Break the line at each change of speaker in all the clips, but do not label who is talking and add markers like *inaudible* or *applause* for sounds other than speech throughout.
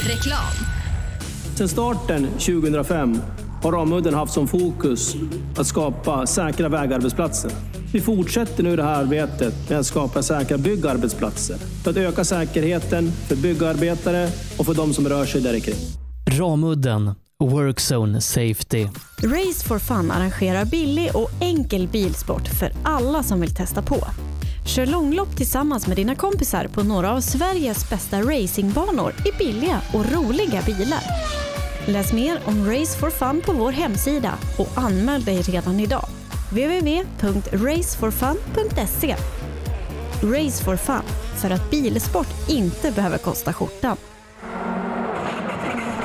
Reklam.
Sedan starten 2005 har Ramudden haft som fokus att skapa säkra vägarbetsplatser. Vi fortsätter nu det här arbetet med att skapa säkra byggarbetsplatser för att öka säkerheten för byggarbetare och för de som rör sig där kring.
Ramudden Workzone Safety.
Race for Fun arrangerar billig och enkel bilsport för alla som vill testa på. Kör långlopp tillsammans med dina kompisar på några av Sveriges bästa racingbanor i billiga och roliga bilar. Läs mer om Race for Fun på vår hemsida och anmäl dig redan idag. www.raceforfun.se Race for Fun, för att bilsport inte behöver kosta skjortan.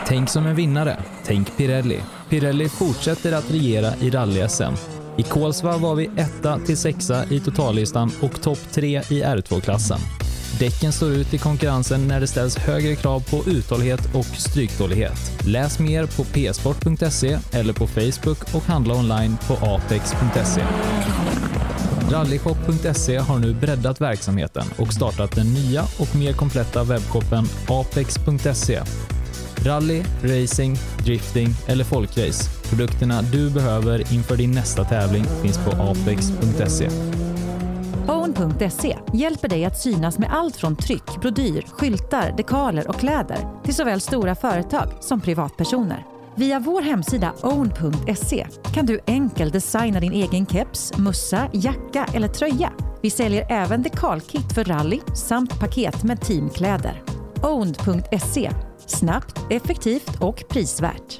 Tänk som en vinnare. Tänk Pirelli. Pirelli fortsätter att regera i rally-SM. I Kolsva var vi etta till sexa i totallistan och topp tre i R2-klassen. Däcken står ut i konkurrensen när det ställs högre krav på uthållighet och stryktålighet. Läs mer på psport.se eller på Facebook och handla online på apex.se. Rallyshop.se har nu breddat verksamheten och startat den nya och mer kompletta webbshoppen apex.se Rally, racing, drifting eller folkrace. Produkterna du behöver inför din nästa tävling finns på apex.se.
Own.se E hjälper dig att synas med allt från tryck, brodyr, skyltar, dekaler och kläder till såväl stora företag som privatpersoner. Via vår hemsida own.se E kan du enkelt designa din egen keps, mussa, jacka eller tröja. Vi säljer även dekalkit för rally samt paket med teamkläder. Own.se E Snabbt, effektivt och prisvärt.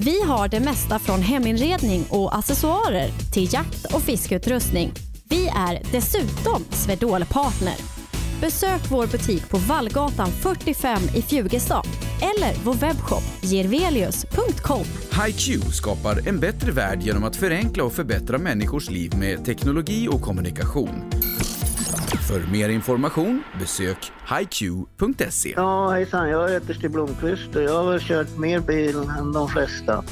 Vi har det mesta från heminredning och accessoarer till jakt och fiskeutrustning. Vi är dessutom Swedol-partner. Besök vår butik på Vallgatan 45 i Fjugestad eller vår webbshop girvelius.com.
HiQ skapar en bättre värld genom att förenkla och förbättra människors liv med teknologi och kommunikation. För mer information besök hiq.se.
Ja, hejsan. Jag heter Stig Blomqvist och jag har väl kört mer bil än de flesta.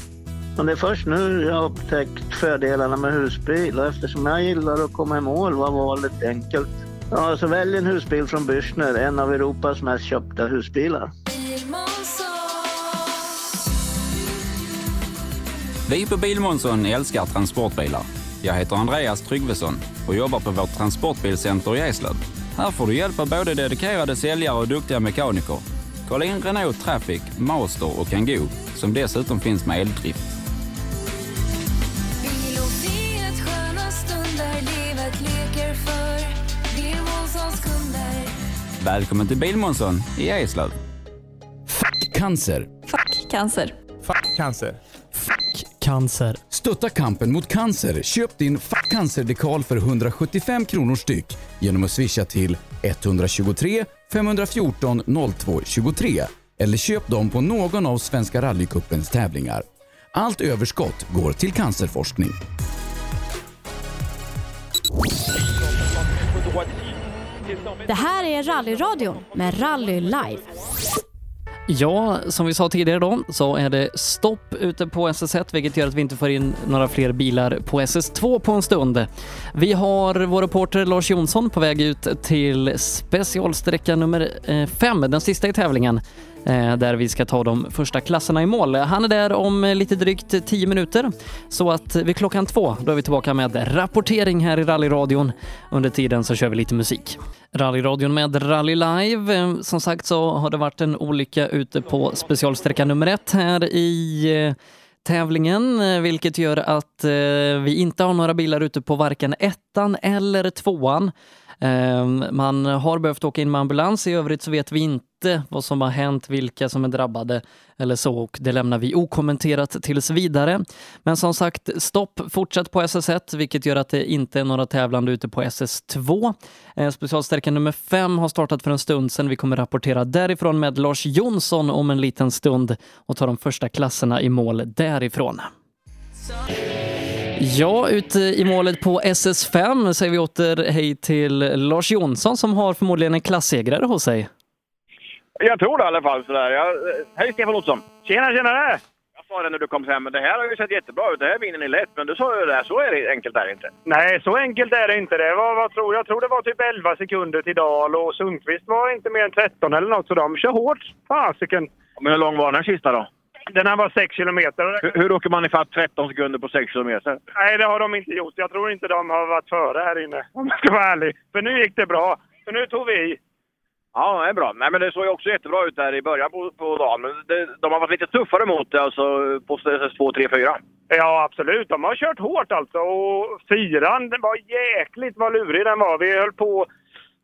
Men det är först nu jag har upptäckt fördelarna med husbil och eftersom jag gillar att komma i mål var valet enkelt. Ja, så välj en husbil från Bürstner, en av Europas mest köpta husbilar.
Vi på Bilmånsson älskar transportbilar. Jag heter Andreas Tryggvesson och jobbar på vårt transportbilcenter i Eslöv. Här får du hjälp av både dedikerade säljare och duktiga mekaniker. Kolla in Renault Traffic, Master och Kangoo som dessutom finns med eldrift. Välkommen till Bilmånsson i Eslöv.
Fuck cancer.
Fuck cancer.
Fuck cancer.
Cancer.
Stötta kampen mot cancer. Köp din Fuck cancer-dekal för 175 kronor styck genom att swisha till 123 514 02 23 eller köp dem på någon av Svenska rallycupens tävlingar. Allt överskott går till cancerforskning.
Det här är Rallyradion med Rally Live.
Ja, som vi sa tidigare då så är det stopp ute på SS1 vilket gör att vi inte får in några fler bilar på SS2 på en stund. Vi har vår reporter Lars Jonsson på väg ut till specialsträcka nummer 5, den sista i tävlingen, eh, där vi ska ta de första klasserna i mål. Han är där om lite drygt 10 minuter så att vid klockan två då är vi tillbaka med rapportering här i rallyradion. Under tiden så kör vi lite musik. Rallyradion med Rally Live. Eh, Som sagt så har det varit en olycka ute på specialsträcka nummer ett här i eh, tävlingen, eh, vilket gör att eh, vi inte har några bilar ute på varken ettan eller tvåan. Eh, Man har behövt åka in med ambulans, i övrigt så vet vi inte vad som har hänt, vilka som är drabbade eller så och det lämnar vi okommenterat tills vidare. Men som sagt, stopp fortsatt på SS1, vilket gör att det inte är några tävlande ute på SS2. Eh, Specialsträcka nummer 5 har startat för en stund sedan. Vi kommer rapportera därifrån med Lars Jonsson om en liten stund och ta de första klasserna i mål därifrån. Ja, ute i målet på SS5 säger vi åter hej till Lars Jonsson som har förmodligen en klassegrare hos sig.
Jag tror det i alla fall. Sådär. Jag, hej Stefan Olsson! Tjena, tjenare! Jag sa det när du kom hem, men det här har ju sett jättebra ut. Det här vinner ni lätt. Men du sa ju det, här, så är det enkelt är det inte.
Nej, så enkelt är det inte. Det var, vad tror, jag? jag tror det var typ 11 sekunder till Dahl och Sundqvist var inte mer än 13 eller något, så de kör hårt. Fasiken!
Men hur lång var den här sista då?
Den här var 6 kilometer.
Hur, hur åker man ifatt 13 sekunder på 6 kilometer?
Nej, det har de inte gjort. Jag tror inte de har varit före här inne, om jag ska vara ärlig. För nu gick det bra. För nu tog vi
Ja, det är bra. Nej, men det såg ju också jättebra ut där i början på, på dagen. Men det, de har varit lite tuffare mot det, alltså på SS2, 3, 4.
Ja, absolut. De har kört hårt alltså. Och fyran, den var jäkligt vad lurig den var. Vi höll på...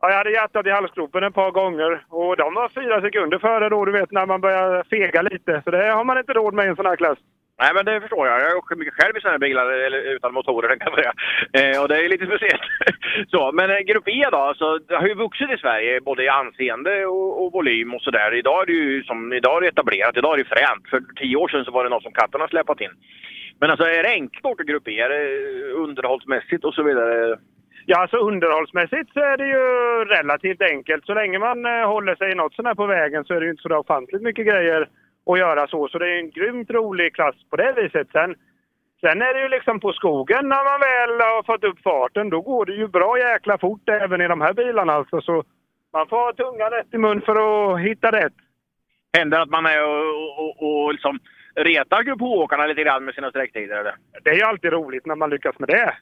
Ja, jag hade hjärtat i halsgropen ett par gånger och de var fyra sekunder före då, du vet, när man börjar fega lite. Så det har man inte råd med i en sån här klass.
Nej, men det förstår jag. Jag åker mycket själv i sådana här bilar, eller utan motorer *laughs* tänkte jag säga. Eh, och det är lite speciellt. *laughs* så, men eh, Grupp E då, så det har ju vuxit i Sverige både i anseende och, och volym och sådär. Idag är det ju som, idag är det etablerat, idag är det fränt. För tio år sedan så var det något som katterna släpat in. Men alltså är det enkelt att åka Grupp E? Är det underhållsmässigt och så vidare?
Ja, alltså underhållsmässigt så är det ju relativt enkelt. Så länge man eh, håller sig något sån här på vägen så är det ju inte så där ofantligt mycket grejer att göra så. Så det är ju en grymt rolig klass på det viset. Sen, sen är det ju liksom på skogen när man väl har fått upp farten. Då går det ju bra jäkla fort även i de här bilarna alltså. Så man får ha tungan rätt i mun för att hitta rätt.
Händer att man är och, och, och liksom retar Grupp H-åkarna lite grann med sina sträcktider eller?
Det är ju alltid roligt när man lyckas med det.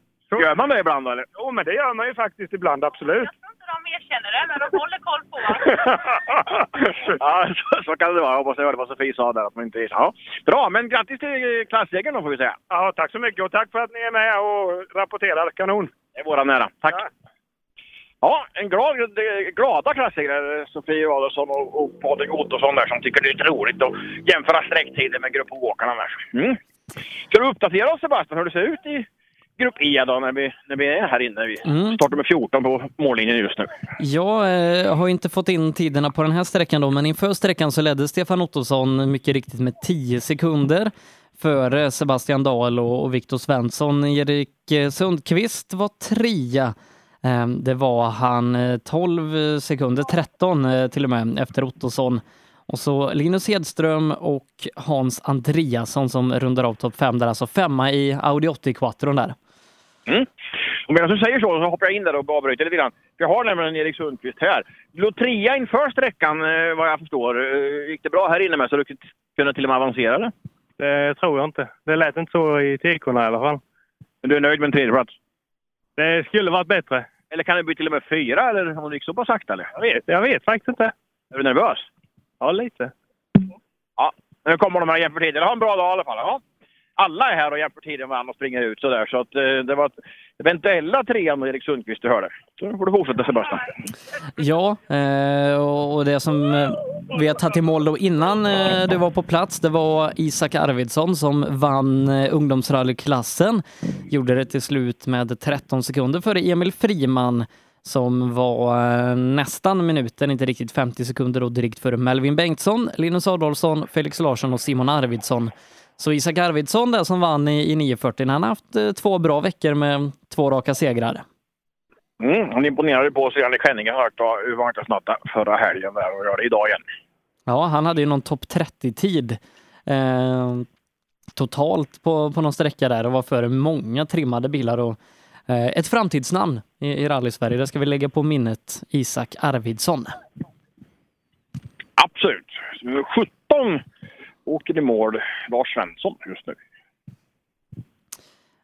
Gör man det ibland eller?
Jo, men det gör man ju faktiskt ibland, absolut.
de erkänner det, men de håller koll på
*laughs* ja, så, så kan det vara. Jag hoppas jag hörde vad Sofie sa där. Att man inte... ja. Bra, men grattis till klassegern då får vi säga.
Ja, tack så mycket och tack för att ni är med och rapporterar. Kanon!
Det är våran ära. Tack! Ja, en glad, eh, glada klassegrare, Sofie Adolfsson och, och Patrik Ottosson där som tycker det är lite roligt att jämföra sträcktider med Grupp H-åkarna där. Mm. Ska du uppdatera oss Sebastian, hur det ser ut i Grupp E då när vi, när vi är här inne? Vi
Mm.
startar med 14 på mållinjen just nu.
Jag eh, har inte fått in tiderna på den här sträckan då, men inför sträckan så ledde Stefan Ottosson mycket riktigt med 10 sekunder före Sebastian Dahl och, och Viktor Svensson. Erik eh, Sundqvist var trea. Eh, det var han eh, 12 sekunder, 13 eh, till och med, efter Ottosson. Och så Linus Hedström och Hans Andreasson som rundar av topp fem där, alltså femma i Audi 80-quattron där.
Mm. Och medan du säger så, så hoppar jag in där och avbryter lite grann. För Jag har nämligen Erik Sundqvist här. Låg trea inför sträckan, eh, vad jag förstår. Eh, Gick det bra här inne med, så du kunde- kunde till och med avancera? Eller?
Det tror jag inte. Det lät inte så i tekorna i alla fall.
Men du är nöjd med en tredjeplats?
Det skulle varit bättre.
Eller kan det bli till och med fyra, eller om det gick så pass sakta? Eller? Jag vet.
Jag vet faktiskt inte.
Är du nervös?
Ja, lite.
Ja. Nu kommer de här och jämför tider. Ha en bra dag i alla fall. Ja. Alla är här och jämför tider med varandra och springer ut sådär. Så att, eh, det var ett- eventuella trean och Erik Sundqvist du hörde. Så får du fortsätta Sebastian.
Ja, eh, och och det som eh, vi har tagit i mål då innan eh, du var på plats, det var Isak Arvidsson som vann eh, ungdomsrallyklassen. Gjorde det till slut med 13 sekunder före Emil Friman som var eh, nästan minuten, inte riktigt 50 sekunder och direkt före Melvin Bengtsson, Linus Adolfsson, Felix Larsson och Simon Arvidsson. Så Isak Arvidsson där som vann i, i 9.40, han har haft eh, två bra veckor med två raka segrar.
Mm, han imponerade på oss redan i Skänninge har jag hört hur var snatta förra helgen där och gör det idag igen.
Ja, han hade ju någon topp 30-tid eh, totalt på, på någon sträcka där och var före många trimmade bilar. Och, eh, ett framtidsnamn i, i rally-Sverige, det ska vi lägga på minnet, Isak Arvidsson.
Absolut. 17 åker i mål Lars Svensson just nu.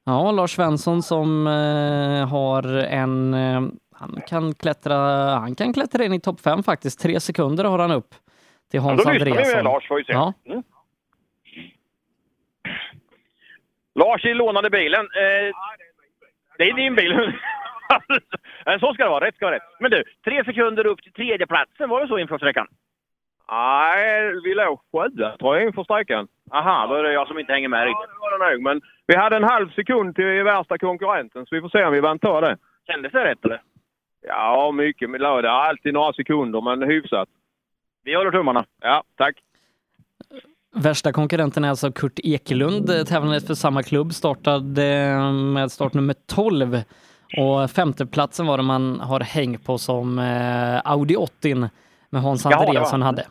Ja, Lars Svensson som eh, har en... Eh, han, kan klättra, han kan klättra in i topp fem faktiskt. Tre sekunder har han upp till Hans
då lyssnar vi
Andreasson.
med Lars får vi se.
Ja.
Mm. Lars i lånade bilen. Eh, det är din bil. *laughs* Eh, så ska det vara. Rätt ska vara rätt. Men du, tre sekunder upp till tredjeplatsen. Var det så inför sträckan? Nej, vi låg sjua tror jag inför sträckan. Aha, då är det jag som inte hänger med riktigt.
var det nog, men vi hade en halv sekund till värsta konkurrenten så vi får se om vi vann ta det.
Kändes det rätt eller?
Ja, mycket. Men det är alltid några sekunder, men hyfsat.
Vi håller tummarna.
Ja, tack.
Värsta konkurrenten är alltså Kurt Ekelund, eh, tävlande för samma klubb, startade eh, med startnummer 12. Och femteplatsen var det man har häng på som eh, Audi 80 med Hans
Jaha, det var-
Andreasson hade.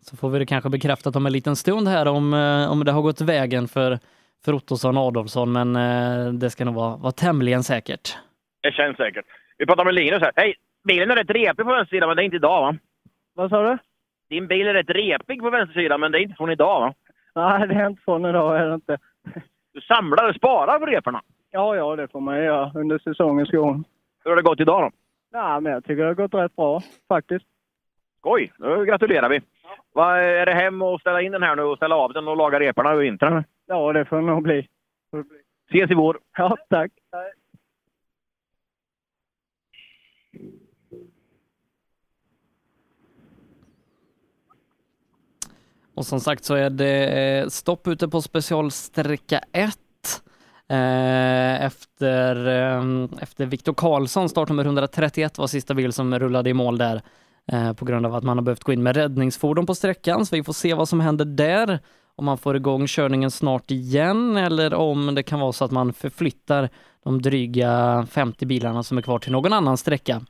Så får vi det kanske bekräftat om en liten stund här om, eh, om det har gått vägen för, för Ottosson och Adolfsson, men eh, det ska nog vara, vara tämligen säkert.
Det känns säkert. Vi pratar med Linus här. Hej! Bilen är rätt repig på vänstersidan, men det är inte idag va? Vad sa du? Din bil är rätt repig på vänstersidan, men det är inte från idag va?
Nej, det är inte från idag är det inte.
Du samlar och sparar på reporna.
Ja, ja, det får man ju göra under säsongens gång.
Hur har det gått idag då?
Nej, men jag tycker det har gått rätt bra faktiskt.
Skoj! Då gratulerar vi. Vad Är det hem och ställa in den här nu och ställa av den och laga reporna över vintern?
Ja, det får det nog bli.
Ses i vår!
Ja, tack.
Och som sagt så är det eh, stopp ute på specialsträcka 1 eh, efter, eh, efter Viktor Karlsson, startnummer 131 var sista bil som rullade i mål där eh, på grund av att man har behövt gå in med räddningsfordon på sträckan. Så vi får se vad som händer där, om man får igång körningen snart igen eller om det kan vara så att man förflyttar de dryga 50 bilarna som är kvar till någon annan sträcka.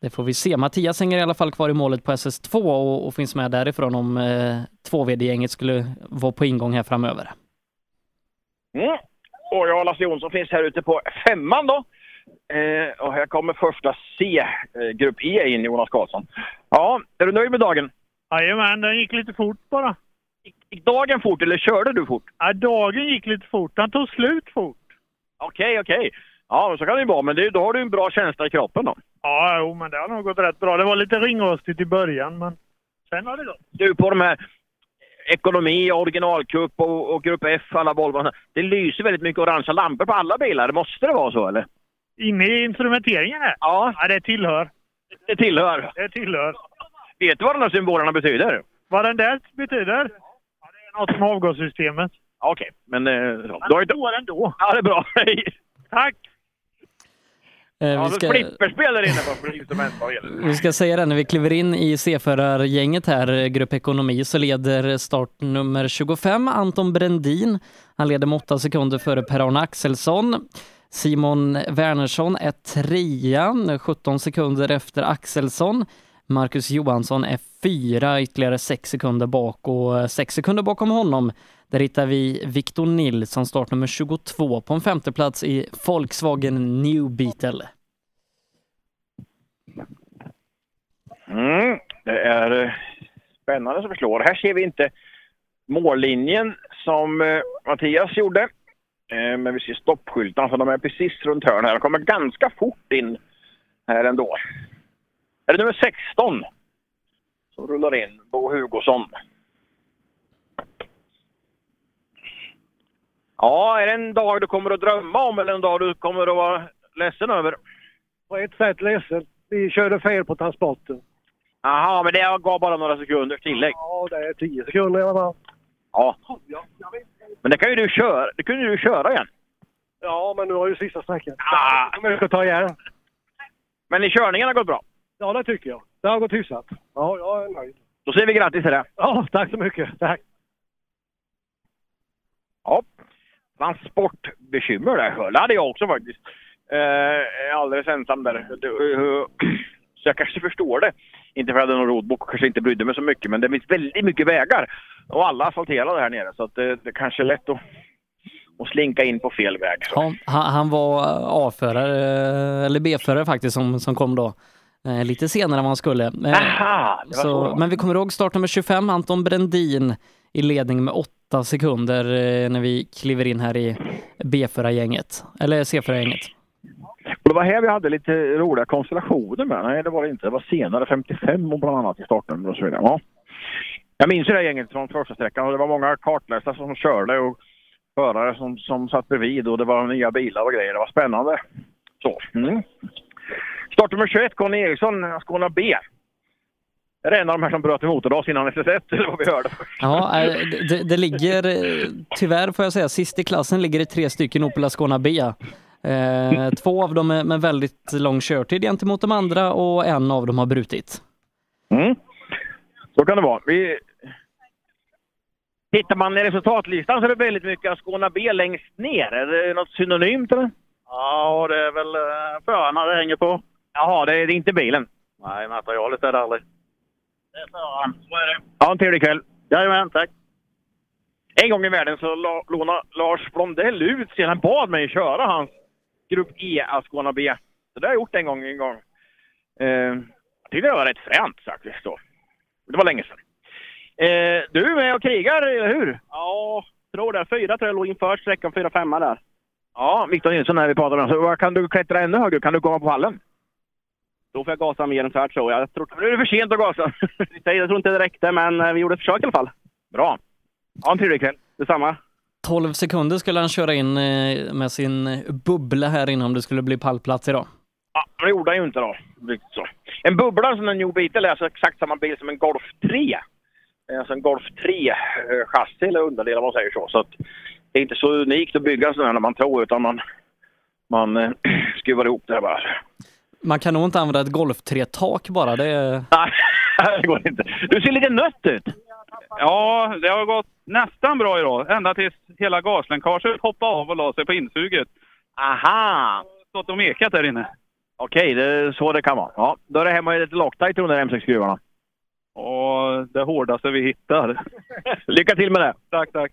Det får vi se. Mattias hänger i alla fall kvar i målet på SS2 och, och finns med därifrån om eh, 2VD-gänget skulle vara på ingång här framöver.
Mm. Och jag och Lasse Jonsson finns här ute på femman då. Eh, och här kommer första C, eh, grupp E in, Jonas Karlsson. Ja, är du nöjd med dagen?
Jajamän, den gick lite fort bara.
Gick dagen fort eller körde du fort?
Ja, dagen gick lite fort. Den tog slut fort.
Okej, okej. Ja, men så kan det ju vara, men det, då har du en bra känsla i kroppen då.
Ja, jo, men det har nog gått rätt bra. Det var lite ringrostigt i början, men sen har det gått.
Du, på de här ekonomi, originalkupp och, och grupp F, alla Volvo. Det lyser väldigt mycket orangea lampor på alla bilar. Måste det vara så eller?
Inne i instrumenteringen här?
Ja.
ja det tillhör.
Det tillhör.
Det tillhör.
Vet du vad de här symbolerna betyder?
Vad den där betyder? Ja, det är något med avgassystemet.
Okej, men... Eh, så.
Men
Du har inte...
det går ändå.
Ja, det är bra. *laughs* Hej!
Tack!
Ja,
Eh, vi,
vi
ska, Mm.
Flipperspel där inne på instrumentpanelen.
vi ska säga det när vi kliver in i C-förargänget här, eh, Grupp Ekonomi, så leder start nummer 25 Anton Brendin. Han leder med 8 sekunder före Per-Arne Axelsson. Simon Wernersson är trea, 17 sekunder efter Axelsson. Marcus Johansson är fyra, ytterligare sex sekunder bak och eh, sex sekunder bakom honom. Där hittar vi Victor Nilsson, startnummer 22, på en femteplats i Volkswagen New Beetle.
Mm, det är eh, spännande som förslår. Här ser vi inte mållinjen som eh, Mattias gjorde. Eh, men vi ser stoppskyltarna, så de är precis runt hörnet. här. De kommer ganska fort in här ändå. Är det nummer 16 som rullar in? Bo Hugosson. Ja, är det en dag du kommer att drömma om eller en dag du kommer att vara ledsen över?
på ett sätt ledsen. Vi körde fel på transporten.
Jaha, men det gav bara några sekunders tillägg.
Ja, det är 10 sekunder i alla fall.
Ja. Men det kan ju du köra. Det kunde du köra igen.
Ja, men nu har ju sista sträckan.
Ah.
Men jag ska ta igen.
Men i körningen har gått bra.
Ja, det tycker jag. Det har gått hyfsat. Ja, jag är nöjd.
Då säger vi grattis till det.
Ja, tack så mycket. Tack.
Ja. Transportbekymmer där Sköld. Det hade jag också faktiskt. Eh, jag är alldeles ensam där. Du- *clears throat* eh, Så jag kanske förstår det. Inte för att jag hade någon rodbok och kanske inte brydde mig så mycket. Men det finns väldigt mycket vägar. Och alla asfalterade här nere. Så att eh, det, det kanske är lätt att, att slinka in på fel väg.
Ja, han, han var A-förare, eller B-förare faktiskt, som, som kom då. eh, Lite senare än vad han skulle. Eh,
Aha, det var så det
så,
var.
men vi kommer ihåg startnummer 25, Anton Brendin i ledning med 8 sekunder eh, när vi kliver in här i B-förargänget, eller C-förargänget.
Och det var här vi hade lite roliga konstellationer med. Nej, det var det inte. Det var senare, 55 och bland annat i startnummer och så vidare. Ja. Jag minns ju det här gänget från första sträckan och det var många kartläsare som körde och förare som, som satt bredvid och det var nya bilar och grejer. Det var spännande. Så. Mm. Startnummer 21, Conny Eriksson, Skåne B. Är det en av de här som bröt i motordas innan SS1, *laughs* eller vad vi hörde?
Ja, eh, det- det, det ligger, eh, tyvärr får jag säga, sist i klassen ligger det tre stycken Opel Ascona B. Eh, två av dem är- med väldigt lång körtid gentemot de andra och en av dem har brutit.
Mm. Så kan det vara. Vi...
Tittar man i resultatlistan så är det väldigt mycket Ascona B längst ner. Är det något synonymt eller?
Ja, det är väl eh, förarna det hänger på.
Jaha, det är inte bilen.
Nej, materialet är det aldrig.
Det är föraren. Så är det. Ja, en trevlig kväll. Jajamän, tack. En gång i världen så la, lånade Lars Blondell ut så han bad mig köra hans Grupp E Ascona B. Så det har jag gjort en gång. En gång. Eh, jag tyckte det var rätt fränt faktiskt då. Det var länge sedan. Eh, du är med och krigar, eller hur?
Ja, tror det. Fyra tror jag låg inför sträckan, fyra femma där.
Ja, Viktor Nilsson när vi pratar om. Så vad kan du klättra ännu högre? Kan du komma på pallen?
Då får jag gasa mer än så här tror jag. jag tror...
Nu är det för sent att gasa.
Jag tror inte det räckte, men eh, vi gjorde ett försök i alla fall.
Bra.
Ha en trevlig kväll. Detsamma.
12 sekunder skulle han köra in eh, med sin bubbla här inne om det skulle bli pallplats idag.
Ja, men det gjorde han ju inte då. Riktigt så. En bubbla som en New Beetle är alltså exakt samma bil som en Golf 3. Det är Alltså en Golf 3-chassi eller underdel om man säger så. så att det är inte så unikt att bygga en sån här när man tror utan man, man eh, *clears throat* skruvar ihop det här bara.
Man kan nog inte använda ett golf tak bara. Det är...
Nej, *laughs* det går inte. Du ser lite nött ut.
Ja, det har gått nästan bra idag. Ända tills hela gaslänkaget hoppade av och la sig på insuget.
Aha!
Stått och mekat där inne.
Okej, det är så det kan vara. Ja, då är det hemma i lite Loctite under M6-skruvarna.
Och det hårdaste vi hittar.
*laughs* Lycka till med det!
Tack, tack.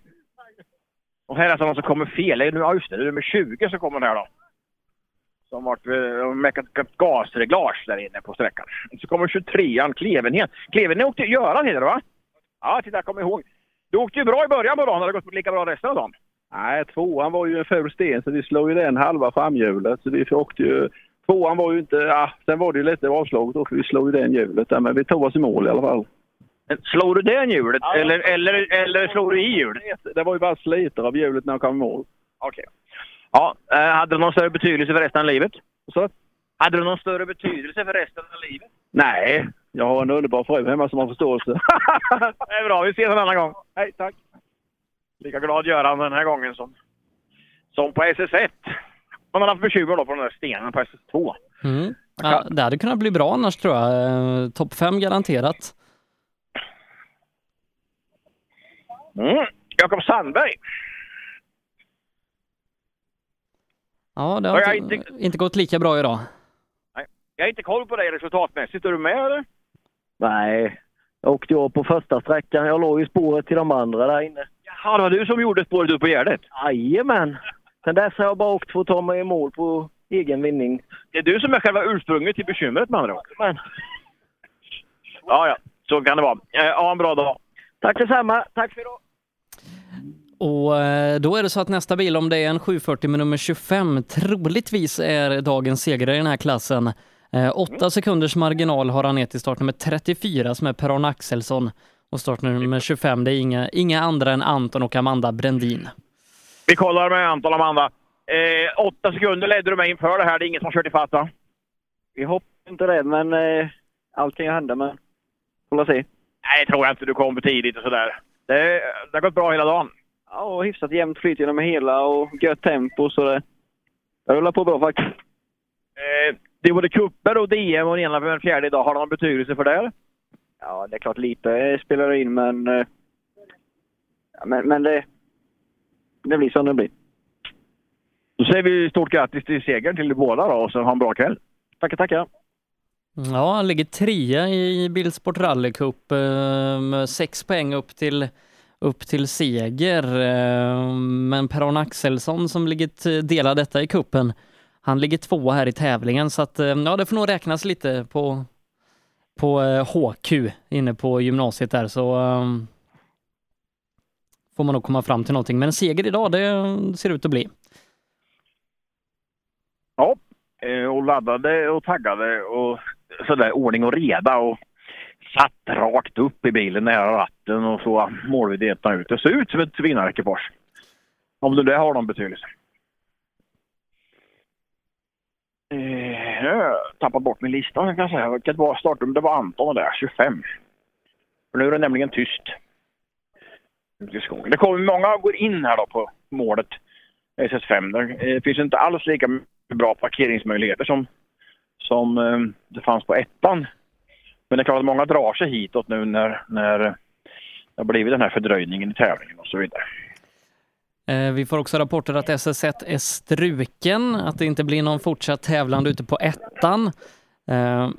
Och här är alltså någon som kommer fel. Eller, nu- Ja, just det. Det är nummer 20 som kommer här då. Som har varit- har meckat ett gasreglage där inne på sträckan. Så kommer 23an Klevenhed. Klevenhed åkte Göran heter det va? Ja, titta jag kommer ihåg. Du åkte ju bra i början på dagen. Har det gått lika bra resten av dagen?
Nej, tvåan var ju en ful sten så vi slog ju den halva framhjulet. Så vi åkte ju... Tvåan var ju inte... Ja, sen var det ju lite avslaget då för vi slog ju den hjulet där, men vi tog oss i mål i alla fall.
Slår du den hjulet eller, eller, eller slår du i hjulet?
Det var ju bara sliter av hjulet när jag kom i mål.
Okej. Ja, eh, hade det någon större betydelse för resten av livet?
Så?
Hade det någon större betydelse för resten av livet?
Nej, jag har en underbar fru hemma som har
*laughs*
förståelse. *laughs*
det är bra, vi ses en annan gång. Hej, tack. Lika glad Göran den här gången som, som på SS1. Man har haft bekymmer då på den där stenen på SS2.
Mm. Ja, det hade kunnat bli bra annars tror jag. Eh, Topp 5 garanterat.
Mm. Jakob Sandberg.
Ja, det har
Ja, jag
inte,
inte-
inte gått lika bra idag.
Nej, jag har inte koll på dig resultatmässigt. Är du med eller?
Nej, jag *laughs* åkte ju av på första sträckan. Jag låg i spåret till de andra där inne.
Jaha, det var du som gjorde spåret upp på Gärdet?
Jajamän! Sen dess har jag bara åkt för att ta mig i mål på egen vinning.
Det är du som är själva ursprunget till bekymret med andra ord.
Men,
Ja, ja. Så kan det vara. Eh, Ha en bra dag.
tack detsamma! Tack för idag!
Och eh, då är det så att nästa bil, om det är en 740 med nummer 25, troligtvis är dagens segrare i den här klassen. Eh, åtta sekunders marginal har han ner till startnummer 34 som är Per-Arne Axelsson. Och startnummer 25, det är inga, inga andra än Anton och Amanda Brändin.
Vi kollar med Anton och Amanda. Eh, åtta sekunder ledde du mig inför det här. Det är ingen som har kört ifatt va?
Vi hoppas inte det, men eh, allt kan ju hända. Men får se.
Nej, det tror jag inte. Du kom för tidigt och sådär. Det, det har gått bra hela dagen.
Ja, och hyfsat jämnt flyt genom hela och gött tempo. Så det, det rullar på bra faktiskt.
Eh, det är både kupper och DM och den ena för den fjärde idag. Har det någon betydelse för det? eller?
Ja, det är klart lite eh, spelar det in, men... eh, Ja, men, men det, det blir som det *laughs* blir.
Då säger vi stort grattis till segern till båda då och så ha en bra kväll.
Tackar, tackar.
Ja, han ligger trea i Bilsport Rally Cup eh, med sex poäng upp till, upp till seger. Eh, Men Per-Arne Axelsson som ligger t- delar detta i kuppen, han ligger tvåa här i tävlingen så att eh, ja, det får nog räknas lite på, på eh, HQ inne på gymnasiet där så eh, får man nog komma fram till någonting. Men seger idag, det ser ut att bli.
Ja, eh, och laddade och taggade och sådär ordning och reda och satt rakt upp i bilen nära ratten och så målvidheten ut. Det ser ut som ett vinnarkipage. Om det där har någon betydelse. Eh, nu har jag tappat bort min lista kan jag säga. Vilket var startnummer? Det var Anton och där, 25. För nu är det nämligen tyst. Ute i skogen. Det kommer många går in här då på målet. SS5. Det eh, finns inte alls lika mycket bra parkeringsmöjligheter som, som eh, det fanns på ettan. Men det är klart att många drar sig hitåt nu när, när det har blivit den här fördröjningen i tävlingen och så vidare.
Eh, Vi får också rapporter att SS1 är struken, att det inte blir någon fortsatt tävlande ute på ettan. Eh,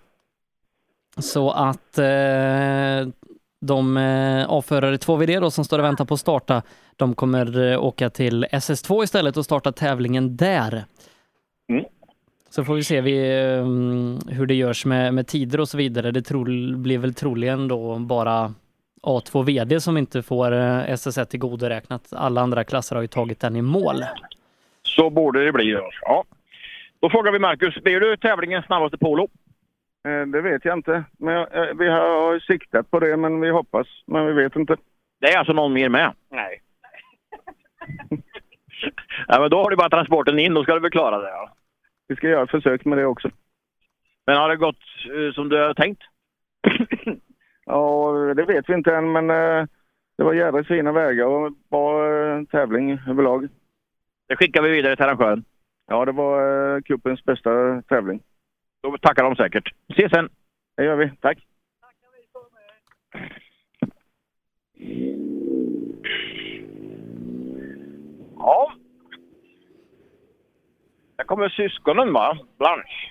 Så att eh, de eh, avförare 2VD då som står och väntar på att starta, de kommer eh, åka till SS2 istället och starta tävlingen där. Så får vi se vi, eh, hur det görs med, med tider och så vidare. Det trol, blir väl troligen då bara A2 VD som inte får eh, SS1 tillgodoräknat. Alla andra klasser har ju tagit den i mål.
Så borde det bli. då. Ja. Då frågar vi Marcus, blir du tävlingens snabbaste polo?
Eh, Det vet jag inte. Men jag, eh, vi har siktat på det, men vi hoppas. Men vi vet inte.
Det är alltså någon mer med? Nej. *laughs* Ja, men då har du bara transporten in, då ska du väl klara det. Ja.
Vi ska göra ett försök med det också.
Men har det gått eh, som du har tänkt?
Ja, det vet vi inte än, men eh, det var jävligt fina vägar och bra eh, tävling överlag.
Det skickar vi vidare till arrangören.
Ja, det var eh, cupens bästa tävling.
Då tackar de säkert. Ses sen!
Det gör vi. Tack!
Ja. Där kommer syskonen va? Blanche.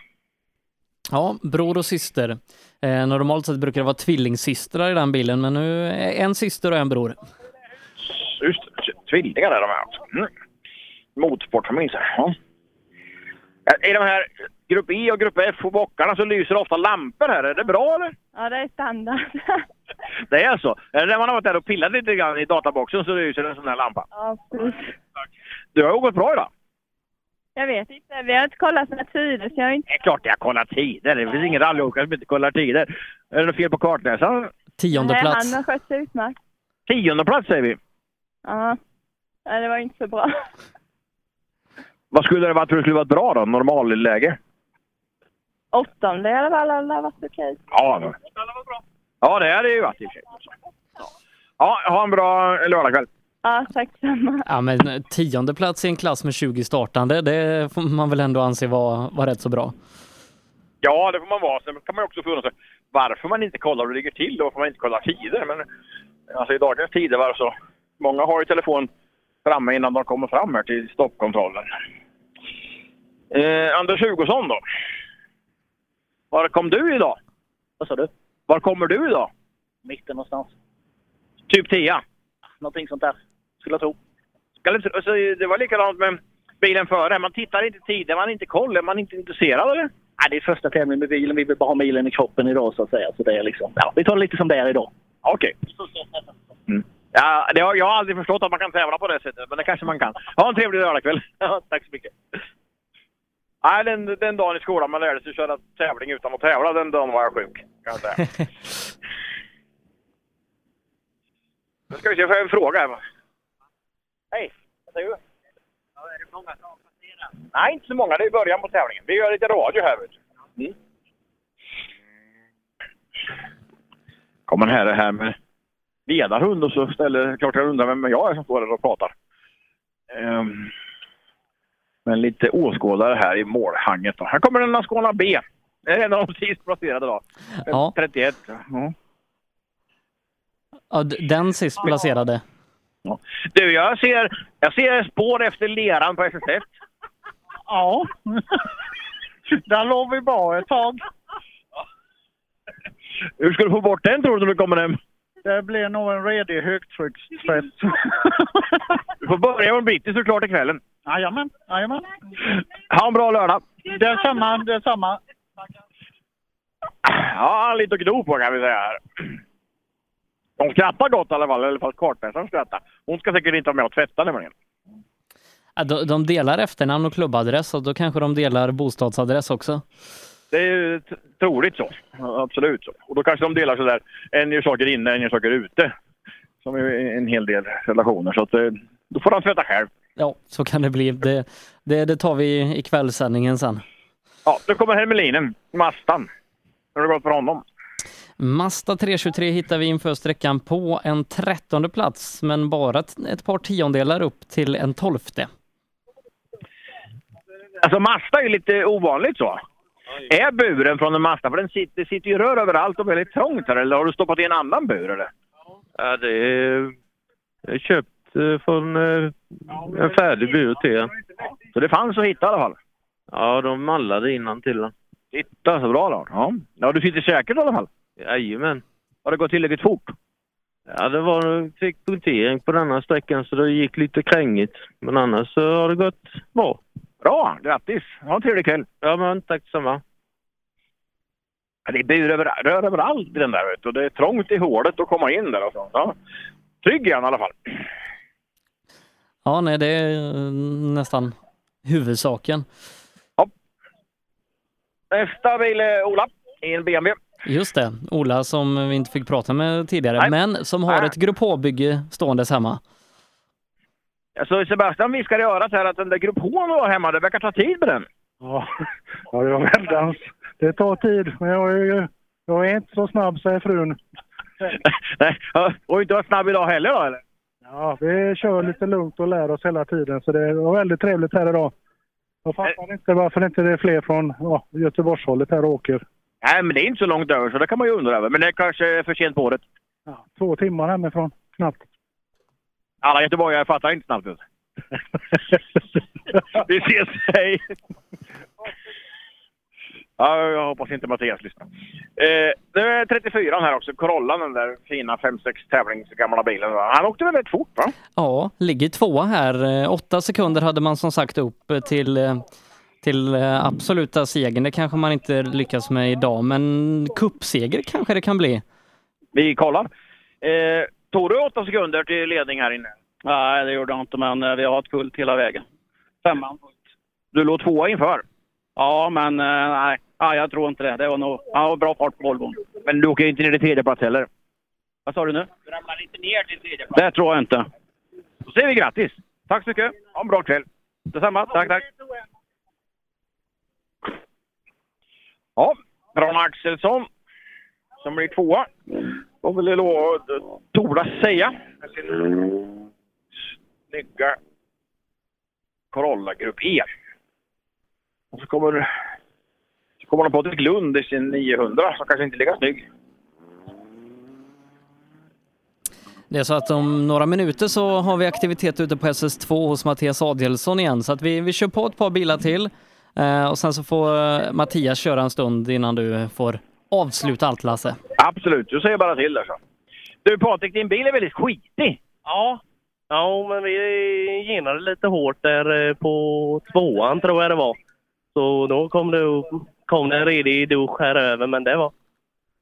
Ja, bror och syster. Eh, normalt sett brukar det vara tvillingsystrar i den bilen, men nu är en syster och en bror.
Just det, tvillingar är de här. Mm. Motorsportfamilj så här. Ja. I de här Grupp E och Grupp F och bockarna så lyser ofta lampor här. Är det bra eller?
Ja, det är standard.
Det är så? Är det när man har varit där och pillat lite grann i databoxen så lyser en sån här lampa?
ja, precis.
Du har åkt bra idag.
Jag vet inte, vi har inte kollat några tider så jag har inte...
Det är klart jag kollar tider. Det finns ingen rallyåkare som inte kollar tider. Är det något fel på kartläsaren?
Tionde
Nej, Han har skött sig utmärkt.
Tionde plats säger vi.
Ja. Nej, det var inte så bra.
Vad skulle det varit för att det skulle varit bra då? Normalläge?
Åttonde i alla fall, det har varit okej.
Ja, det ja, det är det ju varit i och för sig. Ja, ha en bra lördagkväll.
Ja, tack samma.
Ja, men tionde plats i en klass med 20 startande, det får man väl ändå anse vara var rätt så bra.
Ja, det får man vara. Sen kan man ju också förundra sig varför man inte kollar hur det ligger till och varför man inte kollar tider. Men alltså, i dagens tidevarv så... Många har ju telefon framme innan de kommer fram här till stoppkontrollen. Eh, Anders Hugosson då? Var kom du idag?
Vad sa du?
Var kommer du idag?
Mitten någonstans.
Typ 10?
Någonting sånt där, skulle jag tro.
Ska det- alltså, Det var likadant med bilen före. Man tittar inte tider, man har inte koll. Är man inte intresserad eller?
Nej, det är första tävlingen med bilen. Vi vill bara ha milen i kroppen idag så att säga. Så det är liksom, ja, vi tar det lite som det är idag.
Okej. Mm. Ja, det har, jag har aldrig förstått att man kan tävla på det sättet, men det kanske man kan. Ha en trevlig lördagkväll! *laughs* Ja, Tack så mycket! Nej, den, den dagen i skolan man lärde sig att köra tävling utan att tävla, den dagen var jag sjuk. Kan jag säga. Nu ska vi se, får jag en fråga här? va? Hej! Vad säger du?
Ja, är det många som har passerat?
Nej, inte så många. Det är i början på tävlingen. Vi gör lite radio här. Vet du. Mm. Kommer en herre här med ledarhund och så ställer klart jag undrar vem jag är som står där och pratar. Ehm, men lite åskådare här i målhanget. Då. Här kommer en Landskrona B. Det är en av de sist placerade då.
Ja.
31.
Ja, d- den sist placerade.
Du, jag ser, jag ser spår efter leran på SSF.
Ja. *laughs* Där låg vi bra ett tag.
Hur ska du få bort den tror du när du kommer hem?
Det blir nog en redig högtryckstvätt.
*laughs* Du får börja med en bitti såklart i kvällen.
Jajamän, jajamän.
Ha en bra lördag!
Detsamma, detsamma.
Ja, lite att gno på kan vi säga här. Hon skrattar gott i alla fall, eller fast kartläsaren skrattar. Hon ska säkert inte vara med och tvätta nämligen.
Ja, de, de delar efternamn och klubbadress och då kanske de delar bostadsadress också.
Det är ju t- troligt så. Ja, Absolut så. Och då kanske de delar sådär, en gör saker inne, en gör saker ute. Som är en hel del relationer. Så att, eh, då får han tvätta själv.
Ja, så kan det bli. Det, det, det tar vi i kvällssändningen sen.
Ja, nu kommer Hermelinen, Mastan. Hur har det gått för honom?
Mazda 323 hittar vi inför sträckan på en trettonde plats, men bara ett- ett par tiondelar upp till en tolfte.
Alltså Mazda är ju lite ovanligt så. Är buren från en Mazda? För den sitter, det sitter ju rör överallt och väldigt trångt här. Eller har du stoppat i en annan bur eller?
Ja, det är jag har köpt eh, från eh, en färdig bur till en.
Så det fanns att hitta i alla fall?
Ja, de mallade innan till den.
Titta så bra då. Ja. ja, du sitter säkert i alla fall?
Jajamän.
Har det gått tillräckligt fort?
Ja, det var, fick punktering på denna sträckan så det gick lite krängigt. Men annars så har det gått bra.
Bra! Grattis! Ha en trevlig kväll!
Ja, men tack detsamma.
Ja, det är bur över, rör överallt i den där vet du. Och Det är trångt i hålet att komma in där alltså. Ja. Trygg är han i alla fall.
Ja, nej, det är eh, nästan huvudsaken.
Nästa bil är Ola i en BMW.
Just det, Ola som vi inte fick prata med tidigare, men som har ett Grupp H-bygge ståendes hemma.
Alltså Sebastian viskar i örat här att den där grupp H du har hemma, det verkar ta tid med den.
Ja, ja jag väldans. Det tar tid, men jag är, ju- jag är inte så snabb, säger frun.
Nej, *laughs* ja, och inte vara snabb idag heller då eller?
Ja, vi kör lite lugnt och lär oss hela tiden, så det var väldigt trevligt här idag. Jag
Eh.
fattar inte varför inte det är fler från ja, Göteborgshållet här och åker.
Nej, men det är inte så långt över så det kan man ju undra över. Men det är kanske är för sent på året.
Två timmar hemifrån, knappt.
Alla göteborgare fattar inte snabbt. vet *laughs* du. Vi ses, hej! Ja, jag hoppas inte Mattias lyssnar. Eh, nu är 34 här också, Corollan, den där fina 5-6 tävlingsgamla bilen. va? Han åkte väl rätt fort va?
Ja, ligger tvåa här. Eh, Åtta sekunder hade man som sagt upp eh, till, eh, till eh, absoluta segern. Det kanske man inte lyckas med idag, men cupseger kanske det kan bli.
Vi kollar. Eh, tog du åtta sekunder till ledning här inne?
Nej, det gjorde jag inte, men eh, vi har ett fullt hela vägen. Femman fullt.
Du låg tvåa inför?
Ja, men eh, nej, nej, jag tror inte det. Det var nog ja, det var bra fart på Volvon.
Men du åker inte ner i tredje plats heller?
Vad sa du nu?
Du ramlar inte ner till tredje
Det tror jag inte.
Då säger vi grattis! Tack så mycket! Ha en bra kväll! Detsamma! Tack, tack! Ja, Ron Axelsson som blir tvåa. Vad vill jag lov Tora säga? Med sin snygga Corolla Grupp E. Och så kommer, så kommer de på till Lund i sin 900 som kanske inte är lika snygg.
Det är så att om några minuter så har vi aktivitet ute på SS2 hos Mattias Adelsson igen, så att vi, vi kör på ett par bilar till eh, och sen så får eh, Mattias köra en stund innan du får avsluta allt Lasse.
Absolut, du säger bara till där så. Du Patrik, din bil är väldigt skitig.
Ja. Ja, men vi genade lite hårt där eh, på tvåan tror jag det var. Så då kom det, upp- kom det en redig dusch här över, men det var...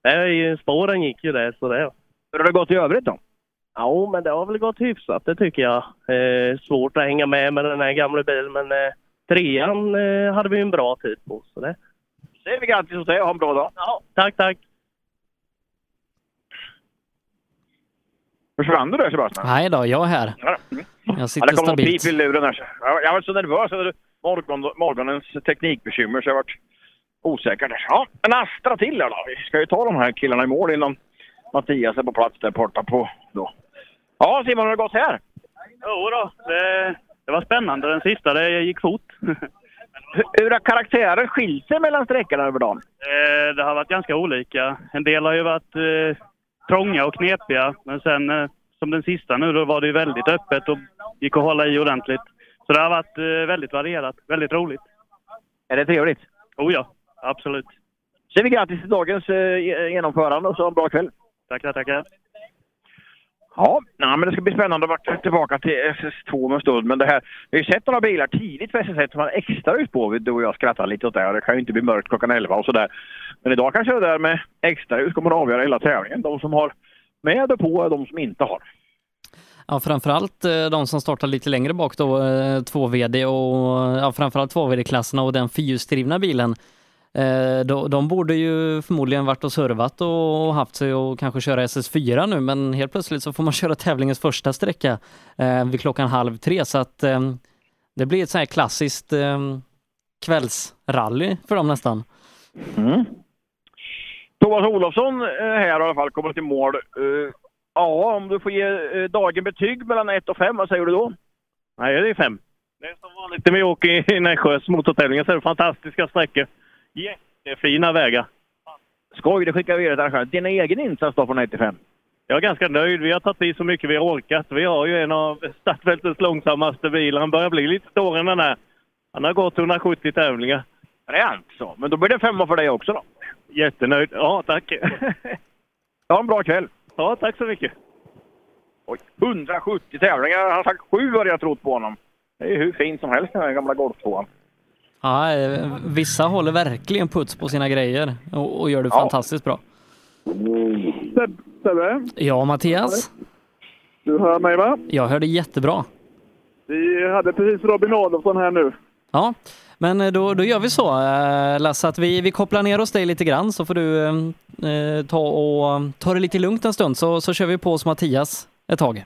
Det är ju, spåren gick ju där, så det...
Hur har det gått i övrigt då?
Ja, men det har väl gått hyfsat, det tycker jag. Eh, svårt att hänga med med den här gamla bilen, men eh, trean eh, hade vi ju en bra tid på. Så det.
säger vi grattis åt dig och ha en bra dag. Ja.
Tack, tack!
Försvann du där Sebastian?
Nej då, jag är här.
Ja, mm.
Jag
Ja, det
sitter
kom något
stabilt.
pip i luren här. så Jag var, jag var så nervös över morgon, morgonens teknikbekymmer så jag vart osäker där. Ja, en Astra till här då. Vi ska ju ta de här killarna i mål innan Mattias är på plats där borta på då. Ja, Simon, hur har det gått här?
Jo då, det, det var spännande den sista. Det gick fort. *laughs*
Hur- Hur har karaktären skilt sig mellan sträckorna över dagen?
Eh, Det har varit ganska olika. En del har ju varit eh, trånga och knepiga, men sen eh, som den sista nu, då var det ju väldigt öppet och gick att hålla i ordentligt. Så det har varit eh, väldigt varierat, väldigt roligt.
Är det trevligt?
Oh ja, absolut.
Säger vi grattis till dagens eh, genomförande och så ha en bra kväll.
Tackar, tackar.
Ja, nej, men det ska bli spännande att vara tillbaka till SS2 om en stund. Men det här, vi har ju sett några bilar tidigt på SS1 som man extra ut på. Du och jag skrattade lite åt det. här. Det kan ju inte bli mörkt klockan 11 och sådär. Men idag kanske det där med extra ut kommer att avgöra hela tävlingen. De som har med och på och de som inte har.
Ja, framförallt eh, de som startar lite längre bak då, eh, 2VD och ja, framförallt 2VD-klasserna och den fyrhjulsdrivna bilen. Eh, De, de borde ju förmodligen varit och servat och och haft sig och kanske köra SS4 nu, men helt plötsligt så får man *laughs* köra tävlingens första sträcka eh, vid klockan halv tre, så att eh, det blir ett sånt här klassiskt eh, kvällsrally för dem nästan.
Thomas Olofsson eh, här i alla fall kommer till mål. Eh, Ja, om du får ge eh, dagen betyg mellan 1 och 5, vad säger du då?
Nej, det är fem.
Det är som vanligt när vi åker i Nässjös motortävlingar så är det fantastiska sträckor. Jättefina vägar.
Skoj, det skickar vi vidare till arrangören. Din egen insats då på 95?
Jag är ganska nöjd. Vi har tagit i så mycket vi har orkat. Vi har ju en av startfältets långsammaste bilar. Han börjar bli lite ståren den här. eh, Han har gått 170 tävlingar.
Rent så. Men då blir det femma för dig också då?
Jättenöjd. Ja, tack.
*laughs* Ha en bra kväll!
Ja, tack så mycket!
Oj, 170 tävlingar. Han har sagt sju hade jag trott på honom. Det är ju hur fint som helst den här gamla golftvåan.
Ja, eh, vissa håller verkligen puts på sina grejer och, och gör det
Ja.
fantastiskt bra.
Sebbe,
Ja, Mattias?
du hör mig va?
Jag hörde jättebra.
Vi hade precis Robin Adolfsson här nu.
Ja, men eh, då, då gör vi så eh, Lasse att vi, vi kopplar ner oss dig lite grann så får du eh, eh, ta, och, ta det lite lugnt en stund så, så kör vi på hos Mattias ett tag.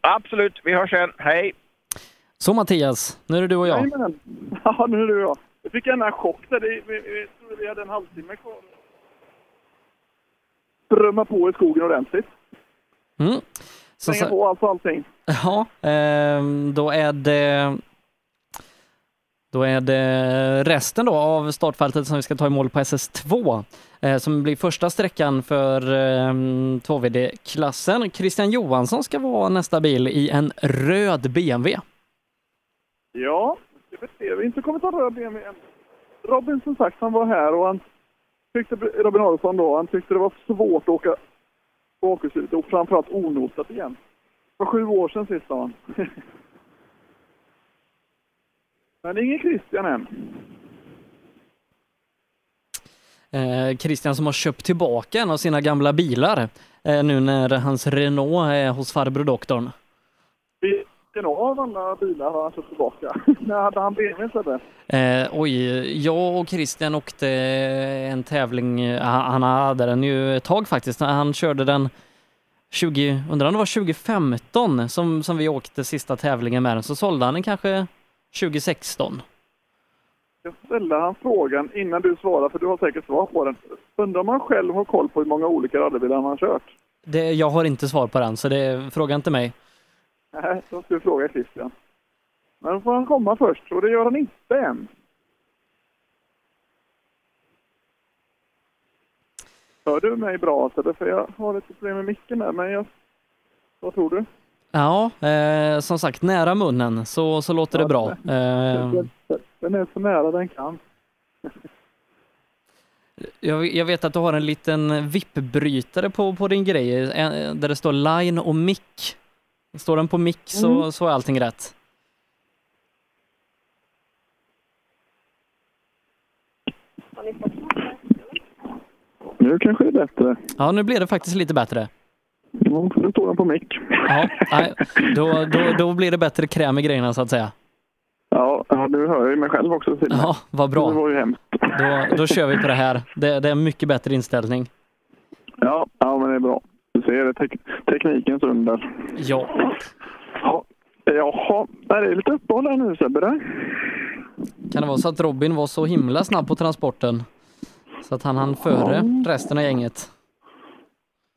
Absolut, vi hörs sen. Hej!
Så Mattias, nu är det du och jag.
Jajamän. *laughs* Ja, nu är du och jag. Jag fick gärna en chock där. Det- Vi, vi, vi, vi hade en halvtimme kvar. Drömma på i skogen ordentligt.
Mm. Så, så,
Slänga på allt och allting.
ja, eh, då är det då är det resten då av startfältet som vi ska ta i mål på SS2 eh, som blir första sträckan för eh, 2VD-klassen. Christian Johansson ska vara nästa bil i en röd BMW.
Ja, det vet vi. Vi har inte kommit att röra BMW än. Robin som sagt, han var här och han tyckte, Robin Adolfsson då, han tyckte det var svårt att åka bakhjulsdrivet och framförallt onosat igen. Det var sju år sedan sist sa han. *laughs* Men det är ingen Christian än.
Eh, Christian som har köpt tillbaka en av sina gamla bilar eh, nu när hans Renault är hos farbror doktorn.
Vilken av alla bilar har han köpt tillbaka? *laughs* När hade han BMW Sebbe?
Eh, oj, jag och Christian åkte en tävling, eh, han han hade den ju ett tag faktiskt, han körde den 20, undrar om det var 2015 som, som vi åkte sista tävlingen med den, så sålde han den kanske 2016.
Jag ställde han frågan innan du svarade, för du har säkert svar på den. Undrar om han själv har koll på hur många olika rallybilar han har kört?
Det, jag har inte svar på den, så det, fråga inte mig.
Nej, då ska vi fråga Christian. Men då får han komma först, och det gör han inte än. Hör du mig bra Sebbe? För jag har lite problem med micken där, men jag... Vad tror du?
Ja, eh, som sagt, nära munnen så, så låter det bra. Eh,
Den är så nära den kan.
Jag, jag vet att du har en liten vippbrytare på, på din grej eh, där det står line och mick. Står den på mick så,
Mm.
så är allting rätt.
Nu kanske det är bättre.
Ja, nu blev det faktiskt lite bättre.
Ja, Nu står han på mick.
Ja, nej, då, då, då blir det bättre kräm i grejerna så att säga.
Ja, ja, nu hör jag ju mig själv också. till och med.
Ja, vad bra.
Det var ju hemskt.
Då, då kör vi på det här. Det, det är en mycket bättre inställning.
Ja, ja men det är bra. Du ser det. Tek teknikens under.
Ja.
ja. Jaha, det är lite uppehåll här nu Sebbe. där.
Kan det vara så att Robin var så himla snabb på transporten? Så att han hann före resten av gänget.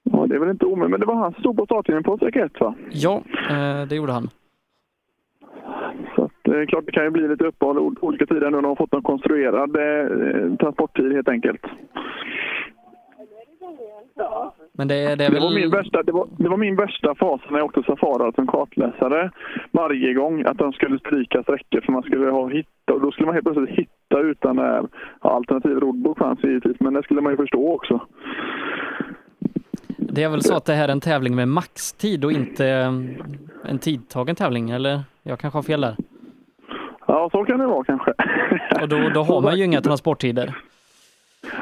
Ja, det är väl inte omöjligt, men det var han som stod på startlinjen på sträcka ett, va?
Ja, eh, det gjorde han.
Det är eh, klart det kan ju bli lite uppehåll o- olika tider nu. De har fått en konstruerad eh, transporttid helt enkelt.
Men det, det är
Det var, min
väl...
värsta, det, var, det var min värsta fas när jag åkte Safari som kartläsare. Varje gång att de skulle stryka sträckor för man skulle ha hitta. Och då skulle man helt plötsligt hitta utan eh, ja, alternativ roadbook fanns givetvis. Men det skulle man ju förstå också.
Det är väl så att det här är en tävling med maxtid och inte eh, en tidtagen tävling, eller? Jag kanske har fel där.
Ja, så kan det vara kanske. *laughs*
Och då, då har man ju inga transporttider.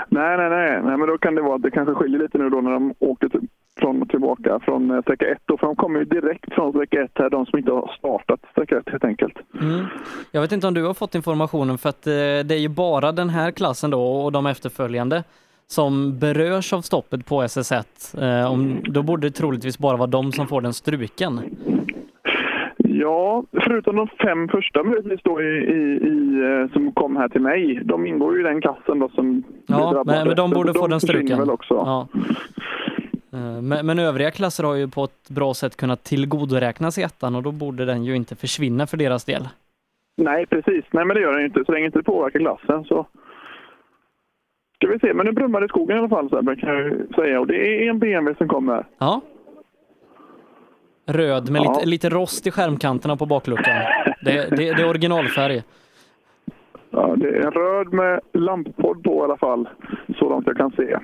Nej, nej, nej, nej. Men då kan det vara att det kanske skiljer lite nu då när de åker till, från, tillbaka från eh, sträcka 1. För de kommer ju direkt från sträcka 1 här, de som inte har startat sträcka 1 helt enkelt.
Mm. Jag vet inte om du har fått informationen för att eh, det är ju bara den här klassen då och de efterföljande som berörs av stoppet på SS1. Eh, om, då borde det troligtvis bara vara de som får den struken.
Ja, förutom de fem första möjligtvis då i, i, i, eh, som kom här till mig. De ingår ju i den klassen då som blir
Ja,
drabbade.
men, men de
Så
borde få den
försvinner
struken.
Väl också.
Ja. Eh, Men, men övriga klasser har ju på ett bra sätt kunnat tillgodoräknas i ettan och då borde den ju inte försvinna för deras del.
Nej, precis. Nej, men det gör den ju inte. Så länge inte det påverkar glassen så... Ska vi se, men nu brummar det i skogen i alla fall, Sebbe, kan jag ju säga. Och det är en BMW som kommer.
Ja. Röd med
Ja.
lite, lite rost i skärmkanterna på bakluckan. Det, det, det är originalfärg.
*laughs* Ja, det är en röd med lamppodd på i alla fall, så långt jag kan se.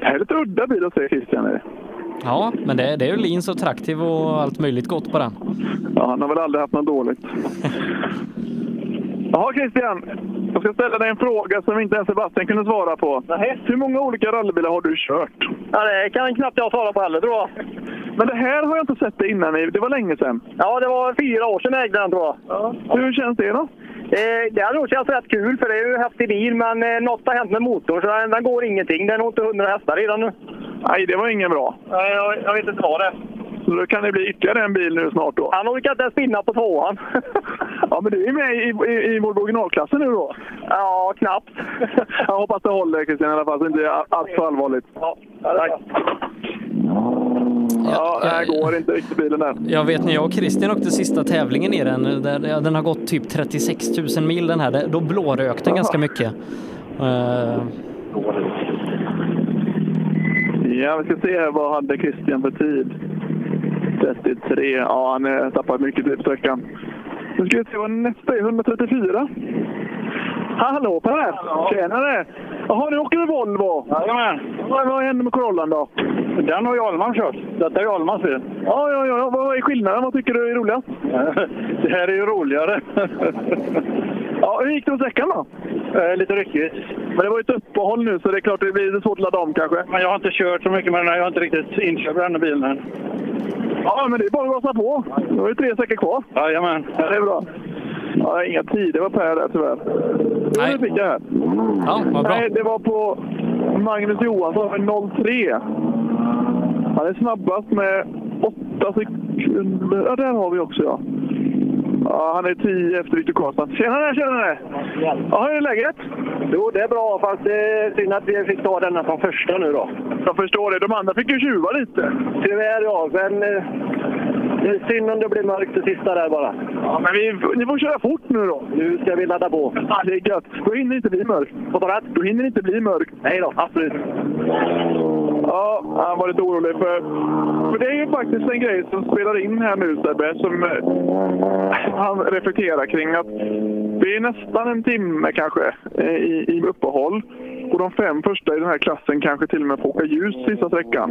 Det här är lite udda bil att se, Christian. är det.
Ja, men det, det är ju lins och traktiv och allt möjligt gott på den.
Ja, han har väl aldrig haft något dåligt. Jaha, Christian. Jag ska ställa dig en fråga som inte ens Sebastian kunde svara på. Hur många olika rallybilar har du kört?
Ja, det kan knappt jag svara på heller, tror jag.
Men det här har jag inte sett dig innan. i- Det var länge sedan.
Ja, det var fyra år sedan jag ägde den, tror jag.
Hur känns det då?
Eh, det har nog känts rätt kul, för det är ju en häftig bil, men eh, något har hänt med motorn, så den, den går ingenting. Den har inte 100 hästar redan nu.
Nej, det var ingen bra.
Nej, jag, vet inte vad det är.
Så då kan det bli ytterligare en bil nu snart då.
Han orkar inte ens spinna på tvåan.
Ja, men du är med i, i, i Volvo originalklassen nu då? Ja, knappt. Jag hoppas det håller Christian i alla fall, så det inte är all- allt för allvarligt. Ja, tack. Ja, det här går inte riktigt bilen där.
*laughs* Jag vet när jag och Christian åkte sista tävlingen i den, där, ja, den har gått typ 36 000 mil den här, Det- då blårök den ganska mycket. Eh,
Ja, vi ska se här. Vad hade Christian för tid? 33. Ja, han eh, tappat mycket tid på sträckan. Nu ska vi se vad nästa är. 134. Hallå Per! Tjenare! Jaha, nu åker du Volvo? Jajamän. Vad, vad händer med Corollan då? Den har ju Ahlman kört. Detta är ju Ahlmans bil. Ja, ja, ja. Vad är skillnaden? Vad tycker du
*laughs*
är roligast? det här är ju roligare. *laughs* ja, hur gick det hos däcken då?
Eh,
lite ryckigt. Men det var ju ett uppehåll nu, så det är klart det blir lite svårt att ladda om kanske.
Men jag har inte kört så mycket med den här. Jag har inte riktigt inköpt den här bilen än.
Ja, men det är bara att gasa på. Nu har vi tre säckar kvar.
Jajamän.
Ja, det är bra. Ja, inga tider var Per där tyvärr. Nej. Det fick jag här.
Ja, vad bra.
Nej, det var på Magnus Johansson med 03. Han är snabbast med 8 sekunder. Ja, där har vi också ja. Ja, han är 10 efter Viktor Karlsson. Tjenare, tjenare! Ja, hur är läget? Jo, det är bra, fast det är synd att vi fick ta denna som första nu då. Jag förstår det. De andra fick ju tjuva lite. Tyvärr ja, men eh, det är synd om det blir mörkt det sista där bara. Ja, men vi, ni får köra fort nu då. Nu ska vi ladda på. Ja, det är gött. Då hinner det inte bli mörkt. Vad sa du? Då hinner det inte bli mörkt. Nej då, absolut. Ja, han var lite orolig för... för det är ju faktiskt en grej som spelar in här nu Sebbe, som eh, han reflekterar kring. att Det är nästan en timme kanske eh, i, i uppehåll. Och de fem första i den här klassen kanske till och med får åka ljus sista sträckan.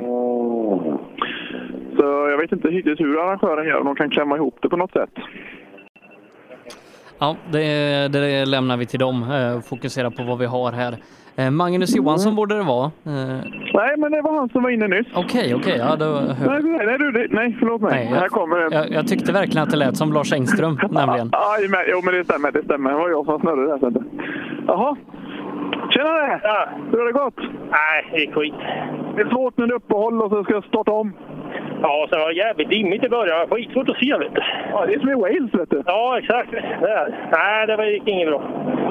Så jag vet inte riktigt hur arrangören gör, om de kan klämma ihop det på något sätt.
Ja, det, det lämnar vi till dem. eh, Fokusera på vad vi har här. Eh, Magnus Johansson borde det vara. Eh,
Mm. Nej, men det var han som var inne nyss.
Okej, okej. Ja, då...
Nej, nej, nej, du, det- nej, förlåt mig.
Nej, jag-
här kommer det.
Jag, jag tyckte verkligen att det lät som Lars
*laughs*
Engström, nämligen.
Aj, men, jo, men det stämmer. Det stämmer. Det var jag som snurrade där. Sente. Jaha. Tjenare! Ja. Hur har det gått? Nej, det är skit. Det är svårt när det är uppehåll och så ska jag starta om.
Ja, så det var jävligt dimmigt i början. Skitsvårt att se, vet du.
Ja, det är som i Wales, vet du.
Ja, exakt. Det är. Nej, det var- gick inget bra.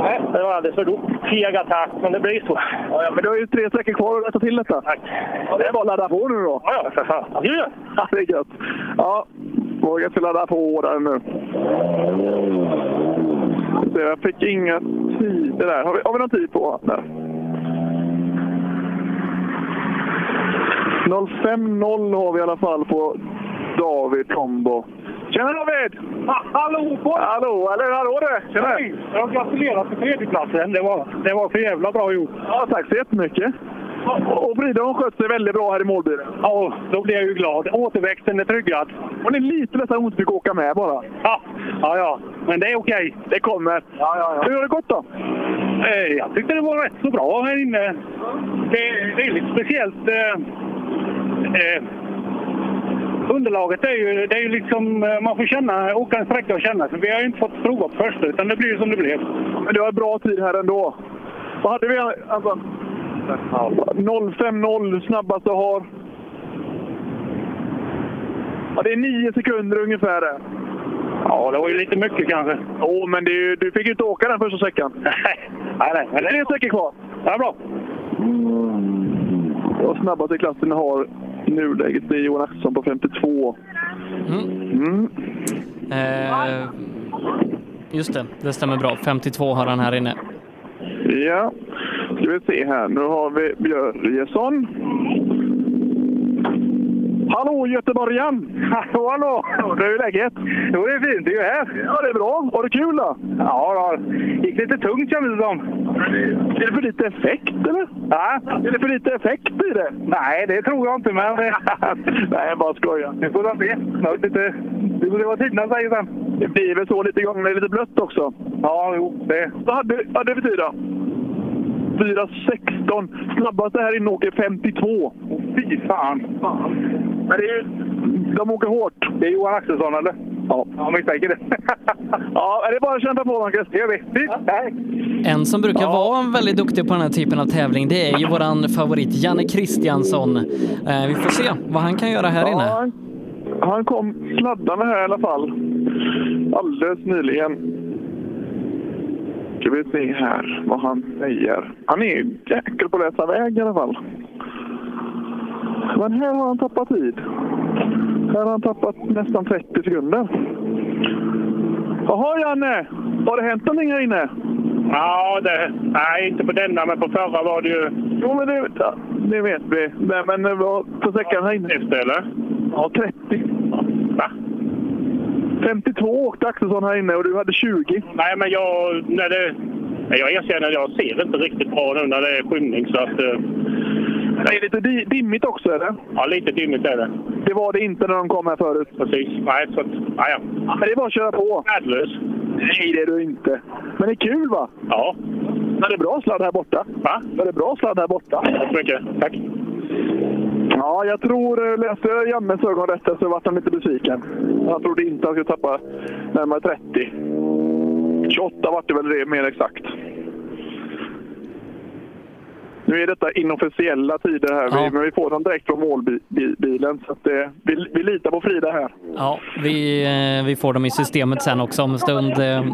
Nej. Det var alldeles för dåligt. Feg attack, men det blir så.
Ja, ja, men du har ju tre sträckor kvar att rätta till detta. Tack. Ja, det är bara att ladda på nu då. Ja, ja, för fan. Ja, det är gött. Ja, vågar inte ladda på där nu. Så jag fick inga tider där. Har vi, har vi någon tid på? Nej. 05.0 har vi i alla fall på David Tombo. Tjena David! hallå på Hallå, eller hallå du! Tjena! Jag gratulerar till tredjeplatsen. Det var, det var för jävla bra gjort. Ja, tack så jättemycket. Och Frida hon skötte sig väldigt bra här i målbilen. Ja, då blev jag ju glad. Återväxten är tryggad. Hon är lite ledsen att hon inte fick åka med bara. Ja, ja, ja. men det är okej. Det kommer. Ja, ja, ja. Hur har det gått då? Jag tyckte det var rätt så bra här inne.
Det är väldigt speciellt. Eh, eh, underlaget är ju, det är ju liksom, eh, man får känna, åka en sträcka och känna. För vi har ju inte fått prova på första, utan det blir ju som det blev.
Men du har bra tid här ändå. Vad hade vi, eh, alltså, Anton? 0,50 snabbast du har. Ja, det är nio sekunder ungefär. det. Ja, det var ju lite mycket kanske. Jo, men det är ju, du fick ju inte åka den första
*laughs*
sträckan. Nej, nej, men det är tre sträckor kvar. Det är bra. Och snabbast i klassen har i nuläget det är Johan Axelsson på 52. Mm.
Eh, Just det, det stämmer bra. 52 har han här inne.
Ja, ska vi se här. Nu har vi Björjesson. Hallå göteborgaren! *laughs* Hallå, hallå! Hur är läget? Jo, det är fint. Det är ju här. Ja, det är bra. Har du kul då? Ja, då. gick lite tungt kändes det som. Är det för lite effekt, eller? Ja. Är det för lite effekt i det? Nej, det tror jag inte, men... *laughs* Nej, jag bara skojar. Nu får vi se. Snart lite... Vi får se vad tiderna säger sen. Det blir väl så lite gånger. Det är lite blött också. Ja, jo, det... Vad hade, hade vi tid då? 4.16. Snabbaste här inne åker 52. Åh, fy fan. Men det är ju... De åker hårt. Det är Johan Axelsson, eller? Ja, jag misstänker det. *laughs* ja, är det är bara att kämpa på, Marcus. Det gör vi. Fint. Hej.
En som brukar vara väldigt duktig på den här typen av tävling, det är ju våran favorit Janne Kristiansson. Eh, vi får se vad han kan göra här inne.
han, han kom sladdande här i alla fall. Alldeles nyligen. Ska vi se här vad han säger. Han är ju jäkel på att läsa väg i alla fall. Men här har han tappat tid. Här har han tappat nästan 30 sekunder. Jaha Janne, har det hänt någonting här inne?
Ja, det, nej, inte på denna, men på förra var det ju...
Jo, men det, det vet vi. Nej, men det var på säckarna här inne. Efter, eller? Ja, 30. Va? 52 åkte Axelsson här inne och du hade 20.
Nej, men jag... När det, nej, jag erkänner, jag ser inte riktigt bra nu när det är skymning. Så att, eh,
Det är lite di- dimmigt också, eller?
ja, lite dimmigt är det.
Det var det inte när de kom här förut.
Precis. Nej, så att, nej, ja.
Men det är bara att köra på.
Värdelös.
Nej, det är du inte. Men det är kul, va?
Ja.
Var det bra sladd här borta?
Va?
Var det bra sladd här borta?
Tack så mycket. Tack.
Ja, jag tror, eh, läste jag Jannes ögon rätt här så vart han lite besviken. Han trodde inte han skulle tappa närmare 30. 28 vart det väl det mer exakt. Nu är detta inofficiella tider här, vi, men vi får dem direkt från målbilen. Så att det, vi, vi litar på Frida här.
Ja, vi, eh, vi får dem i systemet sen också om en stund. Eh,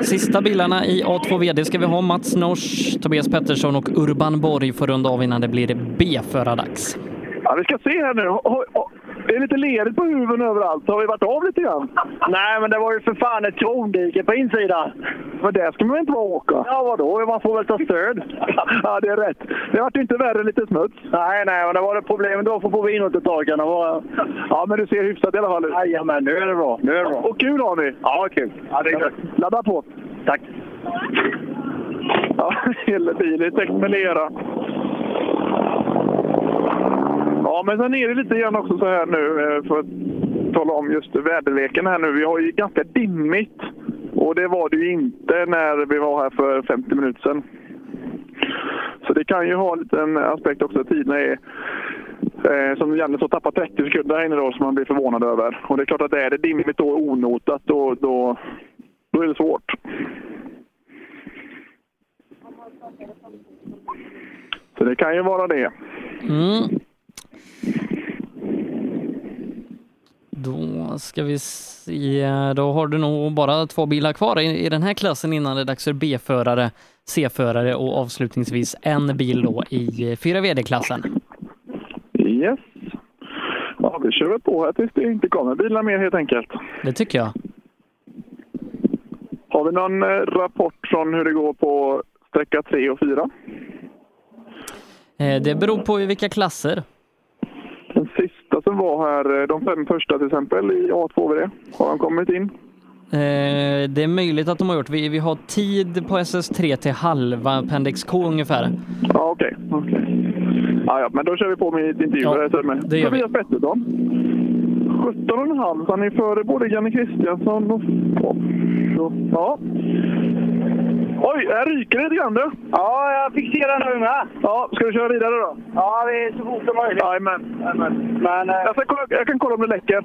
Sista bilarna i A2VD ska vi ha Mats Nors, Tobias Pettersson och Urban Borg får runda av innan det blir B-förardags.
Ja, vi ska se här nu. Ho- ho- ho- Det är lite lerigt på huven överallt. Har vi varit av lite grann? Nej, men det var ju för fan ett krondike på insidan. Men där ska man väl inte bara åka? Ja, vadå? Man får väl ta stöd. *laughs* ja, det är rätt. Det vart ju inte värre än lite smuts. Nej, nej, men det var det problem då för på vinåtertagarna. Ja, men du ser hyfsat i alla fall ut. Jajamän, nu är det bra. Nu är det bra. Och kul har ni! Ja, kul. Ja, det är kul. Ladda på! Tack! Ja, hela bilen är täckt med lera. Ja, men sen är det lite grann också så här nu eh, för att tala om just väderleken här nu. Vi har ju ganska dimmigt och det var det ju inte när vi var här för 50 minuter sedan. Så det kan ju ha en liten aspekt också. Tiderna är, eh, som Janne så tappar 30 sekunder här inne då som man blir förvånad över. Och det är klart att är det dimmigt och onotat då, då, då är det svårt. Så det kan ju vara det.
Mm. Då ska vi se, då har du nog bara två bilar kvar i, i den här klassen innan det är dags för B-förare, C-förare och avslutningsvis en bil då i eh, 4VD-klassen.
Yes. Ja, vi kör väl på här tills det inte kommer bilar mer helt enkelt.
Det tycker jag.
Har vi någon eh, rapport från hur det går på sträcka 3 och 4?
Eh, Det beror på i vilka klasser.
Den sista som var här, eh, de fem första till exempel i A2VD, har de kommit in?
Eh, Det är möjligt att de har gjort. Vi, vi har tid på SS3 till halva Appendix K ungefär.
Ja, okej. okej. Ja, ja, men då kör vi på med intervjuer. Ja, med.
det gör vi.
Tobias Pettersson. 17,5. Han är före både Janne Kristiansson och... Ja. Oj, här ryker det lite grann du. Ja, jag fixerar nu med. Ja, ska du köra vidare då? Ja, vi är så fort som möjligt. Jajamän. Men, eh, jag, ska kolla, jag kan kolla om det läcker.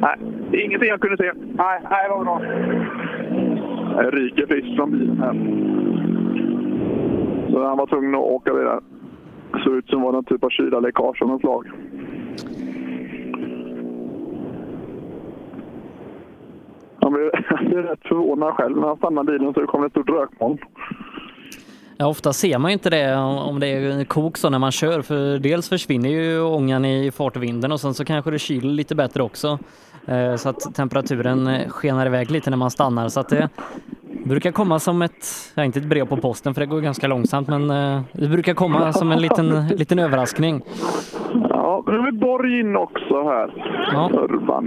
Nej, det är ingenting jag kunde se. Nej, nej vad bra. Det ryker friskt från bilen här. Så han var tvungen att åka vidare. Såg ut som var någon typ av kylaläckage av något slag. *laughs* Han blev, han blev rätt förvånad själv när han stannade bilen så det kom ett stort rökmoln.
Ja, ofta ser man ju inte det om- om det är en kok så när man kör för dels försvinner ju ångan i fartvinden och sen så kanske det kyler lite bättre också. Eh, Så att temperaturen eh, skenar iväg lite när man stannar så att det brukar komma som ett, ja inte ett brev på posten för det går ganska långsamt men eh, det brukar komma som en liten, liten överraskning.
Ja, nu är Borg in också här.
Ja.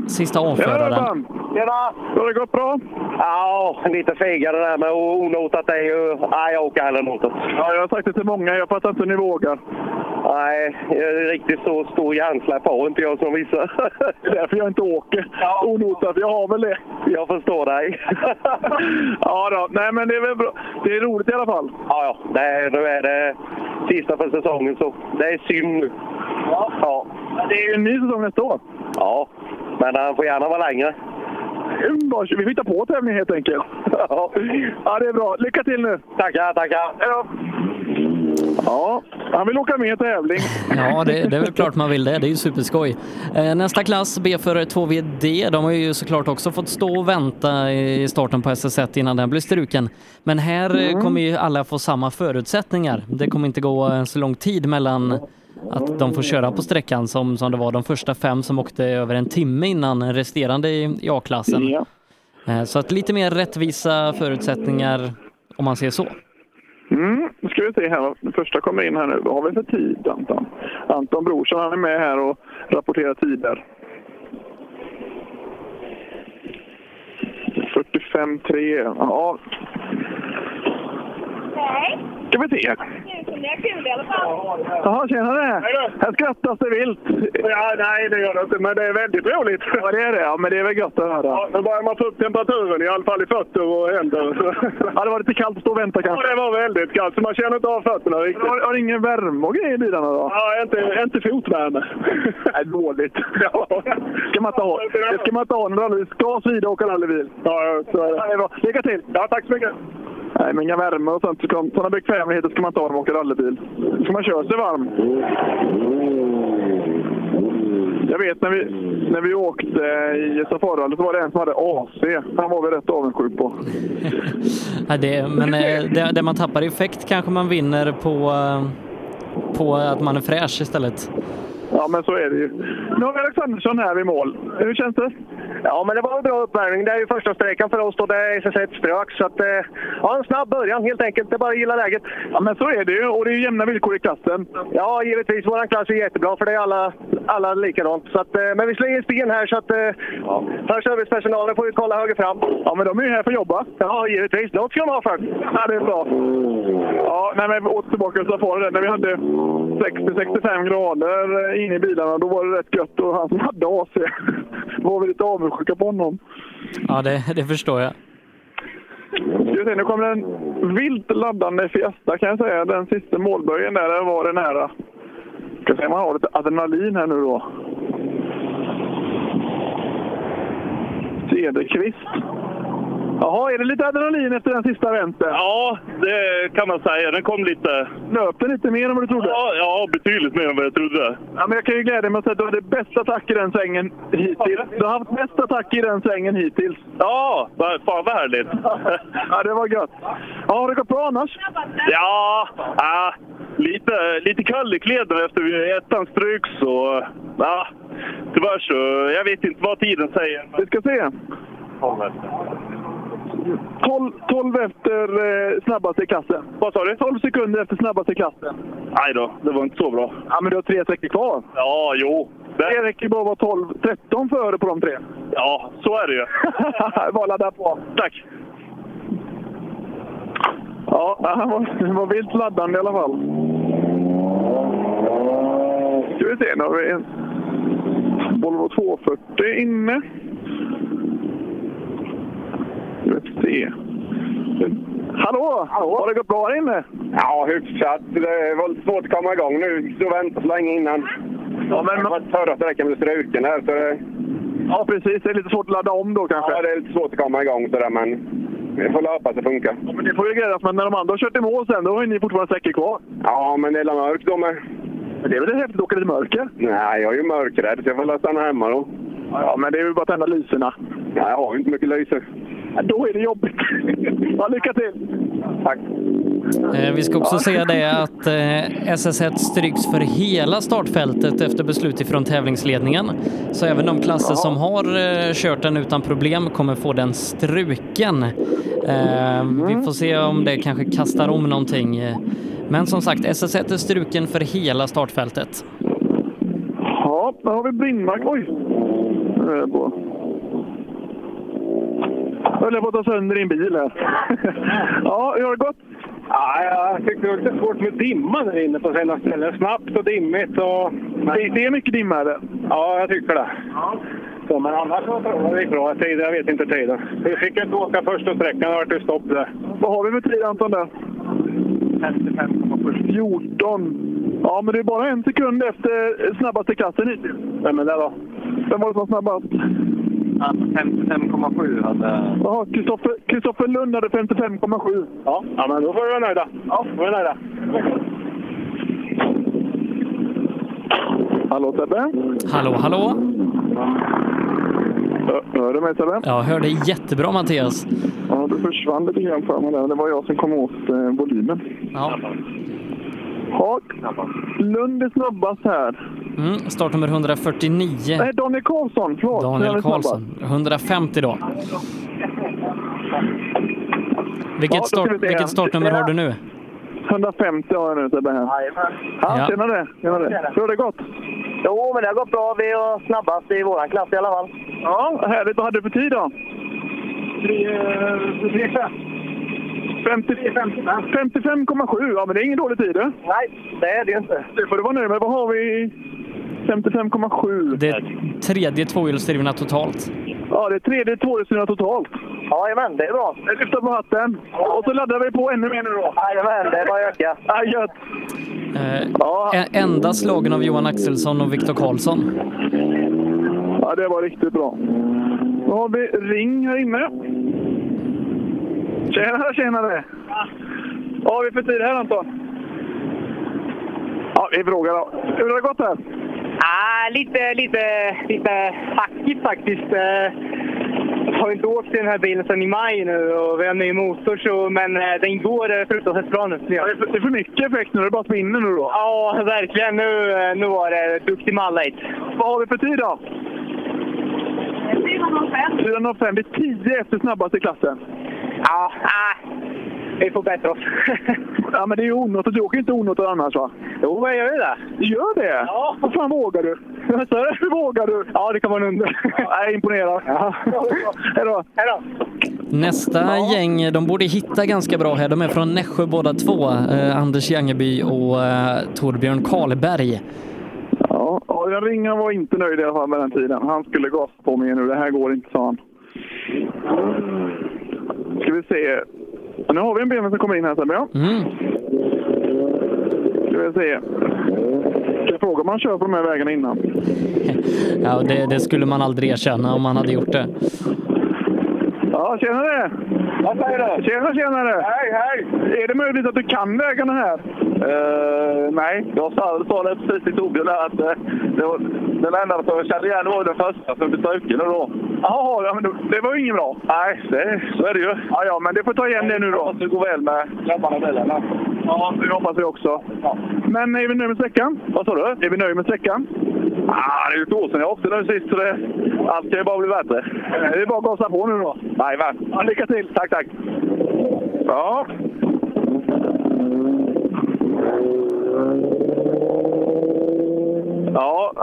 Sista avföraren.
Tjena! Har det gått bra? Ja, lite fegare där med onotat är ju... Nej, jag åker hellre notat. Ja, jag har sagt det till många. Jag fattar inte hur ni vågar. Nej, eh, riktigt så stor hjärnsläpp har inte jag som vissa. *laughs* Det är därför jag inte åker ja. onotat. Jag har väl det. Jag förstår dig. *laughs* ja då, nej men det är väl bra. Det är roligt i alla fall. Ja, ja. Det är, nu är det sista för säsongen så det är synd nu. Ja. ja. Det är ju en ny säsong nästa år. Ja, men han får gärna vara längre.
Bara- Mm, Vi får hitta på tävling helt enkelt. ja, det är bra. Lycka till nu!
Tackar, tackar!
Hej då! Ja, han vill åka med i tävling.
Ja, det, det är väl klart man vill det. Det är ju superskoj. Eh, Nästa klass, B-förare 2VD, de har ju såklart också fått stå och vänta i starten på SS1 innan den blir struken. Men här eh,
Mm.
kommer ju alla få samma förutsättningar. Det kommer inte gå eh, så lång tid mellan att de får köra på sträckan som, som det var de första fem som åkte över en timme innan resterande i, i A-klassen.
Ja.
Eh, Så att lite mer rättvisa förutsättningar om man ser så.
Mm, nu ska vi se här. vad- Den första kommer in här nu. Vad har vi för tid, Anton? Anton Brorsson, han är med här och rapporterar tider. 45.3. Ja.
Nej,
Ska vi se.
tusen är kul i alla fall.
Jaha, tjenare! Här skrattas det vilt. Ja, nej, det gör det inte, men det är väldigt roligt. Ja, det är det. Ja, men det är väl gött att höra.
Ja, nu börjar man få upp temperaturen i alla fall i fötter och händer.
Ja, det var lite kallt att stå och vänta kanske.
Ja, det var väldigt kallt, så man känner inte av fötterna riktigt.
Har, har ingen värme och grejer i bilarna då?
Ja, inte, inte fotvärme.
*laughs* Nej, dåligt. Ja. Ska man inte ha. Det ska man inte ha när man aldrig ska svida och åka rallybil. Ja, så är det. är bra. Lycka till! Ja, tack så mycket! Nej, men inga värme och sånt. Sådana bekvämligheter ska man inte ha när man åker rallybil. Då ska man köra sig varm. Jag vet när vi, när vi åkte i Safarrallyt så var det en som hade AC. Han var vi rätt avundsjuk på.
Ja, det, men eh, det, det man tappar i effekt kanske man vinner på, eh, på att man är fräsch istället.
Ja, men så är det ju. Nu har vi Alexandersson här vid mål. Hur känns det?
Ja, men det var en bra uppvärmning. Det är ju första sträckan för oss och det är SS1 strök. Så att, eh, ja, en snabb början helt enkelt. Det är bara att gilla läget.
Ja, men så är det ju. Och det är ju jämna villkor i klassen.
Ja, givetvis. Vår klass är jättebra för det är alla, alla likadant. Så att, eh, men vi slänger in sten här så att eh, för servicepersonalen får ju kolla höger fram.
Ja, men de är ju här för att jobba.
Ja, givetvis. Något ska de ha för.
Ja, det är bra. Ja, nej, men åt tillbaka till Safari där, när vi hade 60-65 grader inne i bilarna. Då var det rätt gött och han som hade AC *laughs* var vi lite avundsjuka på honom.
Ja, det, det förstår jag.
Ska vi se, nu kommer en vilt laddande Fiesta kan jag säga. Den sista målböjen där, där var det nära. Ska se om man har lite adrenalin här nu då. Cederqvist. Jaha, är det lite adrenalin efter den sista vänstern?
Ja, det
eh,
kan man säga. Den kom lite...
Löpte lite mer än vad du trodde?
Ja, ja betydligt mer än vad jag trodde.
Ja, men jag kan ju glädja mig att säga att du hade bäst attack i den svängen hittills. Du har haft bäst attack i den svängen hittills.
Ja, vad- fan vad härligt.
Ja, det var gött. Ja, har det gått bra annars?
Ja, ja lite, lite kall i kläderna efter vi- ettan stryk så... Ja, tyvärr så... Jag vet inte vad tiden säger.
Vi ska se. 12, 12 efter eh, snabbaste i klassen. Vad sa du? 12 sekunder efter snabbaste i klassen.
Nej då, det var inte så bra.
Ja, men du har tre sträckor kvar.
Ja, jo.
Det räcker bara att vara 12, 13 före på de tre.
Ja, så är det ju.
*laughs* bara ladda på. Tack! Ja, han var, han var vilt laddande i alla fall. Ska vi se, nu har vi en Volvo 240 inne. Ska vi se. Hallå! Har det gått bra här inne?
Ja, hyfsat. Det var svårt att komma igång nu. Så vänta så länge innan. Ja, men... Det var förra sträckan blev struken här. Så det...
Ja, precis. Det är lite svårt att ladda om då kanske.
Ja, det är lite svårt att komma igång sådär, men vi får löpa så det funkar.
Ja, men det får ju glädjas, men när de andra har kört i mål sen, då har ju ni fortfarande säkert kvar.
Ja, men det är mörkt då med.
Men det är väl det häftigt att åka lite mörker?
Nej, jag är ju mörkrädd så jag får väl stanna hemma då.
Ja, men det är ju bara att tända lyserna.
Nej, jag har ju inte mycket lyse.
Då är det jobbigt. *laughs* Ja, lycka till! Tack.
Eh, Vi ska också
*laughs*
säga det att eh, SS1 stryks för hela startfältet efter beslut ifrån tävlingsledningen. Så även de klasser som har eh, kört den utan problem kommer få den struken. Eh, Vi får se om det kanske kastar om någonting. eh. Men som sagt, SS1 är struken för hela startfältet.
Ja, där har vi Brindmark. Oj! Det är bra. Höll jag på att ta sönder din bil här. *laughs* ja, hur har det gått?
Ja, jag tyckte det var lite svårt med dimman här inne på sina ställen. Snabbt och dimmigt. Och... Det, det är mycket dimma är det? Ja, jag tycker det. Så, men annars så tror jag det gick bra. Tider, jag vet inte tiden. Vi fick inte åka första sträckan, det vart ju stopp där.
Vad har vi med tid Anton där? 14. Ja, men det är bara en sekund efter snabbaste klassen hittills. Vem är det då? Vem var det som var snabbast?
55,7 hade...
Jaha, Kristoffer- Kristoffer Lund hade 55,7.
Ja, ja, men då får vi vara nöjda. Ja, då är vi nöjda.
Hallå Sebbe?
Hallå, hallå!
Hör du mig Sebbe?
Jag hörde jättebra Mattias.
Ja, du försvann lite grann för mig där. men Det var jag som kom åt eh, volymen.
Ja.
Ja, Lund är snabbast här.
Mm, startnummer 149.
Nej, Daniel Karlsson. Förlåt. Han är
Daniel
snabbast.
Karlsson, 150 då.
Ja,
Vilket,
då
start,
ska vi se.
vilket startnummer har du nu?
150 har jag nu Sebbe här.
Ja.
Ja, tjenare. tjenare. Hur har det gått?
Jo, men det har gått bra. Vi är snabbast i vår klass i alla fall.
Ja, härligt. Vad hade du för tid då? 50 55,7. Ja, men det är ingen dålig tid. Du. Nej, det är det inte. Det får du vara nöjd med. Vad har vi? 55,7.
Det är tredje tvåhjulsdrivna totalt.
Ja, det är tredje tvåhjulsdrivna totalt. Jajamän, det är bra. Jag lyfter på hatten. Och så laddar vi på ännu mer nu då. Jajamän, det är bara att öka. Ja, gött.
Eh, e- Enda slagen av Johan Axelsson och Viktor Karlsson.
Ja, det var riktigt bra. Då har vi Ring här inne. Tjenare, tjenare! Vad har vi för tid här Anton? Ja, vi frågar då. Hur har det gått här?
Ah, lite, lite, lite hackigt faktiskt. Eh, Jag har inte åkt i den här bilen sedan i maj nu och vi har ny motor, så, men eh, den går eh, fruktansvärt bra nu. Det är, för, det är för mycket effekt nu. Det är bara att vinna nu då. Ja, verkligen. Nu, eh, nu var det duktig mallet.
Vad har vi för tid då? 405. Det är 10 efter snabbaste klassen.
Ja, ah, vi får bättre oss. *laughs*
Ja, men det är ju onotat. Du åker ju inte onotat annars va?
Jo, men jag gör ju det.
Du gör det? Ja. Vad fan vågar du? Vad sa du? Hur vågar du? Ja, det kan vara en under. Jag är imponerad. Ja. Hej då. Hej då.
Nästa gäng, de borde hitta ganska bra här. De är från Nässjö båda två. Eh, Anders Jangeby och eh, Torbjörn Karlberg.
Ja, ja, den ringen var inte nöjd i alla fall med den tiden. Han skulle gasa på mig nu. Det här går inte, sa han. Ska vi se. Ja, Nu har vi en BMW som kommer in här, Sebbe. Ja. Ska vi se. Ska jag fråga om han kör på de här vägarna innan?
Ja, det, det skulle man aldrig erkänna om man hade gjort det.
Ja, tjenare! Vad säger du? Tjena, tjenare! Hej, hej! Är det möjligt att du kan vägarna här?
Eh, nej, jag sa, sa det precis till Torbjörn där att eh, det var, den enda som jag kände igen var den första som blev struken och då.
Jaha, ja, men då- det var ju inget bra. Nej, det, så är det ju. Ja, ja, men det får ta igen det nu då. Hoppas det går väl med grabbarna och bilarna. Ja, det hoppas vi också. Men är vi nöjda med sträckan? Vad sa du? Är vi nöjda med sträckan?
Ah, det är ju ett år sedan jag åkte nu sist så det, allt kan ju bara bli bättre.
Det är bara att gasa på nu då.
Jajamän.
Ja, lycka till! Tack, tack! Ja. Ja,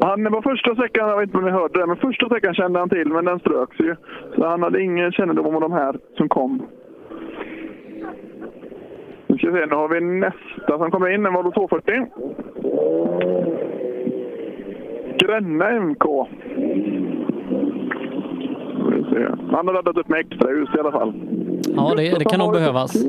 han var första sträckan, jag vet inte om ni hörde det, men första sträckan kände han till, men den ströks ju. Så han hade ingen kännedom om de här som kom. Nu ska vi se, nu har vi nästa som kommer in, en Volvo 240. Gränna MK. Vi får se. Han har laddat upp med extra ljus i alla fall.
Ja, det, det kan nog behövas.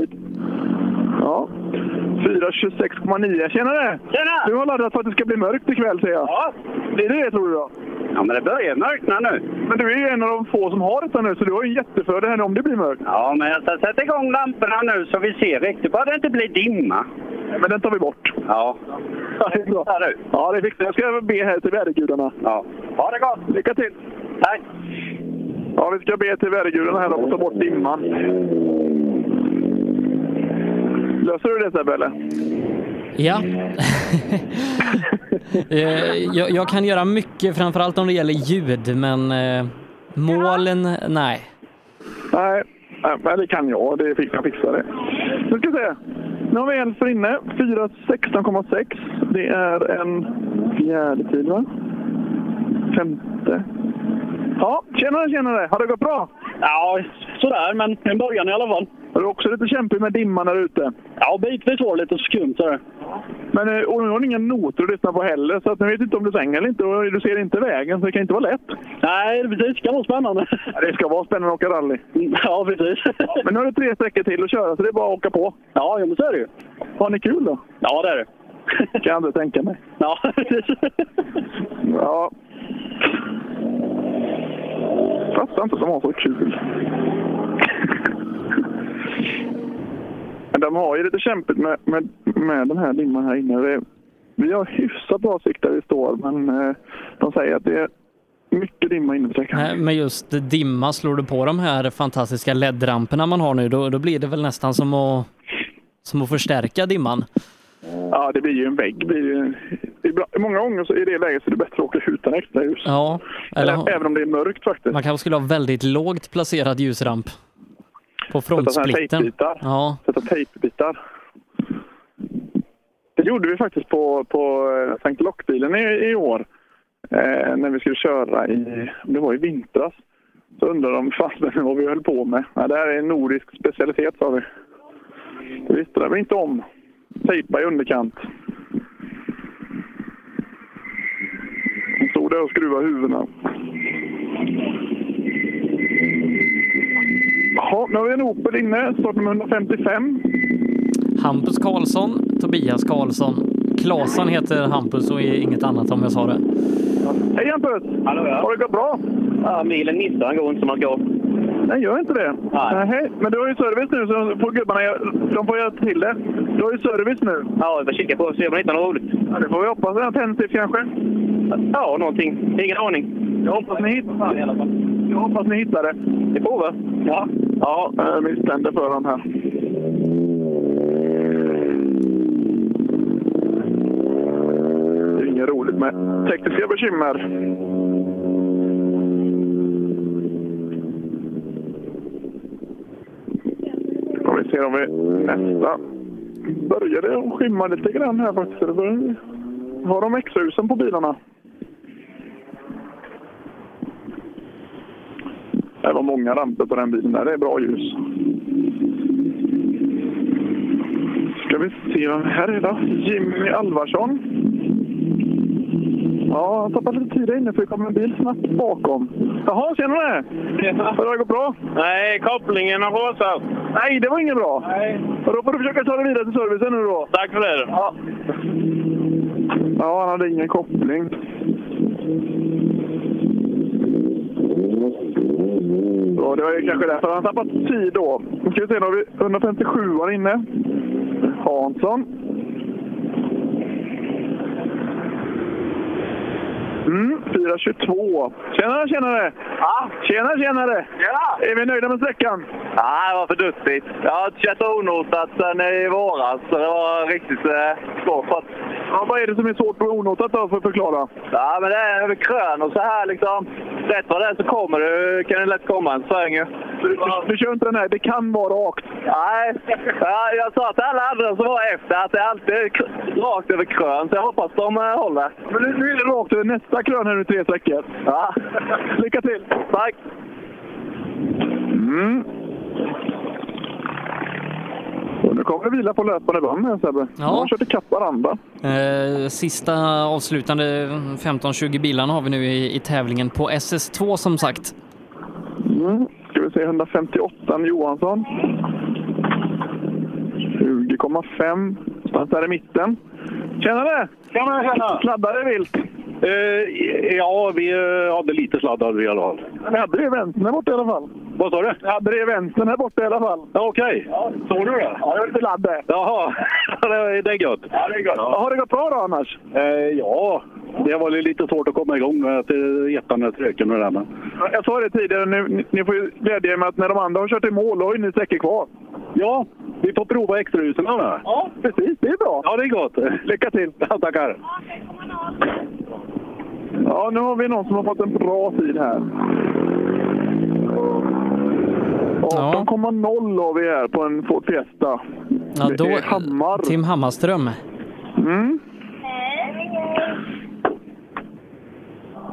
Ja. 4.26,9. Tjenare! Tjena! Du har laddat för att det ska bli mörkt ikväll ser jag. Ja. Blir det det tror du då? Ja, men det börjar mörkna nu. Men du är ju en av de få som har detta nu, så du har ju en jättefördel här nu om det blir mörkt.
Ja, men jag ska sätta igång lamporna nu så vi ser riktigt. Bara det inte blir dimma.
Men den tar vi bort.
Ja.
Ja, det är bra. Ja, det är viktigt. Jag ska be här till vädergudarna.
ja. Ha det gott!
Lycka till!
Tack!
Ja, vi ska be till vädergudarna här och ta bort dimman. Löser du det Sebbe, eller?
Ja. Eh, jag, jag kan göra mycket, framförallt om det gäller ljud, men eh, målen, nej.
Nej, nej, men det kan jag. Det fick jag fixa det. Nu ska vi se. Nu har vi en för inne. 4.16,6. Det är en fjärde tid, va? Femte. Ja, tjenare, tjenare! Har det gått bra? Ja, sådär, men en början i alla fall. Är du också lite kämpig med dimman där ute? Ja, bitvis var det lite skumt. Där. Men eh, och nu har ni inga noter att lyssna på heller, så att ni vet inte om du svänger eller inte. Och du ser inte vägen, så det kan inte vara lätt. Nej, det ska vara spännande. det ska vara spännande att åka rally. *laughs* Ja, precis. men nu har du tre sträckor till att köra, så det är bara att åka på. Ja, men så är det ju. Har ni kul då? Ja, det är det. kan du tänka mig. *laughs* Ja, ja, fattar inte att de har så kul. Men de har ju lite kämpigt med, med, med den här dimman här inne. Vi, vi har hyfsat bra sikt där vi står, men eh, de säger att det är mycket dimma inne på sträckan.
Nej, Eh, Men just dimma, slår du på de här fantastiska LED-ramperna man har nu, då, då blir det väl nästan som att, som att förstärka dimman.
Ja, det blir ju en vägg. Det blir ju en, ibland, många gånger så i det läget så är det bättre att åka utan extra ljus.
Ja, eller ha-
Ä- Även om det är mörkt faktiskt.
man kanske skulle ha väldigt lågt placerad ljusramp på frontsplitten.
tejpbitar.
Ja,
sätta tejpbitar. Det gjorde vi faktiskt på, på eh, Sankt Lockbilen i, i år. Eh, när vi skulle köra i, det var i vintras. Så undrade de fasen *laughs* vad vi höll på med. Ja, det här är en nordisk specialitet sa vi. Det visste de inte om. Tejpa i underkant. De stod där och skruvade huvudena. Jaha, nu har vi en Opel inne, startnummer 155.
Hampus Karlsson, Tobias Karlsson. Klasan heter Hampus och är inget annat om jag sa det.
Hej Hampus! Hallå ja. Har det gått bra? Ja, milen 19 går inte som man går. Nej, gör inte det? Nej. Men du har ju service nu, så får gubbarna gö- de får göra till det. Du har ju service nu. Ja, vi får kika på och se om man hittar något roligt. Ja, det får vi hoppas. En tändstift kanske? Ja, någonting. Ingen aning. Jag hoppas ni hittar det. Jag hoppas ni hittar det. Det får vi. Ja. Ja, eh, misstänkte för dem här. Det är inget roligt med tekniska bekymmer. Och vi ser om vi nästa började att skymma lite grann här faktiskt. Det börjar- Har de X-husen på bilarna? Det var många ramper på den bilen där. Det är bra ljus. Ska vi se vem här är då? Jimmy Alvarsson. Ja, han tappade lite tid där inne för det kom en bil snabbt bakom. Jaha, tjenare! Har det gått bra? Nej, kopplingen har rasat. Nej, det var inget bra. Nej. Då får du försöka ta dig vidare till servicen nu då. Tack för det. Ja. ja, han hade ingen koppling. Ja, det var ju kanske därför han tappat tid då. Nu ska vi se, då har vi 157 var inne. Hansson. Mm, 4.22. Tjenare, tjenare! Ja. Tjena, tjenare! Tjena! Är vi nöjda med sträckan?
Ja, det var för duttigt. Jag har kört onotat sen i våras, så det var riktigt eh, svårt.
Ja, vad är det som är svårt på onotat då, för att förklara?
Ja, men det är över krön och så här liksom. Rätt vad det är så kommer det, kan det lätt komma en sväng ju.
Du, du kör inte den här, det kan vara rakt.
Nej, ja, jag sa till alla andra som var efter att det alltid är kr- rakt över krön, så jag hoppas de eh, håller.
Men nu, nu är det rakt över nästa krön här nu tre sträckor.
Ja.
Lycka till!
Tack!
Mm. Och nu kommer det vila på löpande band här Sebbe.
Ja.
Ja. De har kört ikapp varandra.
Eh, Sista avslutande 15-20 bilarna har vi nu i, i tävlingen på SS2 som sagt.
Mm. Ska vi se 158 med Johansson. 20,5. Stannar där i mitten. Tjenare! Tjena, tjena! Sladdade vilt.
Eh, ja, vi eh, hade lite sladdar i alla fall.
Vi hade ju vänsterna bort i alla fall.
Vad sa du?
Ja, bredvid vänstern här borta i alla fall.
Ja, Okej. Såg du det?
Ja, det var lite ladd där.
Jaha, *laughs* det är- det är gött. Ja, det är gött.
Har det gått bra då annars?
Eh, ja, det var ju lite svårt att komma igång med att eh, ettan och tröken och det där. Men...
Ja, Jag sa det tidigare, ni, ni får ju glädja er med att när de andra har kört i mål, då har ju ni säkert kvar.
Ja, vi får prova extrahusen med.
Ja, precis. Det är bra.
Ja, det är gott.
Lycka till!
Ja, tackar.
Ja, nu har vi någon som har fått en bra tid här. 18,0 har vi här på en Ford Fiesta.
Ja,
Det
då,
är Hammar.
Tim Hammarström.
Mm.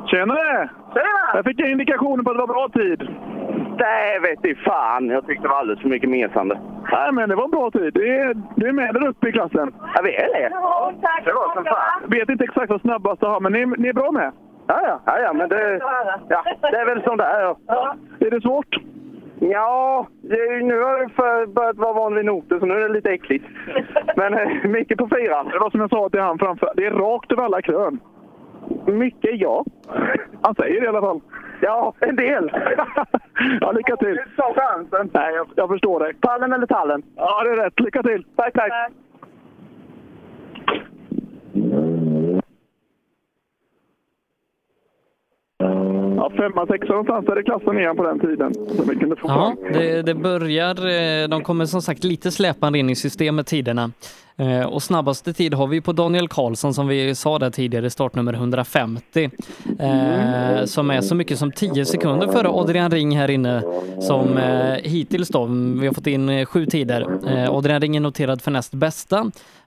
Tjenare! Tjena! Jag fick indikationer på att det var bra tid.
Nej, vet du fan. Jag tyckte det var alldeles för mycket mesande.
Nej, men det var en bra tid. Du är, du är med där uppe i klassen.
Ja, vi är det.
tack.
Det var som fan.
Vet inte exakt vad snabbast jag har, men ni, ni är bra med.
Ja, ja, ja, ja men det, ja, det är väl som det är. Ja.
Är det svårt?
Ja, det, är ju- nu har jag för- börjat vara van vid noter, så nu är det lite äckligt. Men eh, mycket på fyran.
Det var som jag sa till han framför. Det är rakt över alla krön. Mycket ja. Han säger det i alla fall. Ja, en del. *laughs* ja, lycka till. Du tar chansen. Nej, jag, jag förstår dig. Pallen eller tallen? Ja, det är rätt. Lycka till. Tack, tack. Ja, femma, sexa någonstans där i klassen igen på den tiden. Så vi kunde få
Ja,
fram.
det, det börjar, eh, de kommer som sagt lite släpande in i systemet tiderna. Eh, Och snabbaste tid har vi på Daniel Karlsson som vi sa där tidigare, startnummer 150. eh, Som är så mycket som 10 sekunder före Adrian Ring här inne. Som eh, hittills då, vi har fått in eh, sju tider. Eh, Adrian Ring är noterad för näst bästa.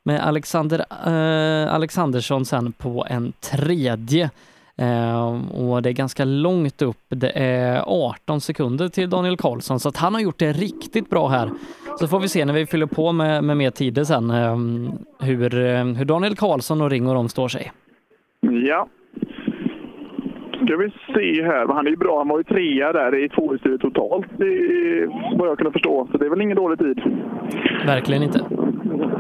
Med Alexander eh, Alexandersson sen på en tredje. Eh, och det är ganska långt upp. Det är 18 sekunder till Daniel Karlsson, så att han har gjort det riktigt bra här. Så får vi se när vi fyller på med, med mer tider sen eh, hur, eh, hur Daniel Karlsson och Ringo de står sig.
Ja. Ska vi se här. Men Han är ju bra. Han var ju trea där i tvåhjulsdrivet totalt, i, vad jag kunde förstå. Så det är väl ingen dålig tid.
Verkligen inte.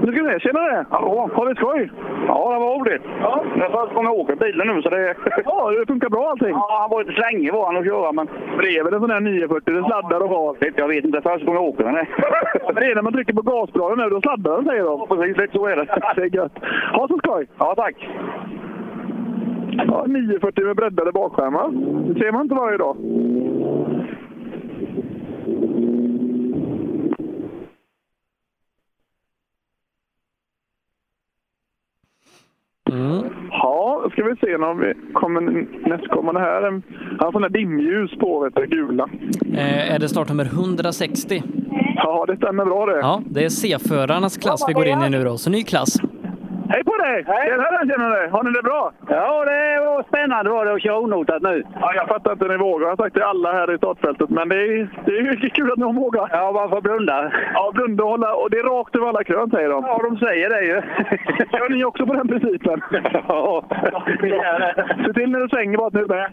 Nu ska vi se. Tjenare! Hallå! Har vi skoj?
Ja, det var roligt. Ja. Jag får komma ihåg med bilen nu så det...
*laughs* Ja, det funkar bra allting.
Ja, han var inte slängig var han att köra men...
Bredvid en sån här 940, det sladdar och har.
Jag vet inte, första gången jag åker den.
Men *laughs* det är när man trycker på gasbladen nu, då sladdar den säger de. Ja, precis. Lite så är det. *laughs* Det är gött. Ha så skoj! Ja, tack! Ja, 940 med breddade bakskärmar. Det ser man inte varje dag. Ja, ska vi se om vi kommer nästkommande här. Han har sådana dimljus på, vet du, gula.
Eh, är det startnummer 160?
Ja, det stämmer bra det.
Ja, det är C-förarnas klass vi går in i nu då, så ny klass.
Hej på dig! Hej! Tjenare, tjenare! Har ni det bra? Ja, det var spännande var det att köra onotat nu. Ja, jag fattar inte hur ni vågar. Jag har sagt till alla här i startfältet, men det är, det är ju kul att någon vågar. Ja, man får blunda. Ja, blunda och hålla. Och det är rakt över alla krön, säger de. Ja, de säger det *laughs* ju. Kör ni också på den principen? *laughs* Ja, vi gör det. Se till när du svänger bara att ni är med.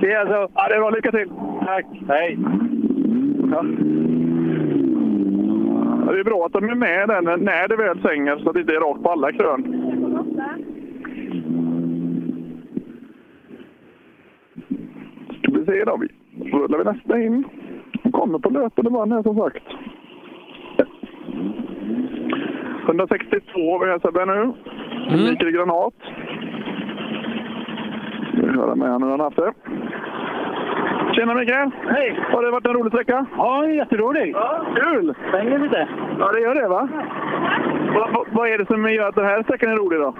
Det är så. Ja, det är bra. Lycka till! Tack! Hej! Ja. Ja, Det är bra att de är med där när- när det väl svänger så att det inte är rakt på alla krön. Ska vi se då. Vi rullar vi nästa in. De kommer på löpande band här som sagt. 162 har vi här Sebbe nu. Mikael Granat. Ska vi höra med honom hur han har
*laughs*
haft det. Tjena Mikael! Hej! Har det varit en rolig sträcka? Ja, jätterolig! Ja. Kul! Svänger lite. Ja, det gör det va? Vad vad- vad är det som gör att den här sträckan är rolig då?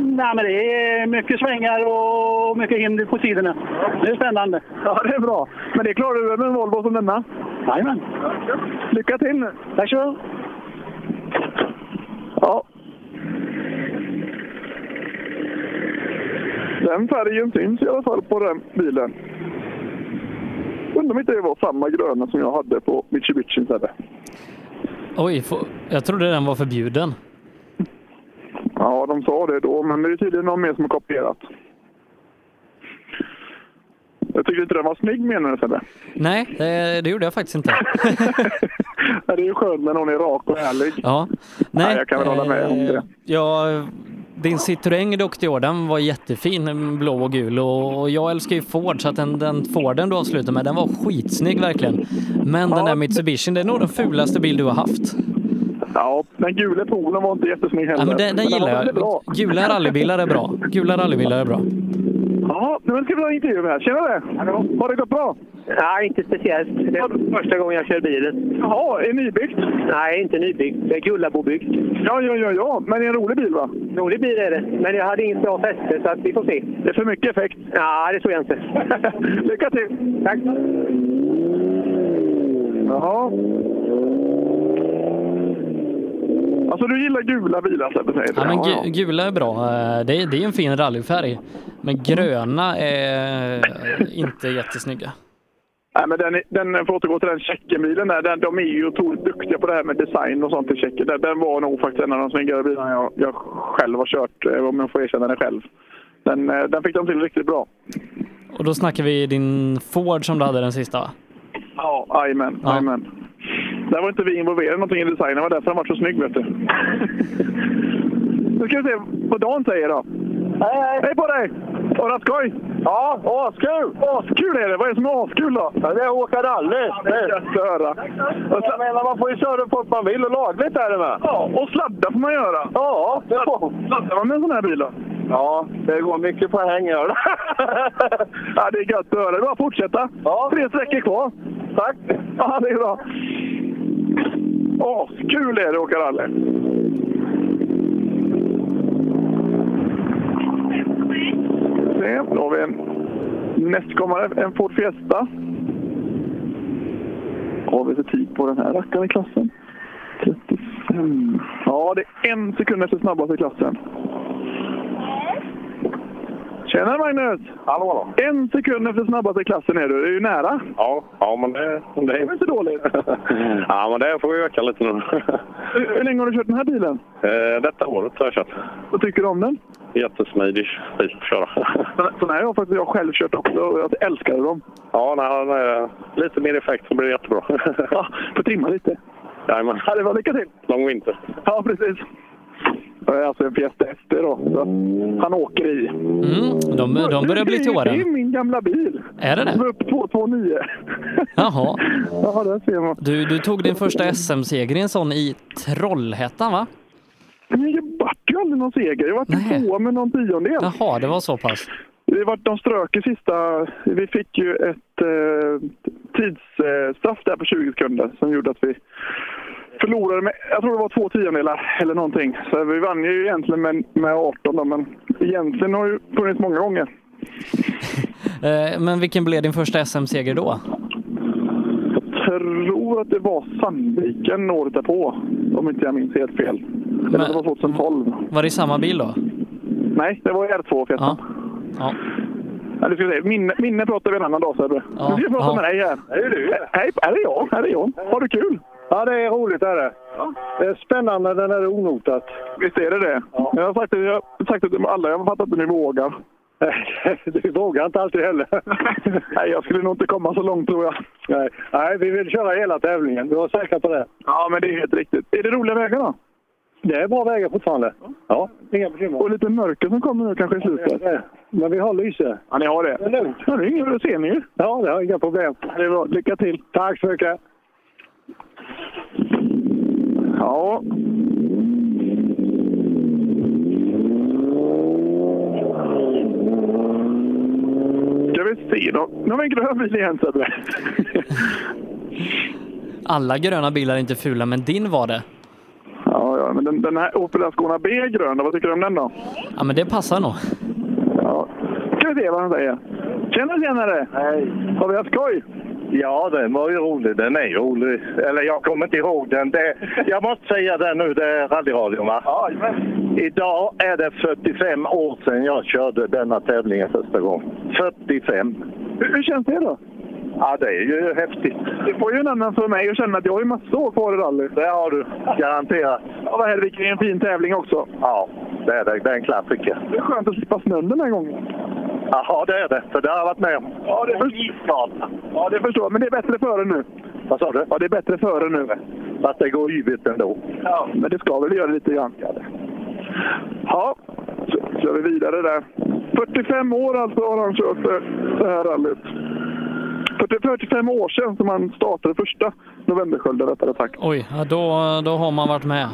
Nej, men det är mycket svängar och mycket hinder på sidorna. Det är spännande.
Ja, det är bra. Men det klarar du väl med en Volvo som denna? Jajamän. Lycka till nu. Tack så mycket. Ja. Den färgen syns i alla fall på den bilen. Undrar om inte det var samma gröna som jag hade på Mitsubishi. Eller?
Oj, få- jag trodde den var förbjuden.
Ja, de sa det då, men det är tydligen någon mer som har kopierat. Jag tycker inte den var snygg menar du Sebbe?
Nej, eh, det gjorde jag faktiskt
*laughs*
inte.
Ja, Det är ju skönt när någon är rak och ärlig.
Ja. Nej, eh,
jag kan väl hålla med om det.
Jag Din Citroën är duktig i år. Den var jättefin, blå och gul. Och jag älskar ju Ford, så att den, den Forden du avslutar med, den var skitsnygg verkligen. Men den där Mitsubishi, det är nog den fulaste bil du har haft.
Ja, den gula polen var inte jättesnygg heller.
Ja, men den, den
var
gillar
väldigt bra.
jag. Gula rallybilar är bra. Gula rallybilar är bra.
Mm.
Ja, nu ska vi ha en intervju med. Tjenare! Har det gått bra?
Nej, inte speciellt. Det är första gången jag kör bilen.
Jaha, är nybyggt?
Nej, inte nybyggt. Det är Gullabobyggt.
Ja, ja, ja, ja. Men det är en rolig bil, va?
Rolig bil är det, men jag hade inget bra fäste, så att vi får se.
Det är för mycket effekt.
Ja, det tror jag inte.
*laughs* Lycka till!
Tack!
Jaha. Alltså, du gillar gula bilar, Sebbe, säger du?
Ja, men
Ja,
gu, gula är bra. Eh, Det är, det är en fin rallyfärg. Men gröna är inte jättesnygga.
Nej, men den, den, för att återgå till den Tjeckenbilen där, den, de är ju otroligt duktiga på det här med design och sånt i Tjeckien. Den, den var nog faktiskt en av de snyggare bilarna jag, jag själv har kört, eh, om jag får erkänna det själv. Den, eh, den fick de till riktigt bra.
Och då snackar vi din Ford som du hade den sista va?
Ja, jajamän.
Ja.
jajamän. Där var inte vi involverade någonting i designen, det var därför den var så snygg vet du. nu ska vi se vad Dan säger då. Hej, hej! Hej på dig! Har du haft skoj? Ja, askul! Askul är det! Vad är det som är askul då? Ja, det är att åka rally. Det är gött att höra. Jag menar, man får ju köra på man vill och lagligt är det med. Ja, och sladda får man göra. Ja, det får Sladdar man med en sån här bil då? Ja, det går mycket på häng gör det. ja, det är gött att höra. Det är bara att fortsätta. Ja. Tre sträckor kvar. Tack! Ja, det är bra. Askul är det att åka rally. Se, då har vi en nästkommande, en Ford Fiesta. Vad har vi för tid på den här rackaren i klassen? 35. Ja, det är en sekund efter snabbast i klassen. Tjena Magnus! Hallå, hallå. En sekund efter snabbast i klassen är du. Det är ju nära.
Ja, ja men det, det är inte dåligt. ja, men det får vi öka lite
*laughs*
nu.
Hur, hur länge har du kört den här bilen?
Eh, Detta året har jag kört.
Vad tycker du om den?
Jättesmidig bil att köra.
Sådana här har faktiskt jag själv kört också och jag älskade dem.
ja, när han är eh, lite mer effekt så blir det jättebra.
ja, får trimma lite.
Jajamän.
Ja, det var lycka till!
Lång vinter.
Ja, precis. Det är alltså en Fiesta ST då. Så han åker i.
Mm, de, de börjar bli till
Det är
åren.
min gamla bil.
Är det det?
Den var upp 229.
Jaha.
Ja, där ser man.
Du, du tog din första SM-seger i en sån i Trollhättan va?
Men jag vart ju aldrig någon seger. Jag vart ju tvåa med någon tiondel.
Jaha, det var så pass.
Det var, de strök i sista... Vi fick ju ett eh, tidsstraff där på 20 sekunder som gjorde att vi förlorade med, jag tror det var två tiondelar eller någonting. Så vi vann ju egentligen med, med 18 då, men egentligen har ju funnits många gånger.
Eh, Men vilken blev din första SM-seger då?
tror att det var Sandviken året därpå, om inte jag minns helt fel. Eller det var 2012.
Var det i samma bil då?
Nej, det var R2 Fiesta.
Ja.
Ja, det ska vi säga. Minne, minne pratar vi en annan dag Sebbe.
Ja,
Nu ska jag prata
ja.
med dig här.
Det är du.
Hej, här är jag. Här är jag. Har du kul?
Ja, det är roligt är det. Det är spännande när det är onotat.
Visst är det det? Jag har sagt det, jag har sagt det till alla. Jag har fattat att ni vågar.
*laughs* du vågar inte alltid heller.
*laughs* Nej, jag skulle nog inte komma så långt tror jag.
Nej, Nej vi vill köra hela tävlingen. Du var säker på det?
Ja, men det är helt riktigt. Är det roliga vägar då?
Det är bra vägar fortfarande. Ja, inga bekymmer.
Och lite mörker som kommer nu kanske i slutet.
Men vi har lyse.
Ja, ni har det?
Det är lugnt.
Ja, det är inget, det ser ni ju.
Ja, det har inga problem.
Det är bra. Lycka till.
Tack så mycket.
Ja. Ska vi se då. Nu har vi en grön bil igen Sebbe.
Alla gröna bilar är inte fula, men din var det.
Ja, ja, men den, den här Opel Ascona B är grön. då. Vad tycker du om den då?
Ja, men det passar nog.
Ja. Ska vi se vad han säger. Tjena tjenare! Hej! Har vi haft skoj?
Ja, den var ju rolig. Den är ju rolig. Eller jag kommer inte ihåg den. Det, jag måste säga det nu, det är rallyradion va? Idag är det 45 år sedan jag körde denna tävlingen första gången. 45!
Hur, hur känns det då?
Ja, det är ju häftigt.
Det får ju en annan för mig att känna att jag har ju massor år kvar i rally.
Det har du, garanterat.
Ja, vad helvete, det är en fin tävling också.
Ja, det är det. Det är en klassiker.
Det är skönt att slippa snön den här gången.
Jaha, det är det. För det har jag varit med om.
Ja, det
förstår
Ja, det förstår jag. Men det är bättre före nu.
Vad sa du?
Ja, det är bättre före nu.
Fast det går yvigt ändå.
Ja, men det ska väl göra lite grann. Ja. kör vi vidare där. 45 år alltså har han kört det det här rallyt. 40 45 år sedan som han startade första novemberskölden rättare sagt.
Oj, ja, då, då har man varit med.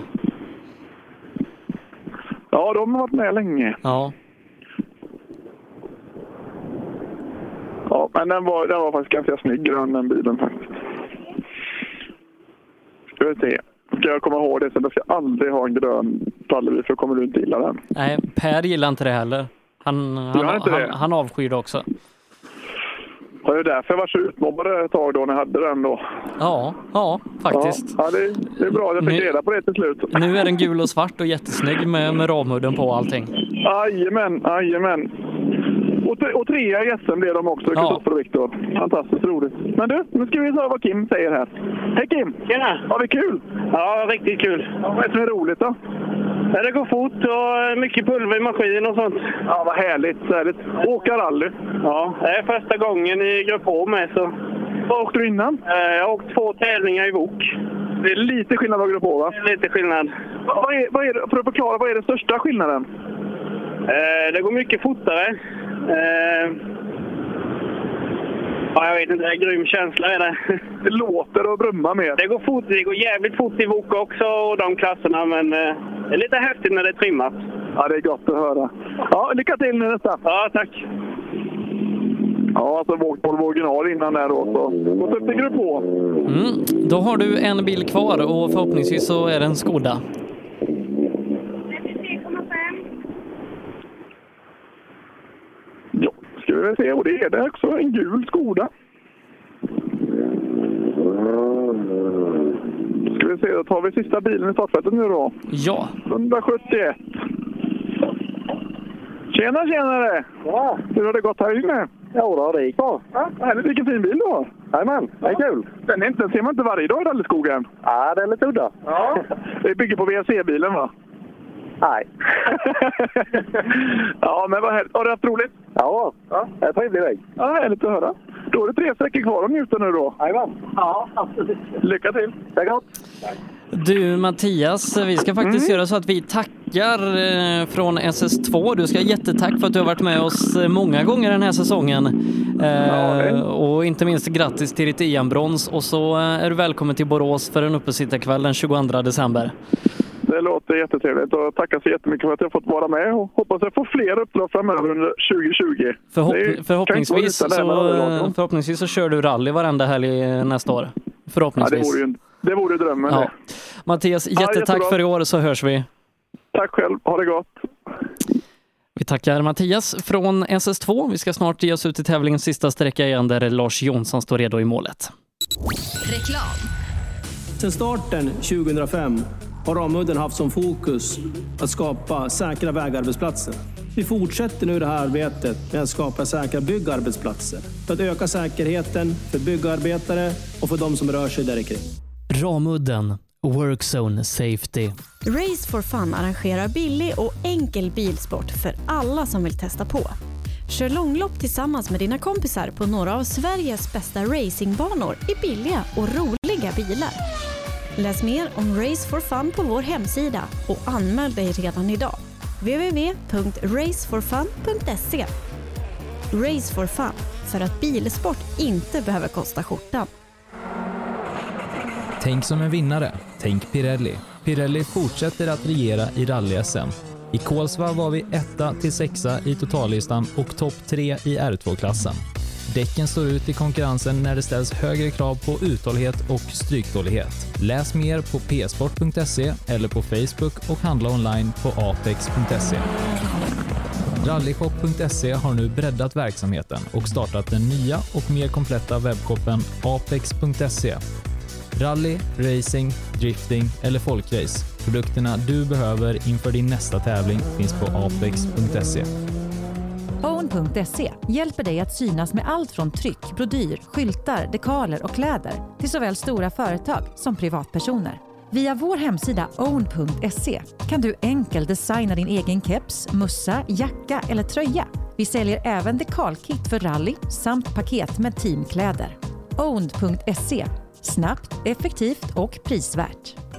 Ja, de har varit med länge.
Ja.
Ja, men den var, den var faktiskt ganska snygg grön den bilen faktiskt. Ska vi se. Ska jag komma ihåg det sen? Jag ska aldrig ha en grön rallybil för då kommer du inte gilla den.
Nej, Per gillar inte det heller. Han, han,
Gör inte
han,
det?
han avskyr det också.
Det var ju därför jag var så utmobbad ett tag då när jag hade den då.
Ja, ja faktiskt.
Ja, ja det, det är bra att jag fick
Nu-
reda på det till slut.
Nu är den gul och svart och jättesnygg med, med ramudden på och allting.
Jajamän, jajamän. Och, tre, och trea i SM blev de också, Kristoffer och Viktor. Fantastiskt roligt. Men du, nu ska vi höra vad Kim säger här. Hej Kim! Tjena! Har vi kul? Ja, riktigt kul. Vad är det som är roligt då? Det går fort och mycket pulver i maskin och sånt. Ja, vad härligt. härligt. Åka rally? Ja, det är första gången i grupp H med. Så. Vad åkte du innan? Jag har åkt två tävlingar i VOK. Det är lite skillnad på grupp H va? Lite skillnad. Vad är, vad är, det- för att förklara, vad är den största skillnaden?
Eh, det går mycket fortare. Eh, ja, jag vet inte, det är en grym känsla är det.
*laughs* Det låter och brummar mer.
Det går fort, det går jävligt fort i Voka också och de klasserna, men eh, det är lite häftigt när det är trimmat.
Ja, det är gott att höra. Ja, lycka till nu nästa! Ja, tack! Ja, alltså åkt Volvo original innan där då. Så. Gått upp till grupp H.
Mm, då har du en bil kvar och förhoppningsvis så är det en Skoda.
Ska vi väl se, och det är det också. En gul Skoda. Ska vi se, då tar vi sista bilen i startfältet nu då.
Ja.
171. Tjena tjenare! Ja. Hur har det gått här inne? Jo då, det gick bra. Ja, härligt. vilken fin bil du har! Jajamän, det är kul. Den, är inte, den ser man inte varje dag i rallyskogen. Ja, den är lite udda. *laughs* Ja. Det bygger på VRC-bilen va? Nej. *laughs* ja, men vad härligt. Har du haft roligt? Ja, ja. en trevlig väg. Ja, härligt att höra. Då är det tre sträckor kvar att njuta nu då. Jajamän. Ja, absolut. Lycka till! Tack
Du Mattias, vi ska faktiskt
Mm.
göra så att vi tackar eh, från SS2. Du ska ha jättetack för att du har varit med oss eh, många gånger den här säsongen. Eh, och inte minst grattis till ditt EM-brons och så eh, är du välkommen till Borås för en uppesittarkväll den 22 december.
Det låter jättetrevligt och tackar så jättemycket för att jag fått vara med och hoppas jag får fler uppdrag framöver under 2020. Det kan
Förhopp-
inte
förhoppningsvis,
vara utan det här med
så, eh,
radioradion.
förhoppningsvis så kör du rally varenda helg eh, nästa år.
ja, det,
Förhoppningsvis.
vore ju, det vore drömmen.
Ja.
det.
Mattias,
Ja,
jättetack
jättebra.
för i år så hörs vi.
Tack själv, ha det gott!
Vi tackar Mattias från SS2. Vi ska snart ge oss ut i tävlingens sista sträcka igen där Lars Jonsson står redo i målet.
Reklam.
Sedan starten 2005 har Ramudden haft som fokus att skapa säkra vägarbetsplatser. Vi fortsätter nu det här arbetet med att skapa säkra byggarbetsplatser för att öka säkerheten för byggarbetare och för de som rör sig där i kring.
Ramudden, Workzone Safety.
Race for Fun arrangerar billig och enkel bilsport för alla som vill testa på. Kör långlopp tillsammans med dina kompisar på några av Sveriges bästa racingbanor i billiga och roliga bilar. Läs mer om Race for Fun på vår hemsida och anmäl dig redan idag. www.raceforfun.se Race for Fun, för att bilsport inte behöver kosta skjortan.
Tänk som en vinnare. Tänk Pirelli. Pirelli fortsätter att regera i rally-SM. I Kolsva var vi etta till sexa i totallistan och topp tre i R2-klassen. Däcken står ut i konkurrensen när det ställs högre krav på uthållighet och stryktålighet. Läs mer på psport.se eller på Facebook och handla online på apex.se. Rallyshop.se E har nu breddat verksamheten och startat den nya och mer kompletta webbshoppen apex.se. E. Rally, racing, drifting eller folkrace. Produkterna du behöver inför din nästa tävling finns på apex.se.
Own.se hjälper dig att synas med allt från tryck, brodyr, skyltar, dekaler och kläder till såväl stora företag som privatpersoner. Via vår hemsida own.se kan du enkelt designa din egen keps, mussa, jacka eller tröja. Vi säljer även dekalkit för rally samt paket med teamkläder. Own.se Snabbt, effektivt och prisvärt.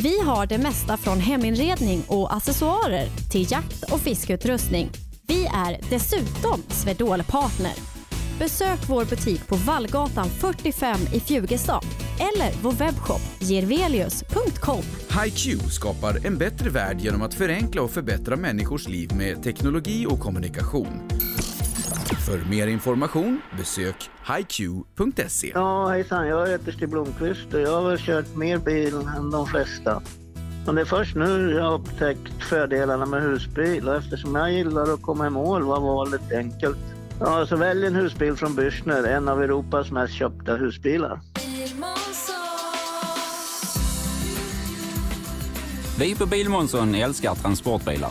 Vi har det mesta från heminredning och accessoarer till jakt och fiskeutrustning. Vi är dessutom Swedol-partner. Besök vår butik på Vallgatan 45 i Fjugestad eller vår webbshop girvelius.com.
HiQ skapar en bättre värld genom att förenkla och förbättra människors liv med teknologi och kommunikation. För mer information besök hiq.se.
Ja, hejsan. Jag heter Stig Blomqvist och jag har väl kört mer bil än de flesta. Men det är först nu jag har upptäckt fördelarna med husbil och eftersom jag gillar att komma i mål var valet enkelt. Ja, så välj en husbil från Bürstner, en av Europas mest köpta husbilar.
Vi på Bilmånsson älskar transportbilar.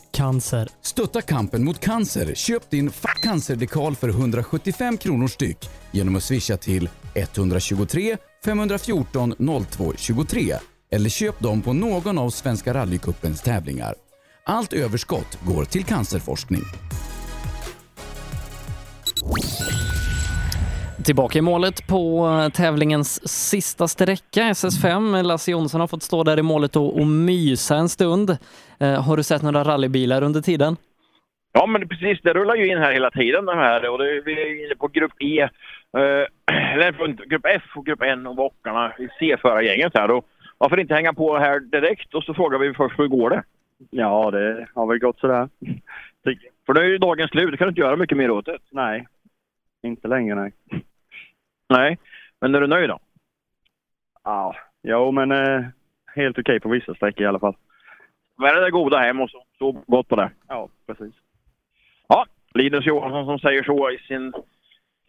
Cancer.
Stötta kampen mot cancer. Köp din Fuck cancer-dekal för 175 kronor styck genom att swisha till 123 514 02 23 eller köp dem på någon av Svenska rallycupens tävlingar. Allt överskott går till cancerforskning.
Tillbaka i målet på tävlingens sista sträcka, SS5. Lasse Jonsson har fått stå där i målet och, och mysa en stund. Eh, har du sett några rallybilar under tiden?
Ja, men precis. Det rullar ju in här hela tiden de här. Och det, vi är inne på grupp E, eh, *clears throat* eller på grupp F och grupp N och bockarna i C-förargänget här. Och varför inte hänga på här direkt och så frågar vi först hur går det?
Ja, det har väl gått sådär.
För det är ju dagens slut, det kan du inte göra mycket mer åt det.
Nej, inte längre nej.
Nej, men är du nöjd då?
Ja, jo men eh, helt okej på vissa sträckor i alla fall.
Med det där goda hem och så, så gott på det.
Ja, precis.
Ja, Linus Johansson som säger så i sin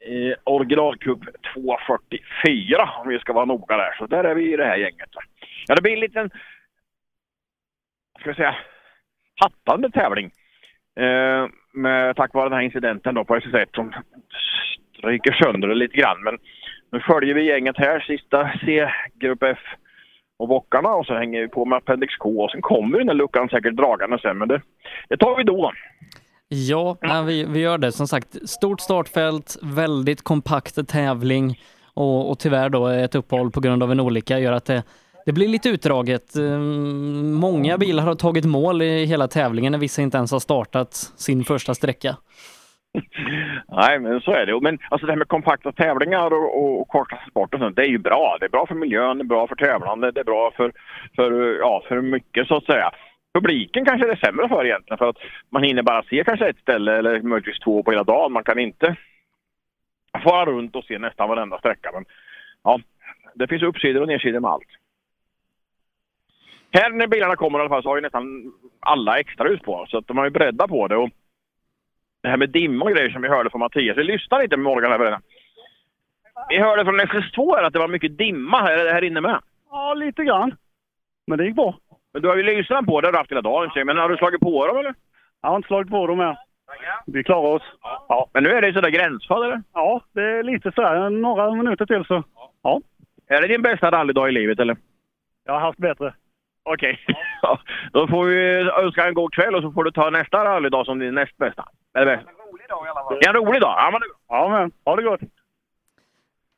eh, originalcup 244 om vi ska vara noga där. Så där är vi i det här gänget. Ja, det blir en liten, vad ska vi säga, hattande tävling. Eh, med, tack vare den här incidenten då på SS1 som ryker sönder det lite grann. Men nu följer vi gänget här, sista C, grupp F och bockarna och så hänger vi på med Appendix K och sen kommer den här luckan säkert dragande sen men det, det tar vi då.
Ja, nej, vi, vi gör det. Som sagt, stort startfält, väldigt kompakt tävling och, och tyvärr då ett uppehåll på grund av en olycka gör att det, det blir lite utdraget. Ehm, Många bilar har tagit mål i hela tävlingen när vissa inte ens har startat sin första sträcka.
Nej, men så är det. Men alltså det här med kompakta tävlingar och, och, och korta sporter, och sånt, det är ju bra. Det är bra för miljön, det är bra för tävlande, det är bra för, för, ja, för mycket så att säga. Publiken kanske det är sämre för egentligen för att man hinner bara se kanske ett ställe eller möjligtvis två på hela dagen. Man kan inte fara runt och se nästan varenda sträcka. Men ja, det finns uppsidor och nedsidor med allt. Här när bilarna kommer i alla fall så har ju nästan alla extra ut på så att de är ju beredda på det. Och det här med dimma och grejer som vi hörde från Mattias. Vi lyssnar inte med Morgan över det. Vi hörde från SS2 här att det var mycket dimma här, här inne med.
Ja, lite grann. Men det gick bra.
Men du har ju lyssnat på det, det har du haft hela dagen. tjej. Men har du slagit på dem eller?
Jag har inte slagit på dem än. Vi klarar oss.
Ja, men nu är det sådär gränsfall eller?
Ja, det är lite sådär. Några minuter till så. Ja.
Är det din bästa rallydag i livet eller?
Jag har haft bättre.
Okej. *laughs* Ja. Då får vi önska en god kväll och så får du ta nästa rallydag som din näst bästa. Eller bästa. Det är en rolig dag. Ja, men,
ja, men ha det gott.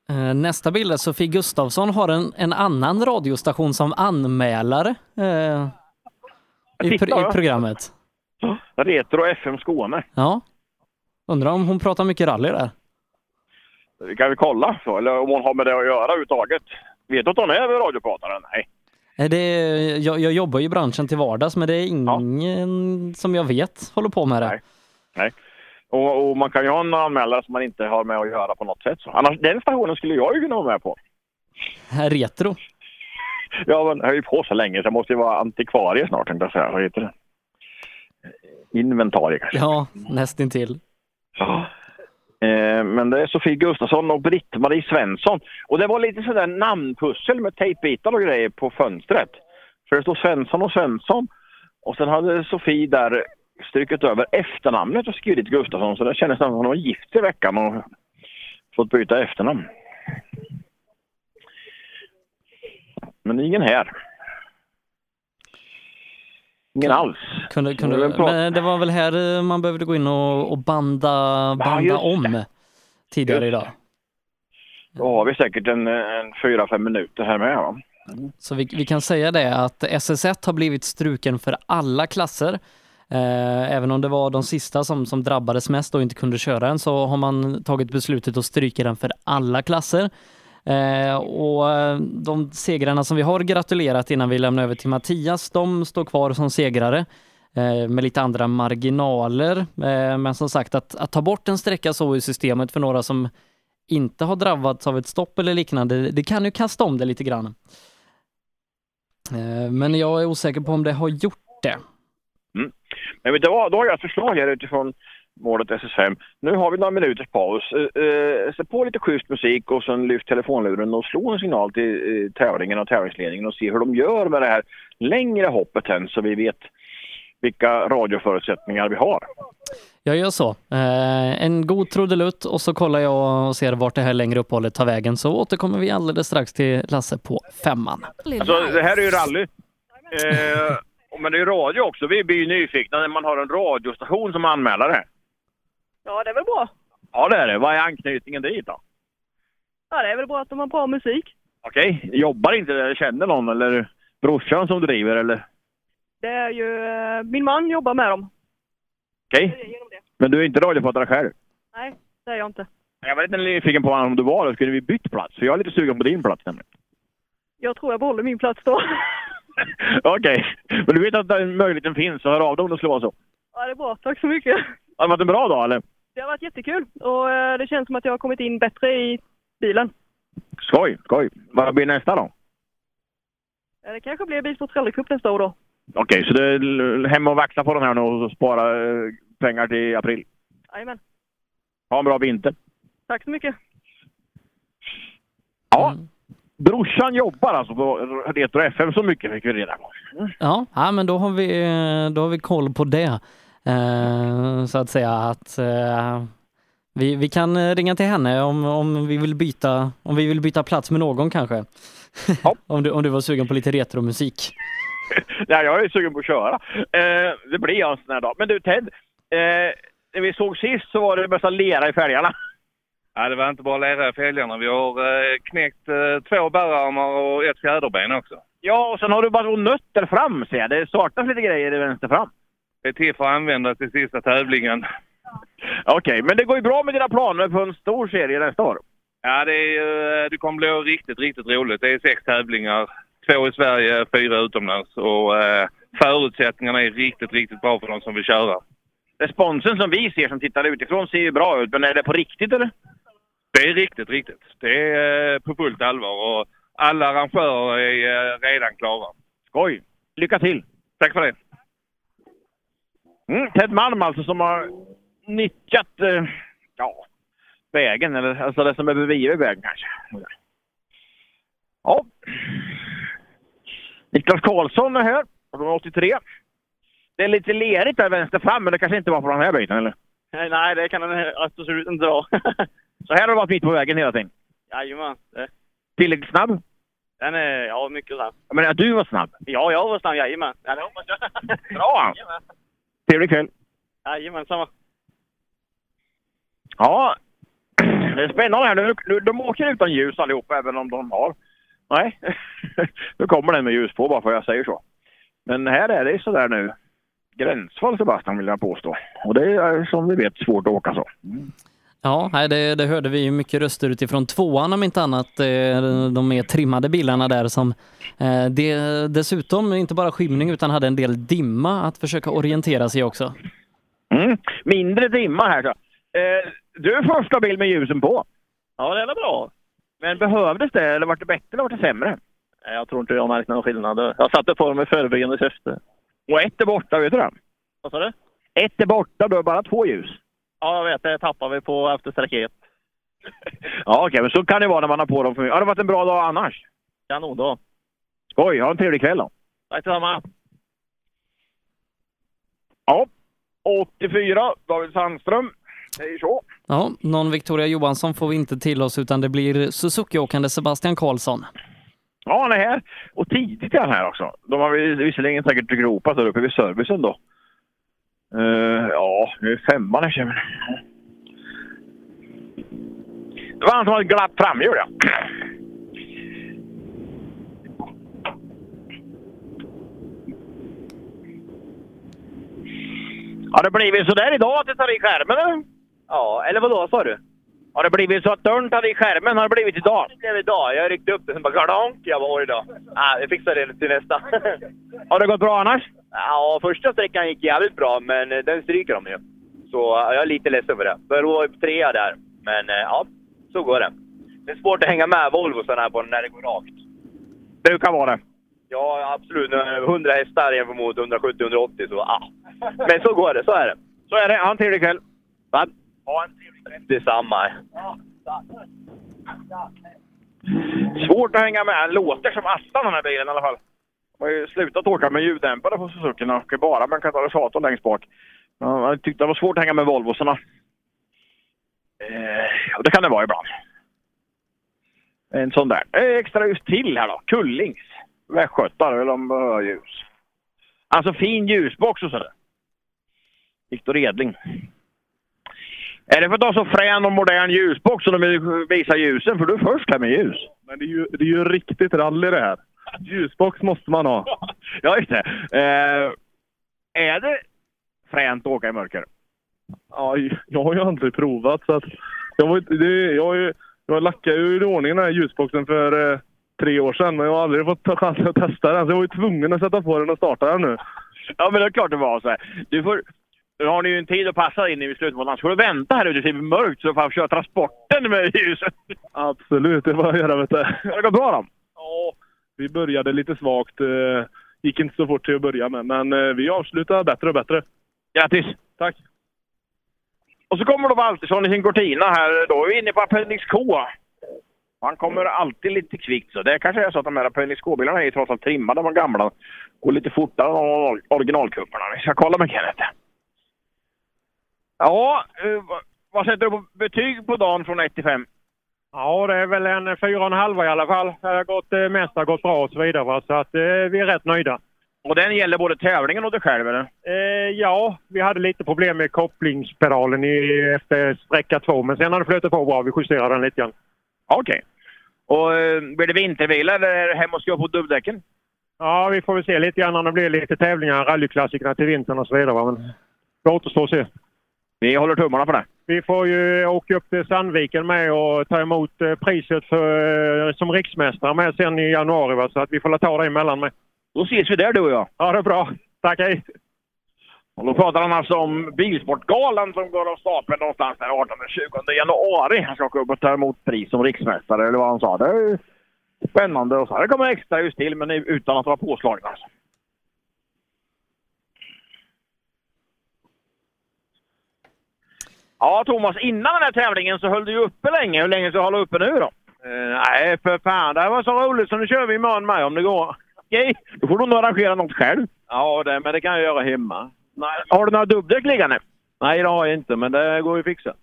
Eh, Nästa bild är Sofie Gustafsson har en, en annan radiostation som anmälare eh, i,
Titta,
pr-
ja.
i programmet.
Retro FM Skåne.
Ja. Undrar om hon pratar mycket rally där?
Vi kan väl kolla så, eller om hon har med det att göra överhuvudtaget. Vet du att hon är radiopratare? Nej.
Nej, Eh, Det är, jag, jag jobbar ju i branschen till vardags men det är ingen som jag vet håller på med det.
Nej. Och, och man kan ju ha en anmälare som man inte har med att göra på något sätt. Så. Annars, den stationen skulle jag ju kunna vara med på.
Här retro.
Ja, men jag är ju på så länge så jag måste ju vara antikvarie snart tänkte jag säga. Vad heter det? Inventarie kanske.
Ja, nästintill.
Ja. Eh, men det är Sofie Gustafsson och Britt-Marie Svensson. Och det var lite sådär namnpussel med tejpbitar och grejer på fönstret. För det stod Svensson och Svensson. Och sen hade Sofie där strukit över efternamnet och skrivit Gustafsson. Så det kändes nästan som att hon var gift i veckan och fått byta efternamn. Men ingen här. Ingen alls.
Kunde, kunde,
Det var en prat-
men det var väl här eh, man behövde gå in och, och banda, banda
just det.
om tidigare idag.
Då har vi säkert en, en fyra, fem minuter här med. Va?
Så vi, vi kan säga det att SS1 har blivit struken för alla klasser. Eh, även om det var de sista som, som drabbades mest och inte kunde köra den så har man tagit beslutet att stryka den för alla klasser. Eh, och eh, de segrarna som vi har gratulerat innan vi lämnar över till Mattias, de står kvar som segrare eh, med lite andra marginaler. Eh, men som sagt, att, att ta bort en sträcka så i systemet för några som inte har drabbats av ett stopp eller liknande, det kan ju kasta om det lite grann. Eh, Men jag är osäker på om det har gjort det.
Men vet du vad, då har jag ett förslag här utifrån målet SS5. Nu har vi några minuters paus. Eh, eh, Sätt på lite schysst musik och sen lyft telefonluren och slå en signal till eh, tävlingen och tävlingsledningen och se hur de gör med det här längre hoppet än så vi vet vilka radioförutsättningar vi har.
Jag gör så. Eh, En god trudelutt och så kollar jag och ser vart det här längre uppehållet tar vägen så återkommer vi alldeles strax till Lasse på femman.
Alltså, det här är ju rally. Eh, men det är ju radio också. Vi blir ju nyfikna när man har en radiostation som anmälare.
Ja, det är väl bra.
Ja, det är det. Vad är anknytningen dit då?
Ja, det är väl bra att de har bra musik.
Okej, jobbar inte där? Känner någon eller brorsan som driver eller?
Det är ju... eh, Min man jobbar med dem.
Okej. Men du är inte radiopratare själv?
Nej, det är jag inte.
Jag var lite nyfiken på om du var det. Skulle vi bytt plats? För jag är lite sugen på din plats nämligen.
Jag tror jag behåller min plats då.
*laughs*
*laughs*
Okej, men du vet att den möjligheten finns så hör av dig om det skulle vara så.
Ja, det är bra. Tack så mycket.
Har det varit en bra dag eller?
Det har varit jättekul och eh, det känns som att jag har kommit in bättre i bilen.
Skoj, skoj. Vad blir nästa då?
Eh, Det kanske blir Bilsports rallycup nästa år då.
Okej, så det är l- hem och vaxa på den här nu och spara eh, pengar till april.
Jajamän.
Ha en bra vinter.
Tack så mycket.
Ja. Brorsan jobbar alltså på Retro FM, så mycket fick vi reda på.
Ja, ja men då har, vi, eh, då har vi koll på det. Eh, Så att säga att eh, vi, vi kan eh, ringa till henne om, om, vi vill byta, om vi vill byta plats med någon kanske. *laughs* om, du, om du var sugen på lite retromusik.
*laughs* Nej, jag är sugen på att köra. Eh, det blir jag en sån här dag. Men du Ted, eh, när vi såg sist så var det mesta lera i fälgarna. *laughs*
Ja, det var inte bara lera i fälgarna. Vi har eh, knäckt eh, två bärarmar och ett fjäderben också.
Ja, och sen har du bara två nötter fram ser jag. Det saknas lite grejer i vänster fram.
Det är till för att använda till sista tävlingen.
Okej, men det går ju bra med dina planer på en stor serie nästa år.
Ja, det, är, ju, eh, det kommer bli riktigt, riktigt roligt. Det är sex tävlingar. Två i Sverige, fyra utomlands. Och eh, förutsättningarna är riktigt, riktigt bra för de som vill köra.
Responsen som vi ser som tittar utifrån ser ju bra ut, men är det på riktigt eller?
Det är riktigt, riktigt. Det är eh, på fullt allvar och alla arrangörer är eh, redan klara.
Skoj! Lycka till!
Tack för det!
Mm, Ted Malm alltså som har nyttjat eh, ja, vägen, eller alltså det som är bredvid vägen kanske. Ja. Niklas Karlsson är här, från 83. Det är lite lerigt där vänster fram, men det kanske inte var på den här biten eller?
Nej, det kan den absolut inte dra. *laughs*
Så här har det varit mitt på vägen hela tiden.
Jajamän. det-
Tillräckligt snabb?
Den är, ja, mycket snabb.
Jag menar, du var snabb.
Ja, jag var snabb, jajamän. Ja, det hoppas
*laughs*
jag.
Bra!
Jajamän.
Trevlig kväll!
Jajamän, samma.
Ja, det är spännande här nu. nu. De åker utan ljus allihop, även om de har. Nej, nu kommer den med ljus på bara för att jag säger så. Men här är det sådär nu. Gränsfall Sebastian vill jag påstå. Och det är som vi vet svårt att åka så.
Ja, nej, det, det hörde vi ju mycket röster utifrån tvåan om inte annat. eh, De mer trimmade bilarna där som eh, de, dessutom inte bara skymning utan hade en del dimma att försöka orientera sig i också.
Mm. Mindre dimma här så. Eh, du är första bil med ljusen på.
Ja, det är väl bra.
Men behövdes det, eller var det bättre eller var det sämre?
Nej, Jag tror inte jag märkt någon skillnad. Jag satte på dem i förebyggande syfte.
Och ett är borta, vet du det?
Vad sa du?
Ett är borta, då är det bara två ljus.
Ja, jag vet. Det tappar vi på efter sträcket.
Ja, okej, men så kan det vara när man har på dem för mycket. Har det varit en bra dag annars?
Kanon då.
Skoj, ha en trevlig kväll då.
Tack detsamma.
Ja, 84, David Sandström. Hej så.
Ja, någon Victoria Johansson får vi inte till oss utan det blir Suzuki-åkande Sebastian Karlsson.
Ja, han är här. Och tidigt är han här också. De har väl visserligen säkert gropat där uppe vid servicen då. Eh, ja, nu är femman här känner jag.
Det var han som hade glatt framhjul, ja. Har det blivit sådär idag att det tar i skärmen eller?
Ja, eller vadå sa du?
Har det blivit så att dörren tar i skärmen? Har det blivit idag?
Det blev idag. Jag ryckte upp det, sen bara gladonk. Jag var idag. Ja, vi fixar det till nästa.
*laughs*
Har det gått bra annars?
ja, första sträckan gick jävligt bra, men eh, den stryker de ju. Så ja, jag är lite ledsen för det. För då var jag trea där. Men eh, ja, så går det. Det är svårt att hänga med Volvo sådana här på när det går rakt.
Det kan vara det.
Ja, absolut. Nu är det 100 hästar jämfört mot 170-180, så
*laughs*
ja. Men så går det, så är det.
Så är det. Ha en trevlig kväll.
Va?
Ha en
Detsamma.
Svårt att hänga med. Han låter som attan den här bilen i alla fall. De har ju slutat åka med ljuddämpare på Suzuki. De åker bara med en katalysator längst bak. Ja, Jag tyckte det var svårt att hänga med Volvosarna. Eh, ja, det kan det vara ibland. En sån där. Eh, Extra ljus till här då. Kullings. Västgötar, eller de behöver ljus. Alltså fin ljusbox och sådär. Viktor Edling. Är det för att du har så frän och modern ljusbox som de visar ljusen? För du är först här med ljus.
Men det är ju, det är ju riktigt rally det här. Ljusbox måste man ha.
Ja, just det. Eh, är det fränt att åka i mörker?
Ja, jag har ju aldrig provat så att... Jag, var, inte- det, jag, har ju- jag lackade ju i ordning den här ljusboxen för eh, tre år sedan men jag har aldrig fått ta chansen att testa den. Så jag var ju tvungen att sätta på den och starta den nu.
Ja, men det är klart det var så här. Du får... Nu har ni ju en tid att passa in i slutet på dagen. Får du vänta här ute tills det blir mörkt så du får köra transporten med ljuset.
Absolut, det var att göra vet du.
Har det gått bra då?
Vi började lite svagt. eh, Gick inte så fort till att börja med men eh, vi avslutar bättre och bättre.
Grattis!
Tack!
Och så kommer då Valtersson i sin Cortina här. Då är vi inne på Appendix K. Han kommer alltid lite kvickt så. Det kanske är så att de här Appendix K-bilarna är trots allt trimmade, de gamla. Går lite fortare än or- originalkupparna. Vi ska kolla med Kenneth. Ja, eh, vad- vad sätter du på betyg på dagen från 1 till 5?
Ja, det är väl en fyra och en halva i alla fall. Det har gått, eh, mest har gått bra och så vidare. Va? Så att, eh, vi är rätt nöjda.
Och den gäller både tävlingen och dig själv eller?
Eh, ja, vi hade lite problem med kopplingspedalen i, efter sträcka två, men sen har det flutit på bra. Vi justerade den lite grann.
Okej. Och eh, blir det vintervila eller är det hem och skruva på dubbdäcken?
Ja, vi får väl se lite grann om det blir lite tävlingar, rallyklassikerna till vintern och så vidare. Va? Men det återstår att se.
Vi håller tummarna på det.
Vi får ju åka upp till Sandviken med och ta emot eh, priset för, eh, som riksmästare med sen i januari. Va? Så att vi får la ta det emellan med.
Då ses vi där du och jag.
Ja, det är bra. Tack, hej!
Och då pratar han alltså om Bilsportgalan som går av stapeln någonstans där 18-20 januari. Han ska åka upp och ta emot pris som riksmästare eller vad han sa. Det är ju spännande. Och så här, det kommer extra ljus till men utan att vara påslagna. Alltså. Ja Thomas, innan den här tävlingen så höll du ju uppe länge. Hur länge ska du hålla uppe nu då? Eh, nej för fan, det här var så roligt så nu kör vi imorgon med om det går. Okej, då får du nog arrangera något själv.
Ja, det, men det kan jag göra hemma.
Nej. Har du några dubbdäck liggande?
Nej, det har jag inte, men det går ju att fixa.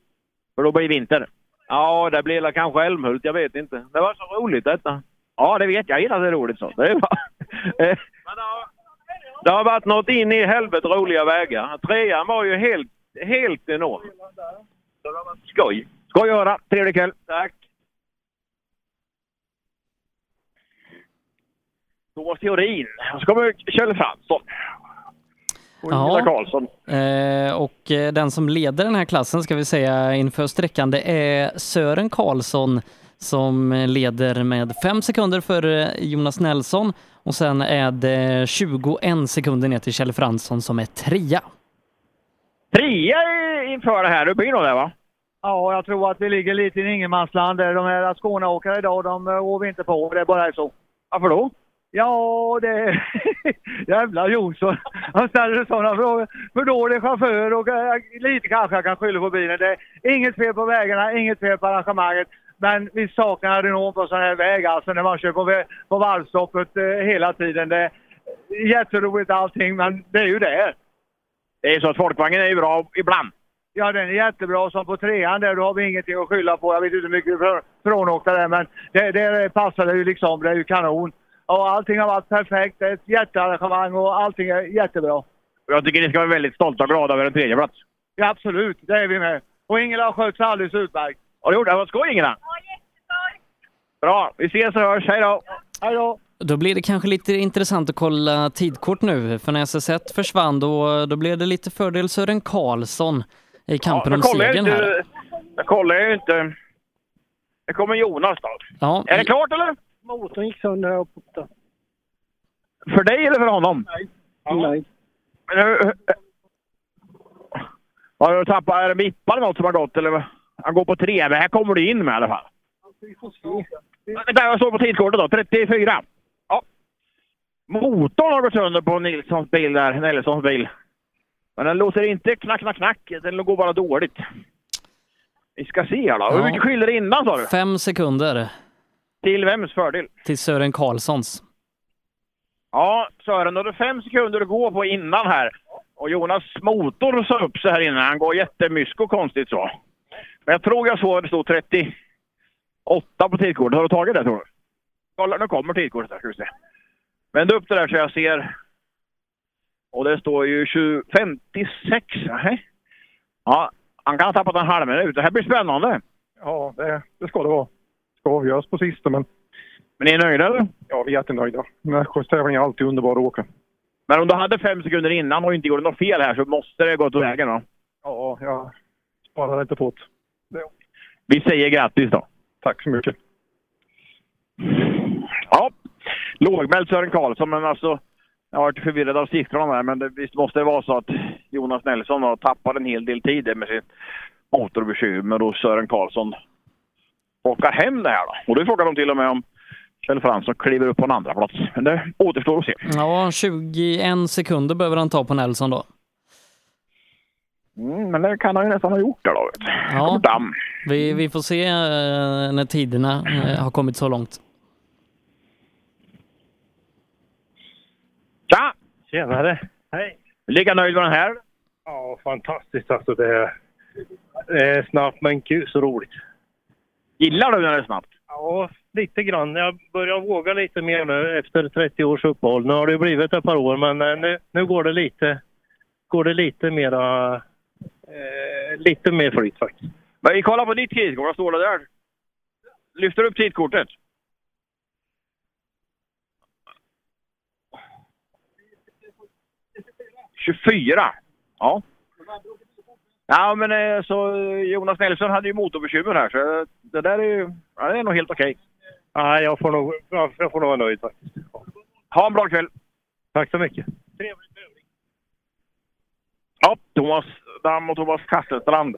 För då blir det vinter.
Ja, det blir väl kanske Älmhult, jag vet inte. Det var så roligt detta.
Ja, det vet jag. Jag gillar det roligt så. Det är bra. Eh,
*laughs* Det har varit något in i helvete roliga vägar. Trean var ju helt, helt enorm.
Skoj! Skoj att höra. Trevlig kväll!
Tack!
Thomas Theorin. Och så kommer Kjell Fransson. Och
Ja.
Ingela Karlsson.
Eh, och eh, den som leder den här klassen ska vi säga inför sträckan, det är Sören Karlsson som leder med fem sekunder före Jonas Nelson och sen är det 21 sekunder ner till Kjell Fransson som är trea.
Trea i- inför det här. Du blir nog det va?
Ja, jag tror att vi ligger lite i en ingenmansland. där. De här Skåneåkarna idag, de eh, rår vi inte på. Det är bara så. Varför då? Ja, det är... *laughs* Jävla Jonsson. Han ställer sådana frågor. För dålig chaufför och eh, lite kanske jag kan skylla på bilen. Det är inget fel på vägarna, inget fel på arrangemanget. Men vi saknar Renault på sådana här vägar, alltså när man kör på, vä- på varvstoppet eh, hela tiden. Det är jätteroligt allting, men det är ju det.
Det är så att folkvagnen är ju bra ibland.
Ja, den är jättebra. Som på trean där, då har vi ingenting att skylla på. Jag vet inte hur mycket vi frånåkte där, men det, det passade ju liksom. Det är ju kanon. Och allting har varit perfekt. Det är ett jättearrangemang och allting är jättebra.
Och jag tycker ni ska vara väldigt stolta och glada över en tredjeplats.
Ja, absolut. Det är vi med. Och Ingela har skött sig alldeles utmärkt.
Ja, det gjorde han. Vad skoj, Ingela! Bra, vi ses och hörs. Hej då!
Hej då!
Då blir det kanske lite intressant att kolla tidkort nu, för när SS1 försvann då, då blev det lite fördel Sören Karlsson i kampen om
jag
segern här.
inte... Jag kollar ju inte. Det kommer Jonas då.
Ja,
Är det klart eller?
Motorn gick sönder här uppe.
För dig eller för honom? Nej.
Nej.
Men hur, hur, har du tappat, är det vippar något som har gått eller? vad? Han går på tre, men här kommer du in med i alla fall.
Vi får se.
Vänta, jag står på tidskortet då. 34. Ja. Motorn har gått sönder på Nilssons bil där, Nelsons bil. Men den låter inte knack, knack, knack. Den går bara dåligt. Vi ska se här då. Hur
Ja.
mycket skiljer det innan sa du?
Fem sekunder
Till vems fördel?
till Sören Karlssons.
Ja, Sören, då har du fem sekunder att gå på innan här. Och Jonas motor sa upp sig här innan. Han går jättemysko konstigt så. Men jag tror jag såg att det stod 38 på tidkortet. Har du tagit det tror du? Kolla, nu kommer tidkortet här ska vi se. Vänd upp det där så jag ser. Och det står ju 20, 56. Nej. Ja, han kan ha tappat en halv minut. Det här blir spännande.
Ja, det, det ska det vara. Det ska avgöras på sista, men...
Men ni är nöjda eller?
Ja, vi är jättenöjda. Nässjös tävling är alltid underbar att åka.
Men om du hade fem sekunder innan och inte gjorde något fel här så måste det gått vägen då.
Ja, jag sparar inte på det.
Vi säger grattis då.
Tack så mycket.
Ja, lågmäld Sören Karlsson, men alltså... Jag har varit förvirrad av siffrorna där, men det, visst måste det vara så att Jonas Nelson har tappat en hel del tid med sin motorbekymmer och Sören Karlsson åker hem det här då. Och då är frågan om till och med om Kjell Fransson kliver upp på en andra plats. Men det återstår att se.
Ja, 21 sekunder behöver han ta på Nelson då.
Mm, men det kan han ju nästan ha gjort där då. Vet du.
Ja.
Damm.
Vi, vi får se eh, när tiderna eh, har kommit så långt.
Tja!
Tjenare! Hej!
Lika nöjd med den här?
Ja, fantastiskt alltså. Det är, det är snabbt men kul, så roligt.
Gillar du när det är snabbt?
Ja, lite grann. Jag börjar våga lite mer nu efter 30 års uppehåll. Nu har det blivit ett par år, men eh, nu, nu går det lite, går det lite mera, eh, lite mer flyt faktiskt.
Men vi kollar på ditt tidkort. Vad står det där? Lyfter upp tidkortet. Fyra? Ja. Ja, men eh, så eh, Jonas Nelson hade ju motorbekymmer här, så eh, det där är ju... Ja, det är nog helt okej.
Nej, jag får nog, jag får nog vara nöjd faktiskt.
Ha en bra kväll!
Tack så mycket.
Ja, Thomas Damm och Thomas Kasselstrand.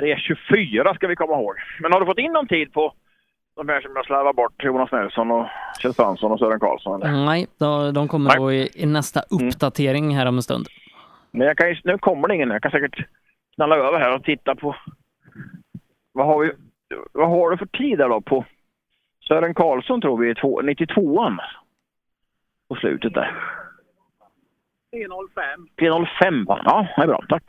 3.24 ska vi komma ihåg. Men har du fått in någon tid på de här som jag slarvar bort? Jonas Nelson och Kjell Fransson och Sören Karlsson?
Nej, då, de kommer då i, i nästa uppdatering här om en stund.
Men jag kan ju, nu kommer det ingen. Jag kan säkert knalla över här och titta på... Vad har, vi, vad har du för tid där då på... Sören Karlsson tror vi är två, 92an. På slutet där.
305.
3.05 va? Ja, det är bra. Tack.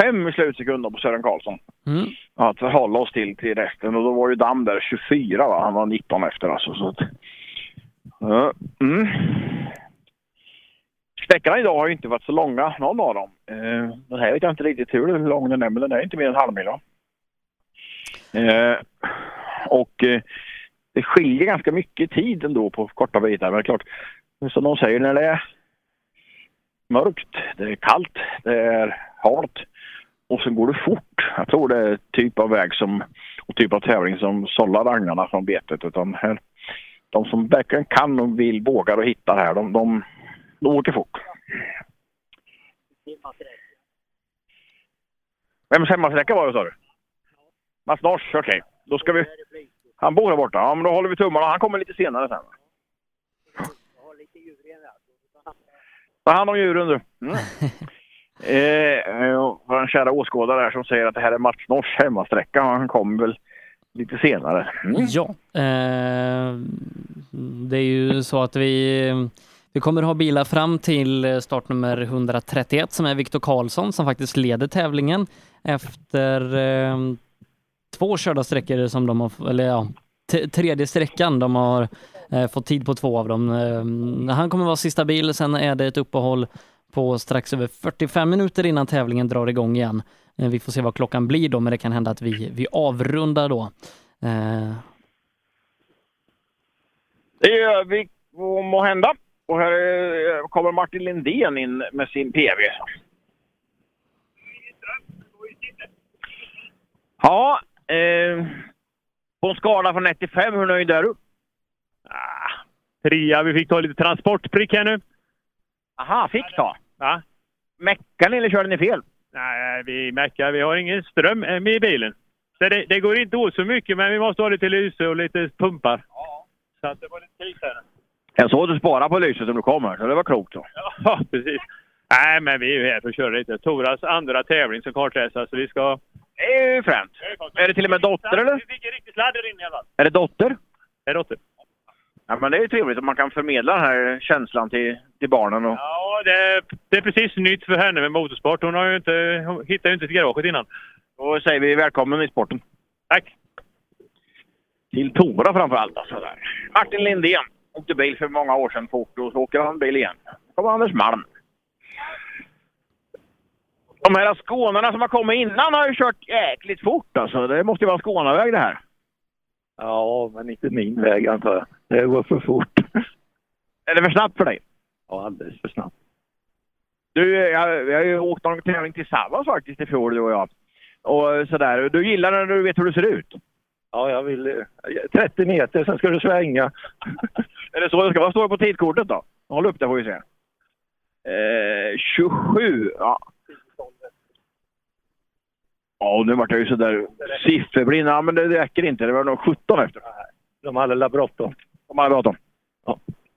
05 i slutsekunden på Sören Karlsson.
Mm.
Ja, att förhålla oss till, till resten. Och då var ju Damm där 24 va? Han var 19 efter alltså. Så att... ja, mm. Sträckorna idag har ju inte varit så långa, någon av dem. Eh, den här vet jag inte riktigt hur lång den är, men den är inte mer än en halvmil. va? Eh, och eh, det skiljer ganska mycket i tid ändå på korta bitar. Men det är klart, som de säger, när det är mörkt, det är kallt, det är halt och så går det fort. Jag tror det är typ av väg som, och typ av tävling som sållar agnarna från betet. Utan här, de som verkligen kan och vill, vågar och hittar här, de, de, de åker fort. Vems hemmasträcka var det sa du? Mats Nors, okej. Då ska vi... Han bor där borta. Ja, men då håller vi tummarna. Han kommer lite senare sen. Ta hand om djuren du. Mm. eh, eh, vår kära åskådare här som säger att det här är Mats Nors hemmasträcka. Han kommer väl lite senare. Mm.
Ja, eh, det är ju så att vi, vi kommer ha bilar fram till startnummer 131 som är Viktor Karlsson som faktiskt leder tävlingen efter eh, två körda sträckor som de har, eller ja, t- tredje sträckan de har eh, fått tid på två av dem. Eh, han kommer vara sista bil, sen är det ett uppehåll på strax över 45 minuter innan tävlingen drar igång igen. Eh, vi får se vad klockan blir då, men det kan hända att vi, vi avrundar då. Eh,
Det gör vi och må hända. Och här eh, kommer Martin Lindén in med sin PV. Ja, eh, på en skala från 1 till 5, hur nöjd är du?
Trea, vi fick ta lite transportprick här nu.
Aha, fick ta.
Ja.
Meckade ni eller körde ni fel?
Nej, vi märker vi har ingen ström eh, med i bilen. Så det, det går inte åt så mycket, men vi måste ha lite lyse och lite pumpar. Så att det var lite kris här.
Jag såg att du sparade på lyset om du kommer, så det var klokt. Då.
Ja, precis. Nej, men vi är ju här för att köra lite. Toras andra tävling som kartläsare, så vi ska...
Det är ju främt. Är det till och med dotter, eller?
Vi fick en riktig sladder in i alla fall.
Är det dotter?
Det är dotter.
Ja, men det är ju trevligt om man kan förmedla den här känslan till, till barnen. Och...
Ja, det, är- det är precis nytt för henne med motorsport. Hon, har ju inte, hon hittade ju inte till garaget innan.
Då säger vi välkommen i sporten.
Tack!
Till Tora framför allt. Alltså, där. Martin Lindén åkte bil för många år sedan fort och så åker han bil igen. Då kommer Anders Malm. De här skånarna som har kommit innan har ju kört jäkligt fort alltså. Det måste ju vara Skånaväg det här.
Ja, men inte min väg antar jag. Det går för fort.
Är det för snabbt för dig?
Ja, alldeles för snabbt.
Du, jag, vi har ju åkt någon tävling tillsammans faktiskt i fjol du och jag. Och sådär. Du gillar när du vet hur du ser ut.
Ja, jag vill... eh, 30 meter, sen ska du svänga.
Är det så det ska vara? Står det på tidkortet då? Håll upp det får vi se. Eh, 27, ja. Ja, och nu vart jag ju sådär sifferblind. Ja, men det räcker inte. Det var nog 17 efter.
De hade alla bråttom.
De hade bråttom.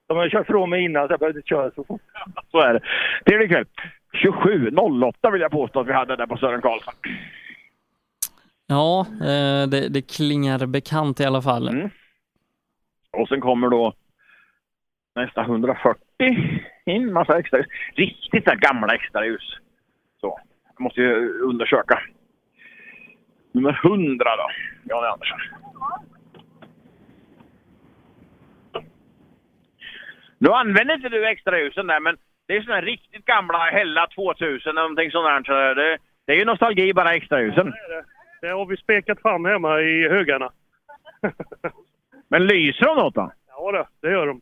De har kört från mig innan, så jag behövde inte köra så fort.
*laughs* Så är det. Trevlig kväll. 27.08 vill jag påstå att vi hade där på Sören Karlsson.
ja, eh, det, det klingar bekant i alla fall.
Mm. Och sen kommer då nästa 140 in. Massa extra Riktigt där gamla extra ljus. Så. Jag måste ju undersöka. Nummer 100 då. Jan Andersson. Nu använder inte du extra ljusen där, men det är sådana riktigt gamla Hella 2000 någonting sånt där. Så Det, det är ju nostalgi bara extra ljusen.
Det har vi spekat fram hemma i högarna.
Men lyser de något då?
Ja, då, det gör de.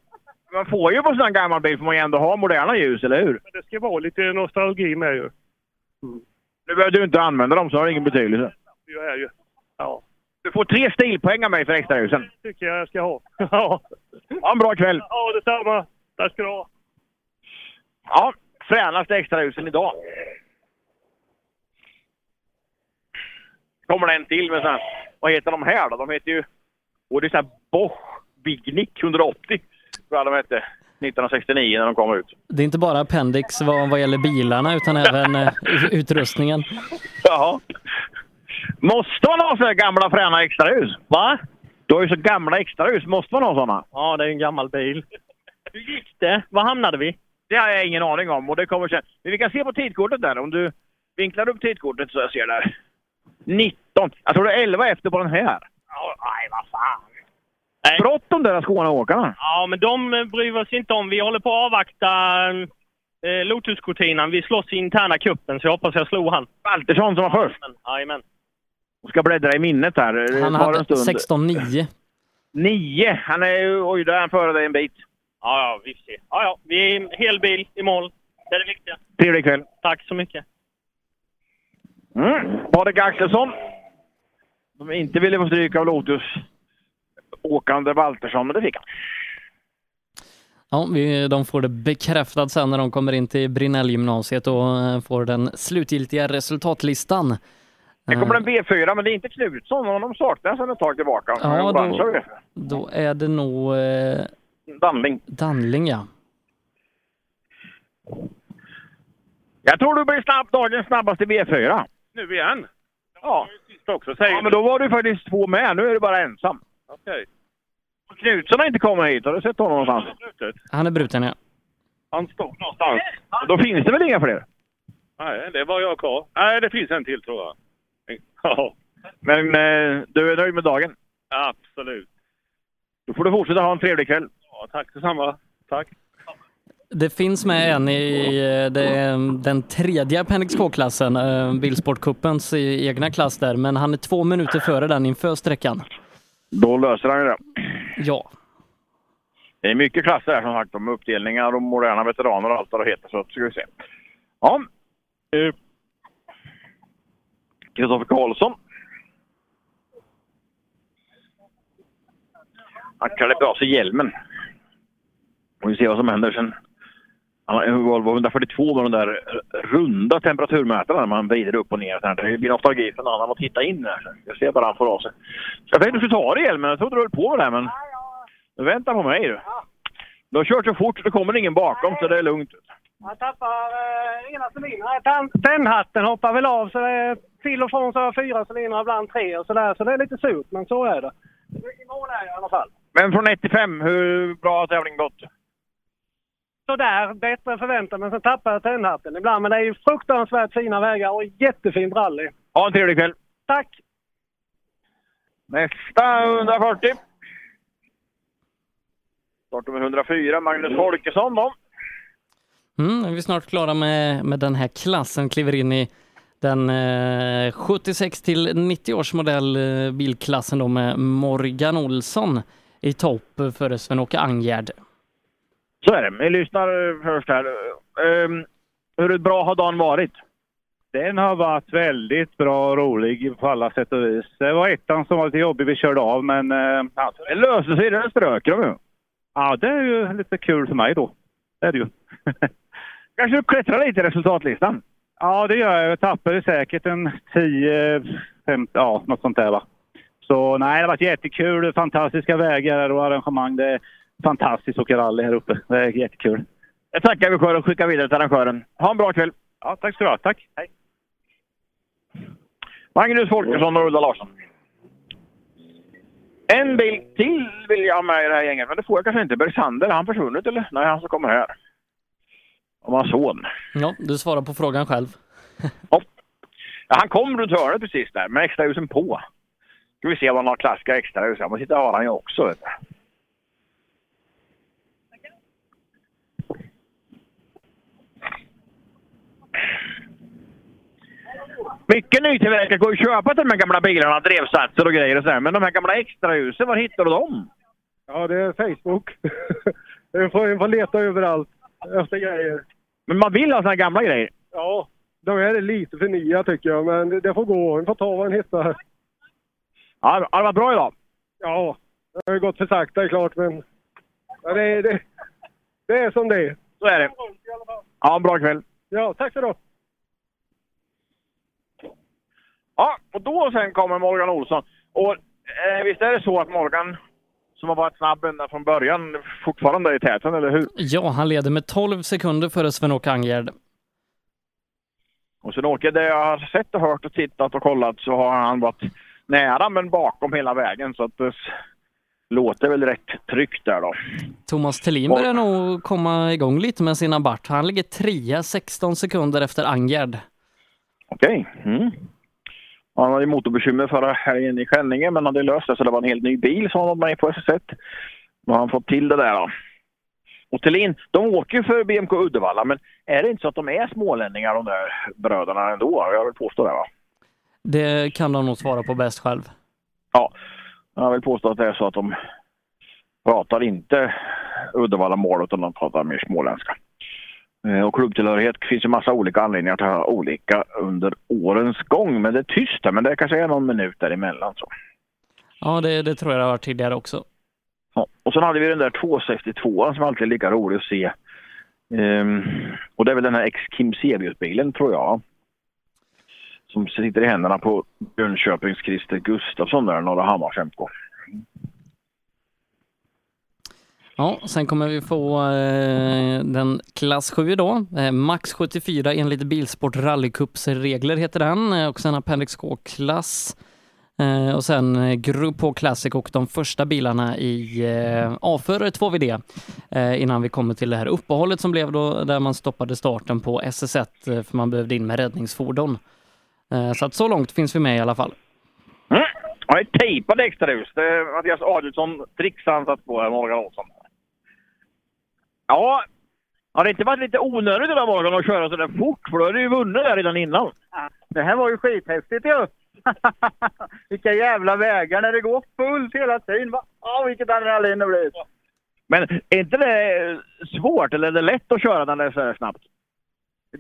Man får ju på sån här gammal bil får man ju ändå ha moderna ljus, eller hur? Mm.
Men det ska vara lite nostalgi med ju.
Nu behöver du inte använda dem så har det ingen betydelse.
Det är ju. Ja,
Du får tre stilpoäng av mig för extraljusen.
det tycker jag jag ska ha.
*laughs*
ja,
Ha en bra kväll!
ja detsamma. Tack ska du ha.
Ja, fränaste extraljusen idag. Kommer det en till med sån här, Vad heter de här då? De heter ju... Och det är sån här Bosch Bignick 180. Tror jag de hette. 1969 när de kom ut.
Det är inte bara appendix vad, vad gäller bilarna utan även eh, ut- utrustningen.
Jaha. Måste man ha såna här gamla fräna extrahus? Va? Du har ju så gamla extrahus. Måste man ha såna?
Ja, det är en gammal bil. *laughs* Hur gick det? Var hamnade vi?
Det har jag ingen aning om och det kommer sen. Men vi kan se på tidkortet där. Om du vinklar upp tidkortet så jag ser där. 19. Jag tror det är 11 efter på den här. Nej, vad fan. Bråttom där Skåneåkarna.
Ja, men de eh, bryr vi oss inte om. Vi håller på att avvakta eh, Lotus-Cortinan. Vi slåss i interna kuppen, så jag hoppas jag slog han.
Waltersson som var först.
Men, Jajamän.
Jag ska bläddra i minnet här.
Han
Bara
hade
en stund.
16-9.
9. Han är ju... Oj, där är han före dig en bit.
Ja, ja, vi får se. Ja, ja, vi är hel bil i mål. Det är det viktiga.
Trevlig kväll.
Tack så mycket.
Mm. Patrik Axelsson. Som inte ville få stryk av Lotus. Åkande Waltersson, men det fick han.
Ja, vi, de får det bekräftat sen när de kommer in till Brinnellgymnasiet och eh, får den slutgiltiga resultatlistan.
Det kommer en V4, men det är inte Knutsson. Honom saknas sedan ett tag tillbaka.
Eh, Ja,
Orange
då,
har vi.
då är det nog... Eh,
Danling.
Danling, ja.
Jag tror du blir snabb, dagens snabbaste V4.
Nu igen? Ja. Sist också, säger
Ja, men då var du faktiskt två med. Nu är du bara ensam.
Okej.
Knutsson har inte kommit hit. Har du sett honom någonstans?
Han är bruten, ja.
Han stod någonstans.
Då finns det väl inga fler?
Nej, det var jag kvar. Nej, det finns en till tror jag.
Ja. Men eh, du är nöjd med dagen?
Absolut.
Då får du fortsätta ha en trevlig kväll.
Ja, tack detsamma. Tack.
Det finns med en i eh, det, är den tredje Pennix K-klassen, eh, Bilsportcupens i- egna klass där, men han är två minuter före den inför sträckan.
Då löser han ju det.
Ja.
Det är mycket klasser här som sagt, om uppdelningar och moderna veteraner och allt vad det heter. Så ska vi se. Ja. Eh, Kristoffer Karlsson. Han klädde på sig hjälmen. Och vi ser vad som händer sen. Han har en Volvo 142 med de där runda temperaturmätarna när man vrider upp och ner. Så här. Det blir nostalgi för en annan att titta in där. Jag ser bara han får av sig. Jag tänkte du skulle ta dig hjälmen. Jag trodde du höll på med det här, men... Du väntar på mig du. Du har kört så fort så det kommer ingen bakom så det är lugnt.
Jag tappar eh, ena cylindern. Tan- Tändhatten hoppar väl av så det är till och från så har jag fyra cylindrar, ibland tre och sådär. Så det är lite surt, men så är det. I mål är jag i alla fall.
Men från 1 till 5, hur bra har tävlingen gått?
Sådär, bättre än förväntat, men sen tappar jag tändhatten ibland. Men det är ju fruktansvärt fina vägar och jättefint rally.
Ha en trevlig kväll!
Tack!
Nästa 140. Startnummer 104, Magnus Folkesson då.
Mm, nu är vi snart klara med, med den här klassen, kliver in i den eh, 76 till 90 års modell eh, bilklassen då med Morgan Olsson i topp eh, före Sven-Åke Angerd.
Så är det. Vi lyssnar eh, först här. Ehm, hur bra har dagen varit?
Den har varit väldigt bra och rolig på alla sätt och vis. Det var ettan som var lite jobbig, vi körde av men... eh, Ja,
det löste sig, den strök de ju.
Ja, det är ju lite kul för mig då. Det är det ju. *laughs*
Kanske du klättrar lite i resultatlistan?
Ja, det gör jag. Jag tappade säkert en 10, 15, ja något sånt där va. Så nej, det har varit jättekul. Fantastiska vägar och arrangemang. Det är fantastiskt att åka rally här uppe. Det är jättekul.
Jag tackar vi och skickar vidare till arrangören. Ha en bra kväll! Ja, tack ska du ha. Tack! Hej! Magnus Folkesson och Ulla Larsson. En bil till vill jag ha med i det här gänget, men det får jag kanske inte. Bergsander, har han försvunnit eller? Nej, han som kommer här. Om hans son.
Ja, du svarar på frågan själv.
Ja, han kom runt hörnet precis där, med extrahusen på. Ska vi se om han har klassiska extrahus. Ja, men titta, har han ju också. Vet du. Mycket nytillverkat går ju att köpa till de här gamla bilarna, drevsatser och grejer och sådär. Men de här gamla extrahusen, var hittar du dem?
Ja, det är Facebook. *laughs* Vi får, får leta överallt efter grejer.
Men man vill ha såna här gamla grejer.
Ja, de här är lite för nya tycker jag, men det, det får gå. Vi får ta vad en hittar.
Ja, det har varit bra idag.
Ja, det har ju gått för sakta det är klart, men ja, det, det, det är som det är.
Så är det. Ja, en bra kväll.
Ja, tack så du ha.
Ja, och då sen kommer Morgan Olsson. Och eh, visst är det så att Morgan, som har varit snabb ända från början, fortfarande är i täten, eller hur?
Ja, han leder med 12 sekunder före Sven-Åke Angerd.
Och sen åker det jag har sett och hört och tittat och kollat så har han varit nära men bakom hela vägen så att det s- låter väl rätt tryggt där då.
Thomas Thelin börjar nog komma igång lite med sin abart. Han ligger trea 16 sekunder efter Angerd.
Okej. Mm. Han hade ju motorbekymmer förra helgen i Skänninge men hade löst det så det var en helt ny bil som han var med på SS1. Då har han fått till det där då. Och Thelin, de åker ju för BMK Uddevalla men är det inte så att de är smålänningar de där bröderna ändå? Jag vill påstå det va?
Det kan de nog svara på bäst själv.
Ja, jag vill påstå att det är så att de pratar inte Uddevalla-mål utan de pratar mer småländska. Eh, Och klubbtillhörighet finns ju massa olika anledningar till att ha olika under årens gång. Men det är tyst där, men det kanske är någon minut däremellan. Så.
Ja, det, det tror jag det har varit tidigare också.
Ja. Och sen hade vi den där 262 som alltid är lika rolig att se. Ehm, och det är väl den här ex-Kim Sebius-bilen tror jag. som sitter i händerna på Jönköpings Christer Gustafsson där, några Hammarskjömskor.
Ja, sen kommer vi få eh, den klass 7 då. Eh, max 74 enligt Bilsport rallycups regler heter den eh, och sen Appendix K-klass eh, och sen eh, Grupp H Classic och de första bilarna i eh, A4 2VD eh, innan vi kommer till det här uppehållet som blev då där man stoppade starten på SS1 eh, för man behövde in med räddningsfordon. Eh, så att så långt finns vi med i alla fall.
Mm. Ja, ett tejpat extrahus. Det är Mattias Adielsson trixar han satt på här, Morgan Olsson. Ja, har det inte varit lite onödigt idag Morgan att köra så där fort? För då har du ju vunnit där redan innan.
Det här var ju skithäftigt ju! *laughs* Vilka jävla vägar när det går fullt hela tiden. Va? Oh, vilket adrenalin det blir!
Men är inte det svårt eller är det lätt att köra den där så här snabbt?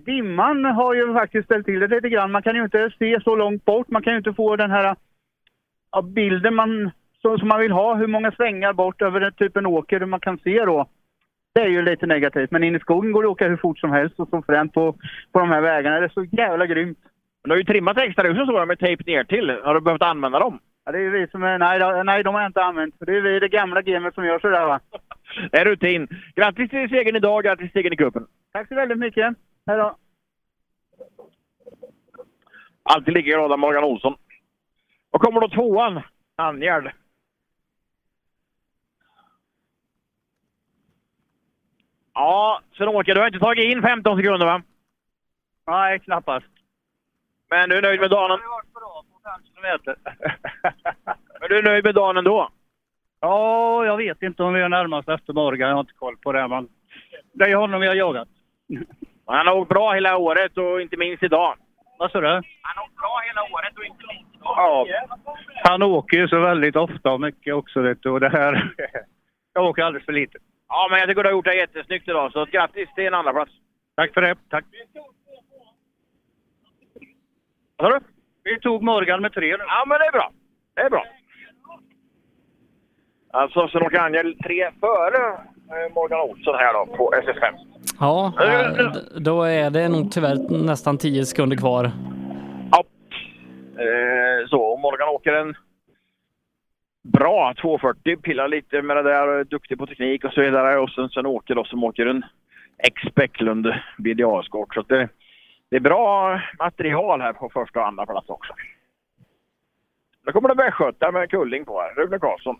Dimman har ju faktiskt ställt till det lite grann. Man kan ju inte se så långt bort. Man kan ju inte få den här ja, bilden man, som, som man vill ha. Hur många svängar bort över den typen åker hur man kan se då. Det är ju lite negativt. Men in i skogen går det att åka hur fort som helst och som fränt på, på de här vägarna. Det är så jävla grymt.
Du har ju trimmat extrahusen så med tejp ner till. Har du behövt använda dem?
Ja, det är ju vi som är... Nej, då- nej, de har jag inte använt. För det är vi i det gamla gamet som gör sådär va.
*laughs* Det är rutin. Grattis till segern idag, grattis till segern i cupen.
Tack så väldigt mycket. Hej då.
Alltid lika glada Morgan Olsson. Och kommer då tvåan, Angärd. Ja, Sven-Åke, du har inte tagit in 15 sekunder *laughs* va?
Nej, knappast.
Men du är nöjd med dagen? *laughs* Men du är nöjd med dagen ändå?
Ja, jag vet inte om vi är närmast efter Morgan. Jag har inte koll på det. Men det är honom jag har jagat.
*laughs* Han har åkt bra hela året och inte minst idag.
Vad sa du?
Ja.
Han åker ju så väldigt ofta och mycket också. Vet du, och det här... jag åker alldeles för lite.
ja, men jag tycker du har gjort det jättesnyggt idag, så grattis till en andra plats.
Tack för det. Tack.
Vad sa du?
Vi tog Morgan med tre nu.
Ja, men det är bra. Det är bra. Alltså, Sven-Åke Angel tre före eh, Morgan Olsson här då, på SS5.
Ja, eh, d- då är det nog tyvärr nästan 10 sekunder kvar.
Eh, så, och Morgan åker en bra 240, pillar lite med det där, och är duktig på teknik och så vidare. Och sen, sen åker då som åker en ex-Bäcklund BDA-skort. Så att det, det är bra material här på första och andra plats också. Nu kommer det västgötar med kulling på här, Rune Karlsson.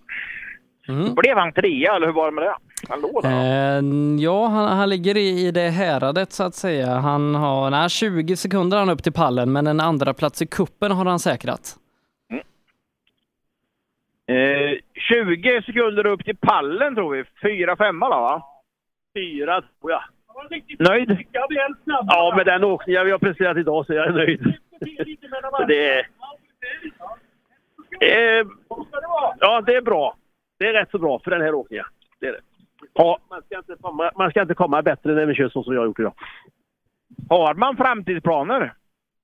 Mm.
Blev han trea eller hur var det med det? Han låg där.
Eh, ja, han, han ligger i, i det häradet så att säga. Han har nej, 20 sekunder han upp till pallen, men en andra plats i kuppen har han säkrat.
Mm.
Eh, 20 sekunder upp till pallen tror vi. Fyra, femma då va?
Fyra, tror jag.
Nöjd?
Jag blir en snabb.
Ja, med den
åkningen vi har presterat idag så jag är nöjd.
Det är...
Eh, ja, det är bra. Det är rätt så bra för den här åkningen. Det är det.
Ja.
Man, ska inte komma, man ska inte komma bättre när vi kör så som jag har gjort idag.
Har man framtidsplaner?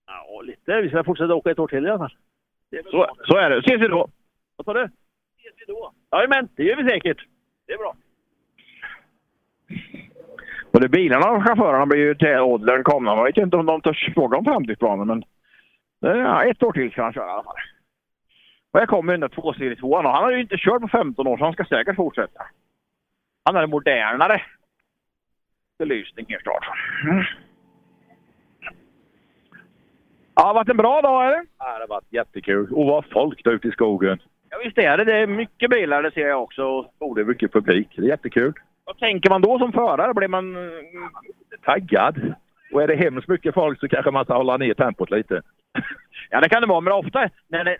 Ja, lite. Vi ska fortsätta åka ett år till i alla fall.
Så, så är det. Ses vi då!
Vad sa du? Ses vi då? Jajamän, det gör vi säkert. Det är bra.
Både bilarna och chaufförerna blir ju till åldern komna. Man vet ju inte om de törs fråga om framtidsplaner, men... eh, Ja, ett år till ska han köra i alla fall. Och här kommer den där tvåserietvåan och han har ju inte kört på 15 år så han ska säkert fortsätta. Han är en modernare belysning helt klart. Mm. Ja, det har varit en bra dag eller?
Ja, det har varit jättekul. Och vad folk där ute i skogen.
Ja, visst är det. Det är mycket bilar, det ser jag också.
Och det är mycket publik. Det är jättekul.
Vad tänker man då som förare? Blir man... eh,
Taggad. Och är det hemskt mycket folk så kanske man ska hålla ner tempot lite.
Ja, det kan det vara, men ofta när det,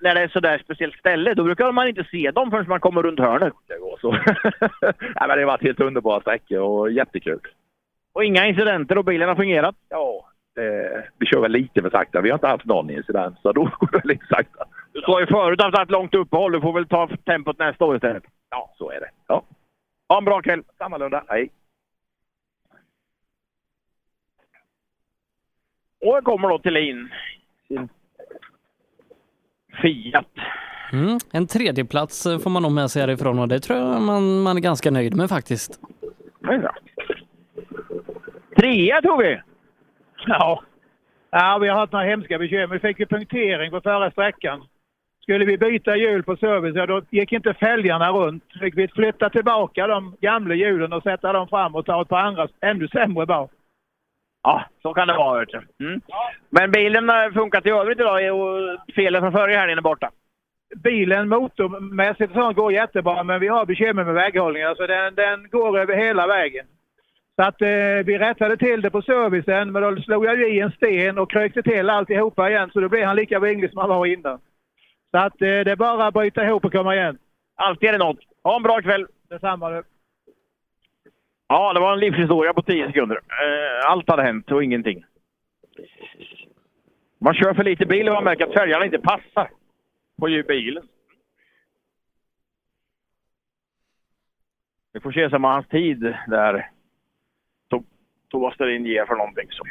när det är sådär speciellt ställe, då brukar man inte se dem förrän man kommer runt hörnet. *laughs*
Och så. Nej, men det har varit helt underbara sträckor och jättekul.
Och inga incidenter och bilen har fungerat.
Ja. Eh, vi kör väl lite för sakta. Vi har inte haft någon incident, så då går det lite sakta.
Du sa ju förut att det ett långt uppehåll. Du får väl ta tempot nästa år istället.
Ja, så är det. Ja.
Ha en bra kväll!
Sammalunda. Hej!
Och här kommer då Thelin. Sin Fiat.
Mm. En tredjeplats eh, får man nog med sig härifrån och det tror jag man, man är ganska nöjd med faktiskt.
Trea tog vi! Ja.
Ja, vi har haft några hemska bekymmer. Vi fick ju punktering på förra sträckan. Skulle vi byta hjul på service, ja, då gick inte fälgarna runt. Fick vi flytta tillbaka de gamla hjulen och sätta dem fram och ta ett par andra ännu sämre bak.
Ja, så kan det vara. Vet du. Mm. Men bilen har funkat i övrigt idag och felen från förra helgen är borta.
Bilen motormässigt och sånt går jättebra, men vi har bekymmer med väghållningen. Så den, den går över hela vägen. Så att eh, vi rättade till det på servicen, men då slog jag ju i en sten och krökte till alltihopa igen, så då blev han lika vinglig som han var innan. Så att eh, det är bara att bryta ihop och komma igen.
Alltid är det något. Ha en bra kväll!
Detsamma du.
Ja, det var en livshistoria på 10 sekunder. Eh, Allt hade hänt och ingenting. Man kör för lite bil och man märker att fälgarna inte passar på ju bilen. Vi får se som hans tid där To- Thomas Sterlin ger för någonting. Så.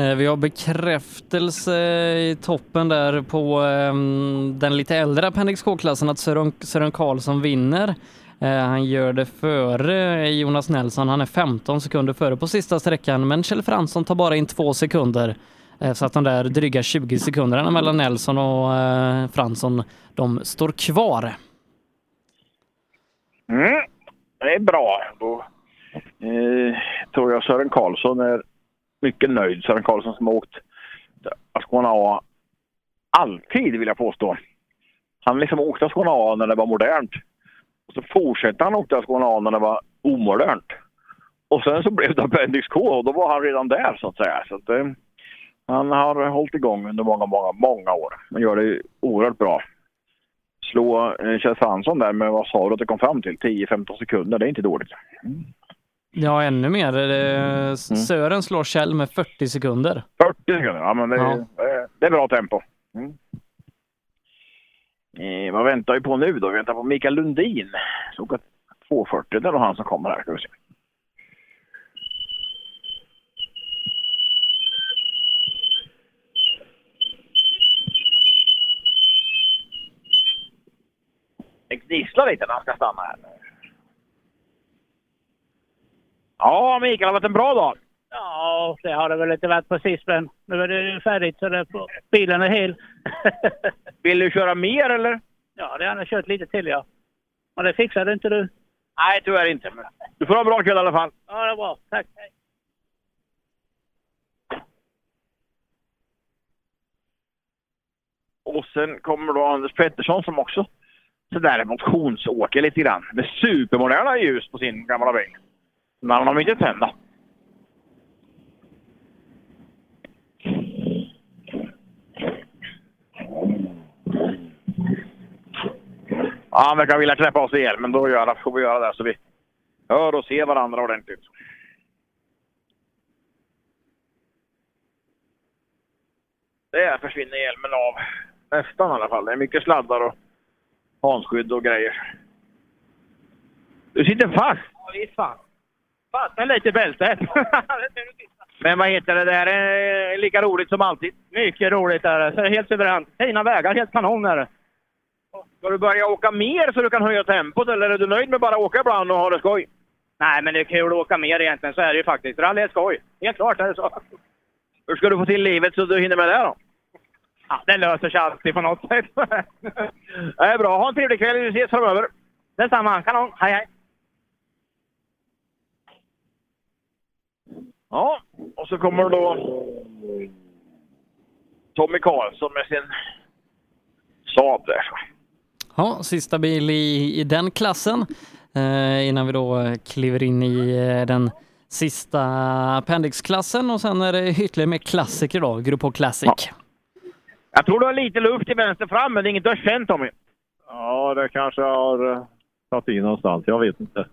Eh, Vi har bekräftelse i toppen där på ehm, den lite äldre Appendix K-klassen att Sören, Sören Karlsson vinner. Eh, Han gör det före Jonas Nelson. Han är 15 sekunder före på sista sträckan, men Kjell Fransson tar bara in två sekunder. Eh, Så att de där dryga 20 sekunderna mellan Nelson och eh, Fransson, de står kvar.
Mm,
det är bra. Då
eh, tror jag Sören Karlsson är mycket nöjd. Sören Karlsson som har åkt Ascona A alltid, vill jag påstå. Han liksom åkte Ascona A när det var modernt. Och så fortsatte han åka Ascona A när det var omodernt. Och sen så blev det Appendix K och då var han redan där så att säga. Så att, eh, han har hållit igång under många, många, många år. Han gör det oerhört bra. Slå eh, Kjell Fransson där med vad sa du att du kom fram till? 10-15 sekunder, det är inte dåligt.
Ja, ännu mer. Eh, Sören slår Kjell med 40 sekunder.
40 sekunder, ja men det,
Ja.
eh, det är bra tempo. Mm. Eh, vad väntar vi på nu då? Vi väntar på Mikael Lundin. Såg att 240, det var han som kommer här. Ska vi se.
Det gnisslar lite när han ska stanna här.
Ja, Mikael, har varit en bra dag.
Ja, det har det väl inte varit precis, men nu är det ju färdigt så det får, bilen är
*laughs*
hel.
Vill du köra mer eller?
Ja, det har jag kört lite till ja. Men det fixade inte du.
Nej, tyvärr inte. Men du får ha en bra kväll i alla fall.
Ja, det är bra. Tack.
Och sen kommer då Anders Pettersson som också sådär motionsåker lite grann. Med supermoderna ljus på sin gamla bil. Men han har inte tända. Ja, han verkar vilja knäppa oss ihjäl, men då gör, får vi göra det så vi hör och ser varandra ordentligt. Där försvinner hjälmen av. Nästan i alla fall. Det är mycket sladdar och handskydd och grejer. Du sitter fast!
Ja, visst fan. Fastna lite i bältet.
*laughs*
*laughs*
Men vad heter det där? Eh, Lika roligt som alltid.
Mycket roligt är det. Så det är helt suveränt. Fina vägar, helt kanon är det.
Ska du börja åka mer så du kan höja tempot eller är du nöjd med bara att åka ibland och ha det skoj?
Nej, men det är kul att åka mer egentligen. Så är det ju faktiskt. Rally är skoj. Helt klart är det så.
Hur ska du få till livet så du hinner med det då?
Ja, det löser sig alltid på något sätt.
*laughs* Det är bra. Ha en trevlig kväll. Vi ses framöver.
Detsamma. Kanon. Hej, hej.
Ja, och så kommer då Tommy Karlsson med sin Saab där.
Ja, sista bil i, i den klassen eh, innan vi då kliver in i eh, den sista appendixklassen och sen är det ytterligare mer klassiker då, Grupp H Classic.
Jag tror du har lite luft till vänster fram, men det är inget du har känt Tommy.
Ja, det kanske jag har eh, tagit in någonstans. Jag vet inte.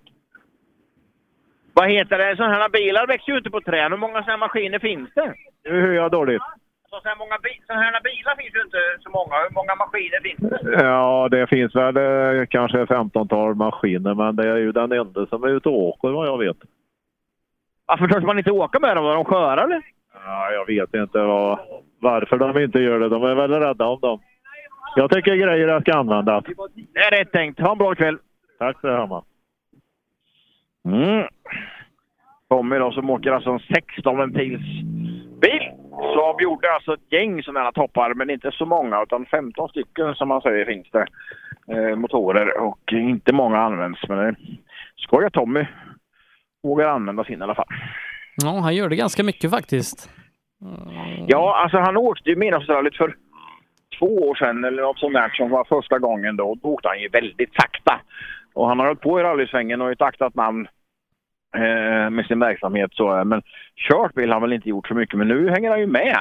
Vad heter det? Sådana här bilar växer ju inte på träd. Hur många sådana här maskiner finns det?
Nu hör jag dåligt.
Sådana här, många bi- såna här bilar finns ju inte så många. Hur många maskiner finns det?
Ja, det finns väl eh, kanske 15-tal maskiner, men det är ju den enda som är ute och åker vad jag vet.
Varför törs man inte åka med dem? Var de sköra eller?
Ja, jag vet inte vad, varför de inte gör det. De är väl rädda om dem. Jag tycker grejerna ska användas.
Det är rätt tänkt. Ha en bra kväll.
Tack detsamma.
Mm. Tommy då som åker alltså en 16 pils bil. Saab gjorde alltså ett gäng sådana här toppar, men inte så många utan 15 stycken som man säger finns det. Eh, motorer och inte många används men eh, skoja Tommy vågar använda sin i alla fall.
Ja, han gör det ganska mycket faktiskt.
Ja, alltså han åkte ju Midnattsrallyt för två år sedan eller något sånt där som var första gången då. Då åkte han ju väldigt sakta. Och han har hållit på i rallysvängen och ett aktat namn eh, med sin verksamhet. Så, eh, men kört bil har han väl inte gjort så mycket, men nu hänger han ju med.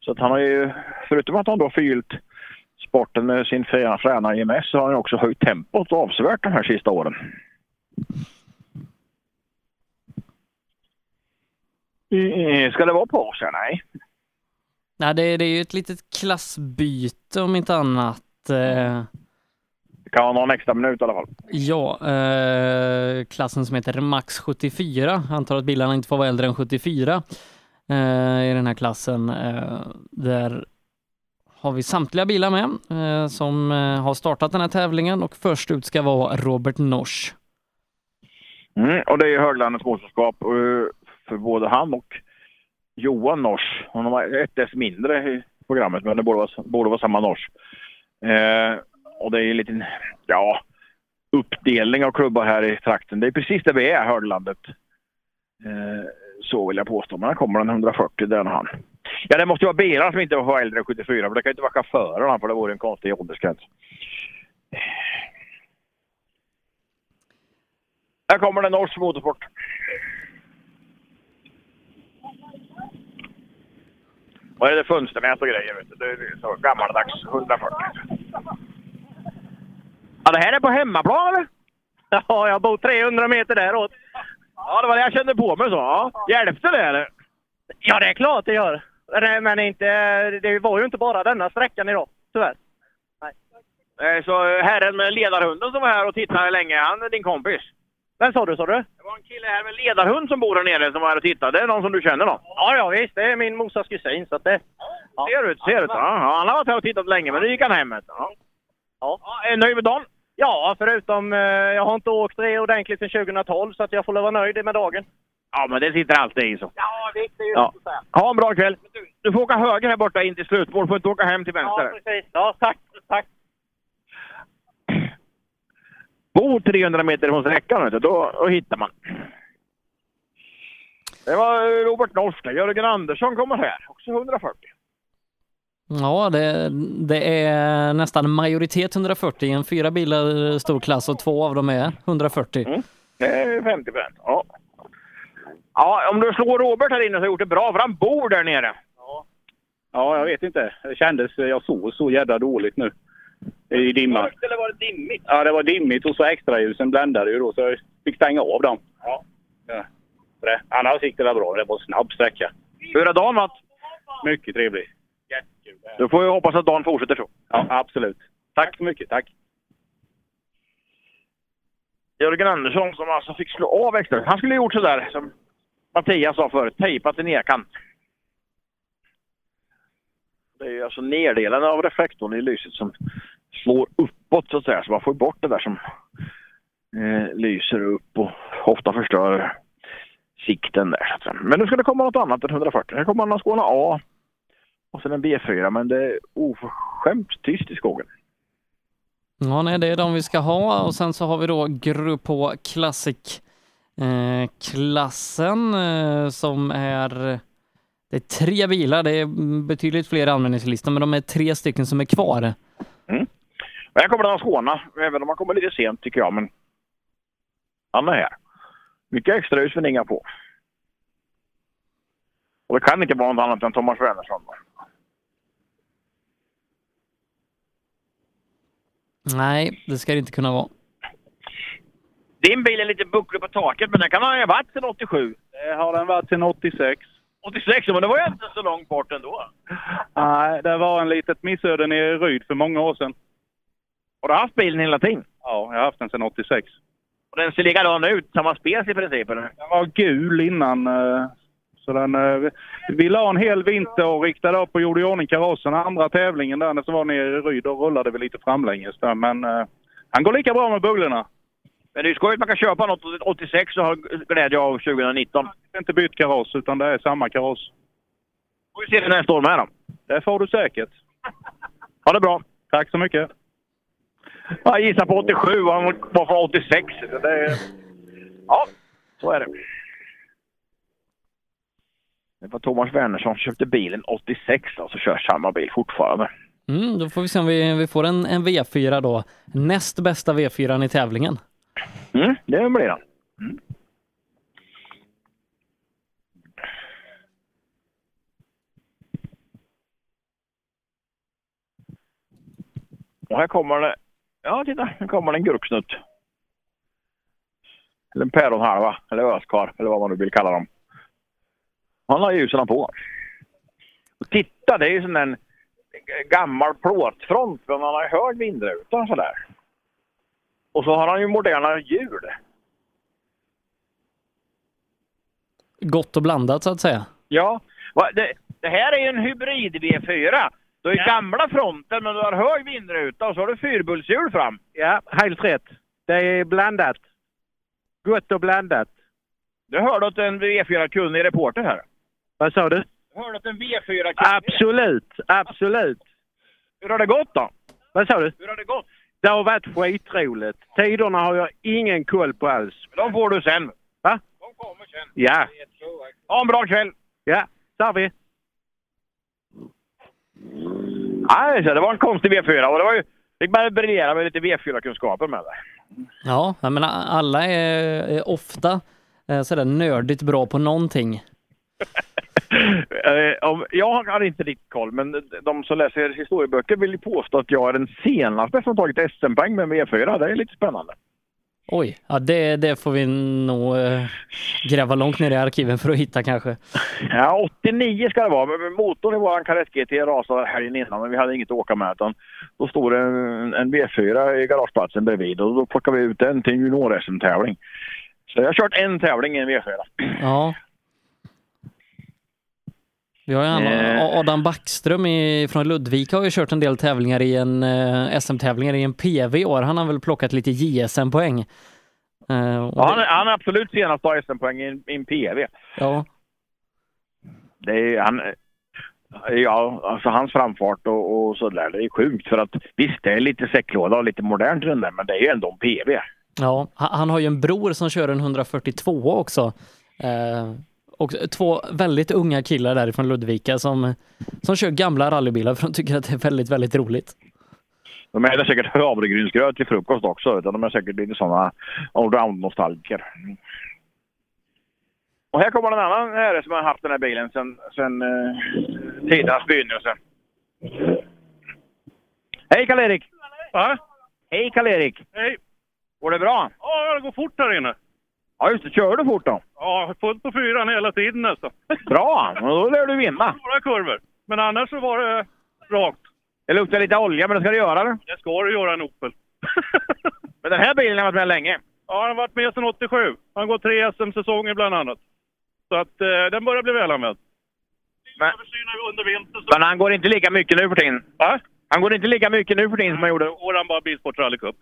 Så att han har ju, förutom att han då förgyllt sporten med sin fina fräna IMS, så har han ju också höjt tempot avsevärt de här sista åren. Eh, Ska det vara på oss? här? Nej.
Nej, det, det är ju ett litet klassbyte om inte annat. Eh,
Det kan vara någon extra minut i alla fall.
Ja, eh, klassen som heter Max 74. Antar att bilarna inte får vara äldre än 74 eh, i den här klassen. Eh, där har vi samtliga bilar med eh, som eh, har startat den här tävlingen och först ut ska vara Robert Nors.
Mm, och det är Höglandets mästerskap eh, för både han och Johan Nors. Han har ett S mindre i programmet, men det borde vara, borde vara samma Nors. Eh, och det är en liten ja, uppdelning av klubbar här i trakten. Det är precis där vi är, Höglandet. Eh, så vill jag påstå. Men han kommer den 140, den han. Ja, det måste ju vara bilar som inte var äldre än 74, för det kan ju inte vara chaufförerna, för det vore en konstig åldersgräns. Här kommer den norsk motorsport. Vad är det fönsternät och grejer? Vet du? Det är så gammaldags 140. Ja, det här är på hemmaplan *laughs* eller?
Ja, jag bor 300 meter däråt.
Ja, det var det jag kände på mig så. Ja. Hjälpte det eller?
Ja, det är klart det gör.
Nej, men inte, det var ju inte bara denna sträckan idag, tyvärr.
Eh, Så herren med ledarhunden som var här och tittade länge, han är din kompis?
Vem sa du, sa du?
Det var en kille här med ledarhund som bor här nere som var här och tittade. Det är någon som du känner då?
Ja, ja visst. Det är min morsas kusin, så att det...
Ja. Ser ut, ser ut. Ja, ja, han har varit här och tittat länge, men nu gick han hem. vet du. Ja.
Ja.
är nöjd med dagen?
Ja, förutom eh, jag har inte åkt det ordentligt sedan 2012 så att jag får väl vara nöjd med dagen.
Ja, men det sitter alltid i så.
Ja, det är
ju Ja. Ha en bra kväll! Du får åka höger här borta in till slutmål, du får inte åka hem till vänster.
precis. Ja, tack. tack.
Bo 300 meter från sträckan, vet du, då, då hittar man. Det var eh, Robert Norsk. Jörgen Andersson kommer här, också 140.
Ja, det, det är nästan majoritet 140 i en fyra bilar eh, stor klass och två av dem är 140.
Det är 50 procent. Ja. ja, om du slår Robert här inne så har du gjort det bra, för han bor där nere.
Ja, jag vet inte. Det kändes... eh, Jag sov så jädra dåligt nu. I dimman.
Eller var det dimmigt?
Ja, det var dimmigt och så extraljusen bländade ju då så jag fick stänga av dem.
Ja.
Ja. Så det- Annars gick det väl bra. Det var en snabb sträcka.
Hur har dagen varit?
Mycket trevlig.
Du får ju hoppas att dagen fortsätter så.
Ja, absolut.
Tack
så mycket. Tack.
Jörgen Andersson som alltså fick slå av extra. Han skulle ha gjort sådär som Mattias sa förut, tejpat en erkant. Det är ju alltså neddelen av reflektorn i lyset som slår uppåt så att säga. Så man får bort det där som eh, lyser upp och ofta förstör sikten där. Så att säga. Men nu ska det komma något annat än 140. Här kommer en Skåne A och sen en B4. Men det är oförskämt tyst i skogen.
Ja, nej, det är de vi ska ha och sen så har vi då Grupp H Classic eh, klassen eh, som är det är tre bilar, det är betydligt fler i användningslistan, men de är tre stycken som är kvar.
Men här kommer den här Skåna, även om han kommer lite sent tycker jag. Men han är här. Mycket extra ljus men inga på. Och det kan inte vara något annat än Thomas Wernersson. då.
Nej, det ska det inte kunna vara.
Din bil är lite bucklig på taket, men den kan ha varit sedan 87.
Det har den varit sedan 86.
86, men det var ju inte så långt bort ändå.
Nej, det var en litet missöde nere i Ryd för många år sedan.
Har du haft bilen hela tiden?
Ja, jag har haft den sedan 86.
Och den ser likadan ut, samma spec i princip. Eller?
Den var gul innan. eh, Så den, eh, vi la en hel vinter och riktade upp och gjorde i ordning karossen. Andra tävlingen där när som var nere i Ryd, då rullade vi lite framlänges där. Men eh, han går lika bra med bugglorna.
Men det är ju skojigt att man kan köpa något 86 och ha glädje av 2019.
inte bytt kaross utan det är samma kaross.
får vi se dig nästa år med då.
Det får du säkert.
Ha det bra.
Tack så mycket.
Jag gissar på 87 och han var från 86. Så det är... Ja, så är det. Det var Thomas Wernersson som köpte bilen 86 och så kör samma bil fortfarande.
Mm, då får vi se om vi, vi får en, en V4 då. Näst bästa V4 i tävlingen.
Mm, det blir han. Och här kommer det... Ja, titta. Här kommer det en gurksnutt. Eller en päronhalva, eller öskar, eller vad man nu vill kalla dem. Han har ljusen på. Och titta, det är ju sån där gammal plåtfront, men han har ju hög vindruta och sådär. Och så har han ju moderna hjul.
Gott och blandat så att säga.
Ja, va, det, det här är ju en hybrid V4. Du har ju gamla fronten, men du har hög vindruta och så har du fyrbultshjul fram.
Ja, helt rätt. Det är blandat. Gott och blandat.
Du hörde att en V4-kunnig reporter här.
Vad sa du?
Hörde att en V4-kunnig...
Absolut, absolut.
Hur har det gått då?
Vad sa du?
Hur har det gått?
Det har varit skitroligt. Tiderna har jag ingen koll på alls.
De får du sen.
Va?
De kommer sen.
Ja.
Ha en bra kväll!
Ja, där vi.
Nej, så det var en konstig V4 och det var ju... Fick man briljera med lite V4-kunskaper med det.
Ja, jag menar, alla är, är ofta eh, sådär nördigt bra på någonting.
Eh, om- Jag har inte riktigt koll, men de som läser historieböcker vill ju påstå att jag är den senaste som tagit SM-poäng med en V4. Det är lite spännande.
Oj, ja, det, det får vi nog eh, gräva långt ner i arkiven för att hitta kanske.
Ja, 89 ska det vara. Men- men Motorn i vår Carett GT rasade helgen innan, men vi hade inget att åka med. Utan då stod det en, en V4 i garageplatsen bredvid och då plockade vi ut den till en junior-SM-tävling. Så jag har kört en tävling i en V4.
Ja. Vi har ju han,
Eh.
Adam Backström i, från Ludvika har ju kört en del tävlingar i en eh, SM-tävlingar i en PV i år. Han har väl plockat lite JSM-poäng. Eh, och
Ja, han,
det-
är- han är absolut senast att ta SM-poäng i en- i en PV.
ja.
Det är, han, ja, alltså hans framfart och, och sådär, det är sjukt. För att visst, det är lite säcklåda och lite modernt i den där, men det är ju ändå en PV.
Ja, ha- han har ju en bror som kör en 142 också. Eh, och två väldigt unga killar därifrån Ludvika som, som kör gamla rallybilar för de tycker att det är väldigt, väldigt roligt.
De äter säkert havregrynsgröt till frukost också. Utan de är säkert lite sådana allround-nostalgiker. Och här kommer en annan herre som har haft den här bilen sedan sen, eh, tidernas begynnelse. Hej Karl-Erik!
Va?
Hej Karl-Erik!
Hej!
Går det bra?
Ja, det går fort här inne.
Ja just det, kör du fort då?
Ja, fullt på fyran hela tiden nästan.
Bra! men Då lär du vinna.
Några kurvor. Men annars så var det rakt.
Det luktar lite olja, men det ska du göra eller?
Det ska du göra en Opel.
Men den här bilen har varit med länge.
Ja, han har varit med sedan 87. Han går tre SM-säsonger bland annat. Så att eh, den börjar bli välanvänd.
Men, men han går inte lika mycket nu för tiden.
Va?
Han går inte lika mycket nu för tiden som han gjorde.
Då går han bara Bilsport Rally Cup.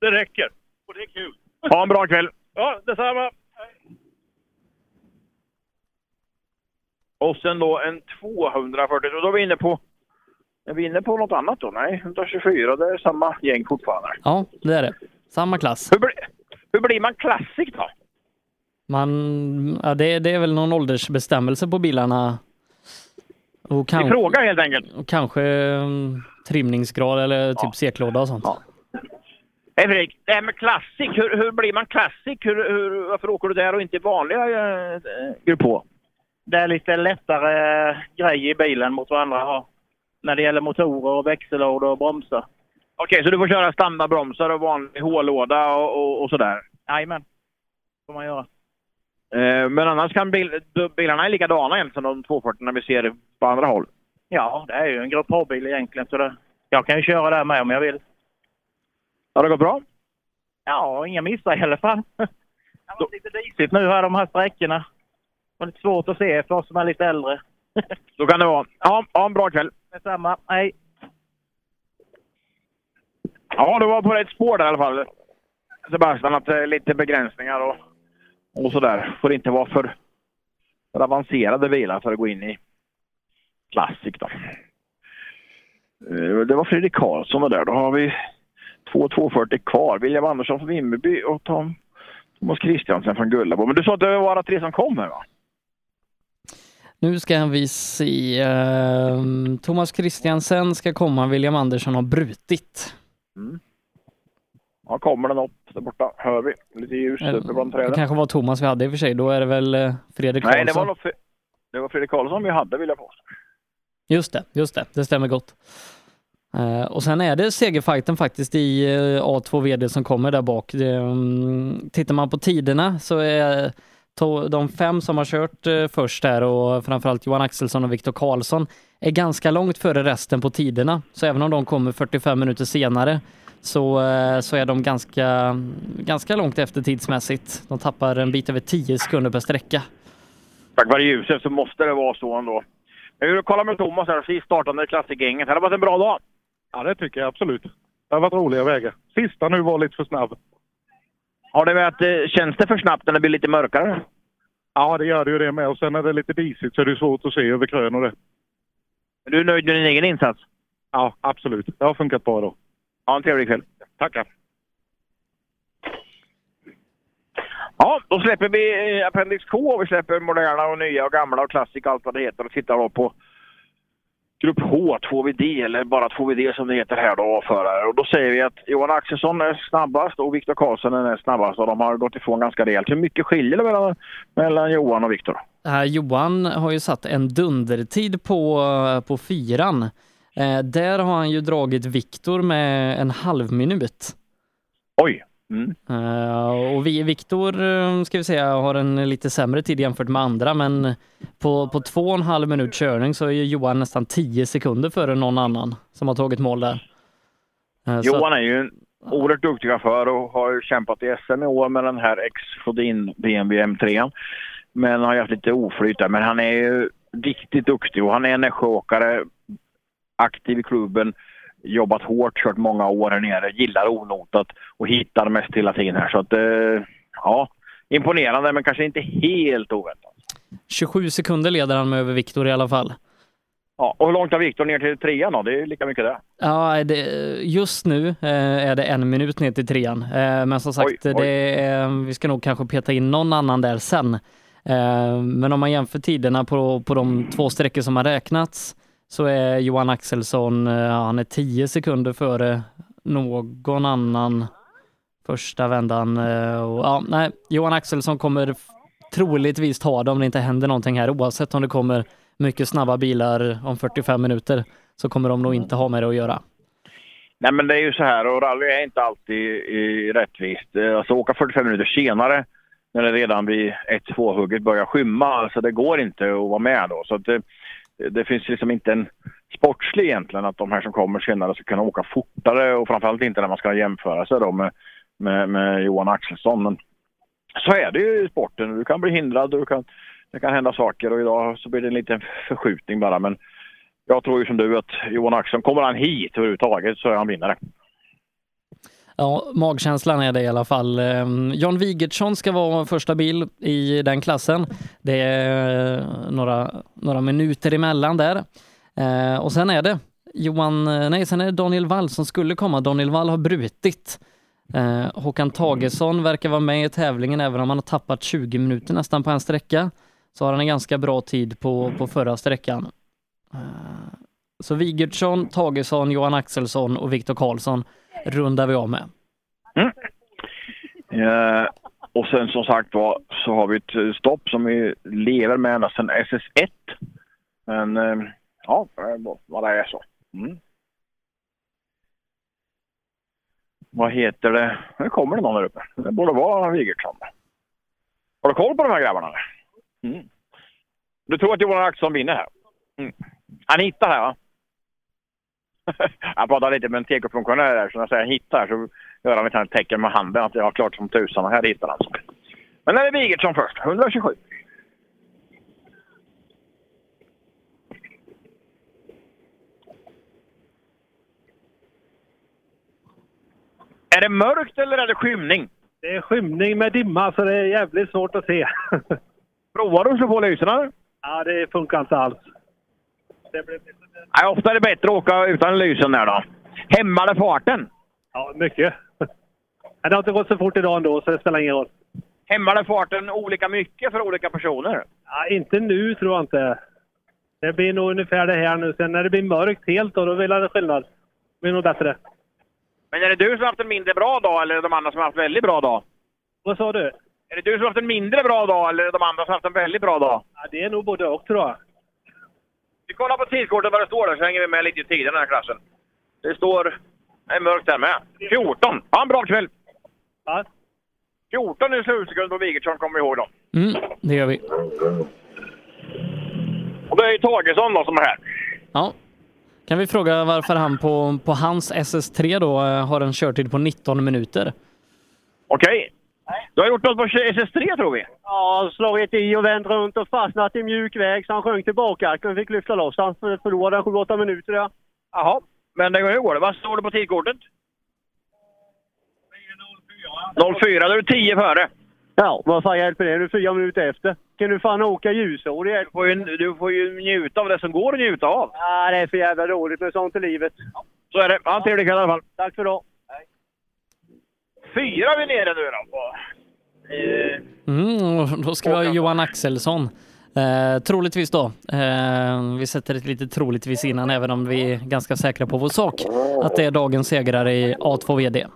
Det räcker. Och det är kul.
Ha en bra kväll!
Ja, detsamma.
Och sen då en 240. Och då är vi inne på... Är vi inne på något annat då? Nej, 124. Det är samma gäng fortfarande.
Ja, det är det. Samma klass.
Hur blir man klassik då?
Man, ja, det, det är väl någon åldersbestämmelse på bilarna. Och
Vi
kan,
frågar helt enkelt.
och kanske mm, trimningsgrad eller typ seklåda och sånt.
Hej Fredrik! Det här med klassik. Hur, hur blir man klassik? Hur, hur, varför åker du där och inte i vanliga eh, eh, grupp på.
Det är lite lättare eh, grej i bilen mot vad andra har. När det gäller motorer, och växellådor och bromsar.
Okej, så du får köra standardbromsar och vanlig H-låda och, och, och sådär?
Jajamän, får man göra.
Eh, men annars kan bil, du- bilarna är likadana egentligen, de 240 vi ser på andra håll.
Ja, det är ju en grupp A-bil egentligen. Så det, jag kan ju köra där med om jag vill.
Har det gått bra?
Ja, inga missar i alla fall. *laughs* Det har varit lite disigt nu här de här sträckorna. Det var lite svårt att se för oss som är lite äldre. *laughs*
Så kan det vara. Ja, ha en bra kväll!
Detsamma, hej!
Ja, du var på rätt spår där i alla fall. Sebastian, att det är lite begränsningar och, och sådär. Får inte vara för, för avancerade bilar för att gå in i Classic då. Eh, Det var Fredrik Karlsson var där. Då har vi 2.240 kvar. William Andersson från Vimmerby och Tom, Thomas Kristiansen från Gullabo. Men du sa att det var bara tre som kom här va?
Nu ska vi se. ehm, Thomas Christiansen ska komma. William Andersson har brutit.
Mm. Ja, kommer den upp där borta. Hör vi. Lite ljus uppe bland träden.
Det kanske var Thomas vi hade i och för sig. Då är det väl eh, Fredrik Karlsson.
Nej, det var, nog Fre- det var Fredrik Karlsson vi hade vill jag påstå.
Just det, just det. Det stämmer gott. Eh, och sen är det segerfighten faktiskt i eh, A2 VD som kommer där bak. Det, mm, tittar man på tiderna så är to- de fem som har kört eh, först där och framförallt Johan Axelsson och Viktor Karlsson är ganska långt före resten på tiderna. Så även om de kommer 45 minuter senare så, eh, så är de ganska, ganska långt efter tidsmässigt. De tappar en bit över 10 sekunder per sträcka.
Tack vare ljuset så måste det vara så ändå. Jag vill kolla med Thomas här, precis startande i klassikgänget. Det har varit en bra dag.
Ja, det tycker jag absolut. Det har varit roliga vägar. Sista nu var lite för snabb.
Har det varit, eh, känns det för snabbt när det blir lite mörkare?
Ja, det gör det ju det med. Och sen är det lite disigt så är det är svårt att se över krön och det.
Är du nöjd med din egen insats?
Ja, absolut. Det har funkat bra då.
Ha en trevlig kväll. Tackar. Ja, då släpper vi eh, Appendix K. Vi släpper moderna och nya och gamla och klassik och allt vad det heter och tittar då på Grupp H, 2VD, eller bara 2VD som det heter här då, förare. Och då säger vi att Johan Axelsson är snabbast och Viktor Karlsson är näst snabbast och de har gått ifrån ganska rejält. Hur mycket skiljer det mellan, mellan Johan och Viktor?
Det här Johan har ju satt en dundertid på, på fyran. Eh, där har han ju dragit Viktor med en halv minut.
Oj!
Eh, och vi, Viktor, eh, ska vi säga, har en lite sämre tid jämfört med andra, men på, på två och en halv minut körning så är ju Johan nästan tio sekunder före någon annan som har tagit mål där. Eh, så
Johan är ju en oerhört duktig chaufför och har ju kämpat i SM i år med den här Exodin BMW M3. Men har ju haft lite oflyt där. Men han är ju riktigt duktig och han är en Nässjöåkare, aktiv i klubben, jobbat hårt, kört många år här nere, gillar onotat och hittar mest hela tiden här. Så att, eh, ja, imponerande men kanske inte helt oväntat.
27 sekunder leder han med över Viktor i alla fall.
Ja, och hur långt har Viktor ner till trean då? Det är ju lika mycket där.
Ja, det, just nu eh, är det en minut ner till trean. Eh, Men som sagt, Det är, vi ska nog kanske peta in någon annan där sen. Eh, Men om man jämför tiderna på, på de två sträckor som har räknats så är Johan Axelsson, eh, han är 10 sekunder före någon annan första vändan. eh, Och, ja, nej, Johan Axelsson kommer f- troligtvis ta det om det inte händer någonting här. Oavsett om det kommer mycket snabba bilar om 45 minuter så kommer de nog inte ha med det att göra.
Nej, men det är ju så här och rally är inte alltid eh, rättvist. Eh, Alltså åka 45 minuter senare när det redan vid 1-2-hugget börjar skymma, alltså det går inte att vara med då. Så att det, det finns liksom inte en sportslig egentligen att de här som kommer senare ska kunna åka fortare och framförallt inte när man ska jämföra sig då med, med, med Johan Axelsson. Men så är det ju i sporten. Du kan bli hindrad, du kan, det kan hända saker och idag så blir det en liten förskjutning bara. Men jag tror ju som du att Johan Axelsson, kommer han hit överhuvudtaget så är han vinnare.
Ja, magkänslan är det i alla fall. Ehm, Jan Wigertsson ska vara första bil i den klassen. Det är eh, några, några minuter emellan där. Eh, Och sen är det Johan, eh, nej, sen är det Daniel Wall som skulle komma. Daniel Wall har brutit. Eh, Håkan Tagesson verkar vara med i tävlingen även om han har tappat 20 minuter nästan på en sträcka. Så har han en ganska bra tid på, på förra sträckan. Så Wigertsson, Tagesson, Johan Axelsson och Viktor Karlsson rundar vi av med.
Eh, och sen som sagt var så har vi ett eh, stopp som vi lever med ända sedan SS1. Men eh, ja, eh, vad- vad det är så. Mm. Vad heter det? Nu kommer det någon där uppe. Det borde vara Wigertsson. Har du koll på de här grabbarna? eller? Mm. Du tror att Johan Axelsson vinner här? Mm. Han hittar här va? *laughs* Han pratar lite med en tekofunktionär där, så när jag säger hittar så gör han ett litet tecken med handen att jag har klart som tusan och här hittar han. Men där är Wigertsson först, 127. Är det mörkt eller är det skymning?
Det är skymning med dimma så det är jävligt svårt
*laughs*
att se.
Provar du att slå på lyserna?
Ja, det funkar inte alls.
det blev lite...
Nej, ofta är det bättre att åka utan lysen där då. Hämmade farten?
Ja, mycket. Men det har inte gått så fort idag ändå, så det spelar ingen roll.
Hämmade farten olika mycket för olika personer?
Ja, inte nu tror jag inte. Det blir nog ungefär det här nu. Sen när det blir mörkt helt, då, då blir det skillnad. Det blir nog bättre.
Men är det du som har haft en mindre bra dag eller är det de andra som har haft en väldigt bra dag?
Vad sa du?
Är det du som har haft en mindre bra dag eller är det de andra som har haft en väldigt bra dag?
Ja, det är nog både och tror jag.
Vi kollar på tidskortet vad det står där så hänger vi med lite i tiden i den här klassen. Det står... Det är mörkt där med. 14! Ha en bra kväll!
Ja.
14 i slutsekund på Wigertsson kommer vi ihåg då.
Mm, det gör vi.
Och det är ju Tagesson då som är här.
Ja. Kan vi fråga varför han på, på hans SS3 då eh, har en körtid på 19 minuter?
Okej. Du har gjort något på SS3 tror vi.
Ja, slagit i och vänt runt och fastnat i mjuk väg så han sjönk till bakarken och fick lyfta loss han för- förlorade 7-8 minuter. Ja.
Jaha, men det går ju går det. Vad står det på tidkortet? 04, då är du 10 före.
ja, vad fan hjälper det? Du är fyra minuter efter. Kan du fan åka ljusår? Du
får, ju, du får ju njuta av det som går att njuta av.
Ja, det är för jävla roligt med sånt i livet.
Så är det. Ha en trevlig kväll i alla fall.
Tack för idag.
Fyra är vi nere nu då. på. Eh,
Mm, och då ska vi ha Johan Axelsson. Eh, troligtvis då. Eh, vi sätter ett litet troligtvis innan, även om vi är ganska säkra på vår sak. Att det är dagens segrare i A2 VD.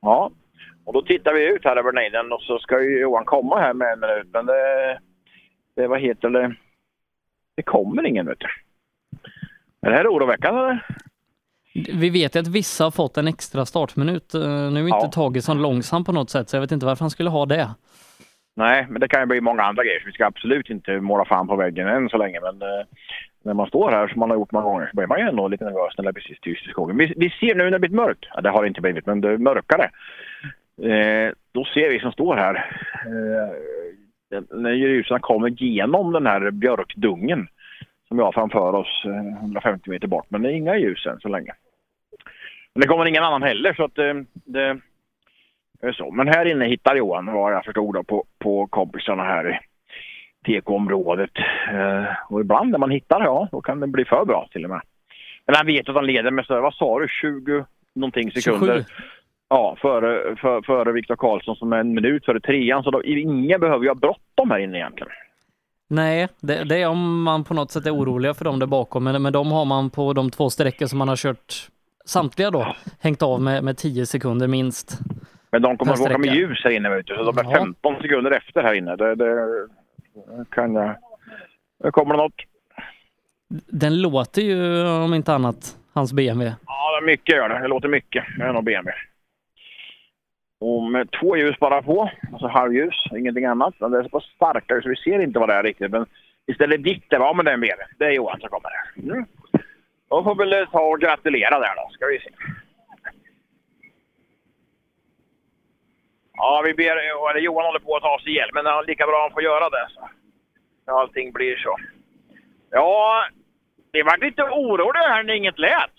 Ja, och då tittar vi ut här över nejden och så ska ju Johan komma här med en minut. Men det, det vad heter det, det kommer ingen vet du. Är det här oroväckande eller?
Vi vet ju att vissa har fått en extra startminut. Eh, nu är inte Tage som långsam på något sätt, så jag vet inte varför han skulle ha det.
Nej, men det kan ju bli många andra grejer så vi ska absolut inte måla fan på väggen än så länge. Men eh, när man står här som man har gjort många gånger så blir man ju ändå lite nervös när det är precis tyst i skogen. Vi, vi ser nu när det blivit mörkt, ja, det har det inte blivit, men det är mörkare. Eh, då ser vi som står här, eh, när ljusarna kommer genom den här björkdungen som vi har framför oss eh, 150 meter bort. Men det är inga ljus än så länge. Men det kommer ingen annan heller så att eh, det det är Eh, så. Men här inne hittar Johan vad jag förstod då, på, på kompisarna här i TK-området. Eh, och ibland när man hittar, ja, då kan det bli för bra till och med. Men han vet att han leder med, så, vad sa du, 20 någonting sekunder?
27.
Ja, före, för, före Viktor Karlsson som är en minut före trean. Så då, ingen behöver ju ha bråttom här inne egentligen.
Nej, det, det är om man på något sätt är oroliga för dem där bakom, men, men de har man på de två sträckor som man har kört samtliga då, hängt av med, med 10 sekunder minst.
Men de kommer
Per
att åka med
sträcka.
ljus här inne, vet du, så de är
Ja.
15 sekunder efter här inne. Det, det kan jag... Nu kommer det något.
Den låter ju om inte annat, hans BMW.
Ja, det är mycket gör det. Det låter mycket. Det är nog BMW. Och med eh, två ljus bara på, alltså halvljus, ingenting annat. Men det är så pass starka ljus så vi ser inte vad det är riktigt. Men istället ditt det, ja men det är en BMW. Det är Johan som kommer. Mm. Då får vi väl ta och gratulera där då, ska vi se. Ja, vi ber, eller Johan håller på att ta sig ihjäl, men det är lika bra att han får göra det. Så. Ja, Allting blir så. Ja, det var lite orolig här när inget lät.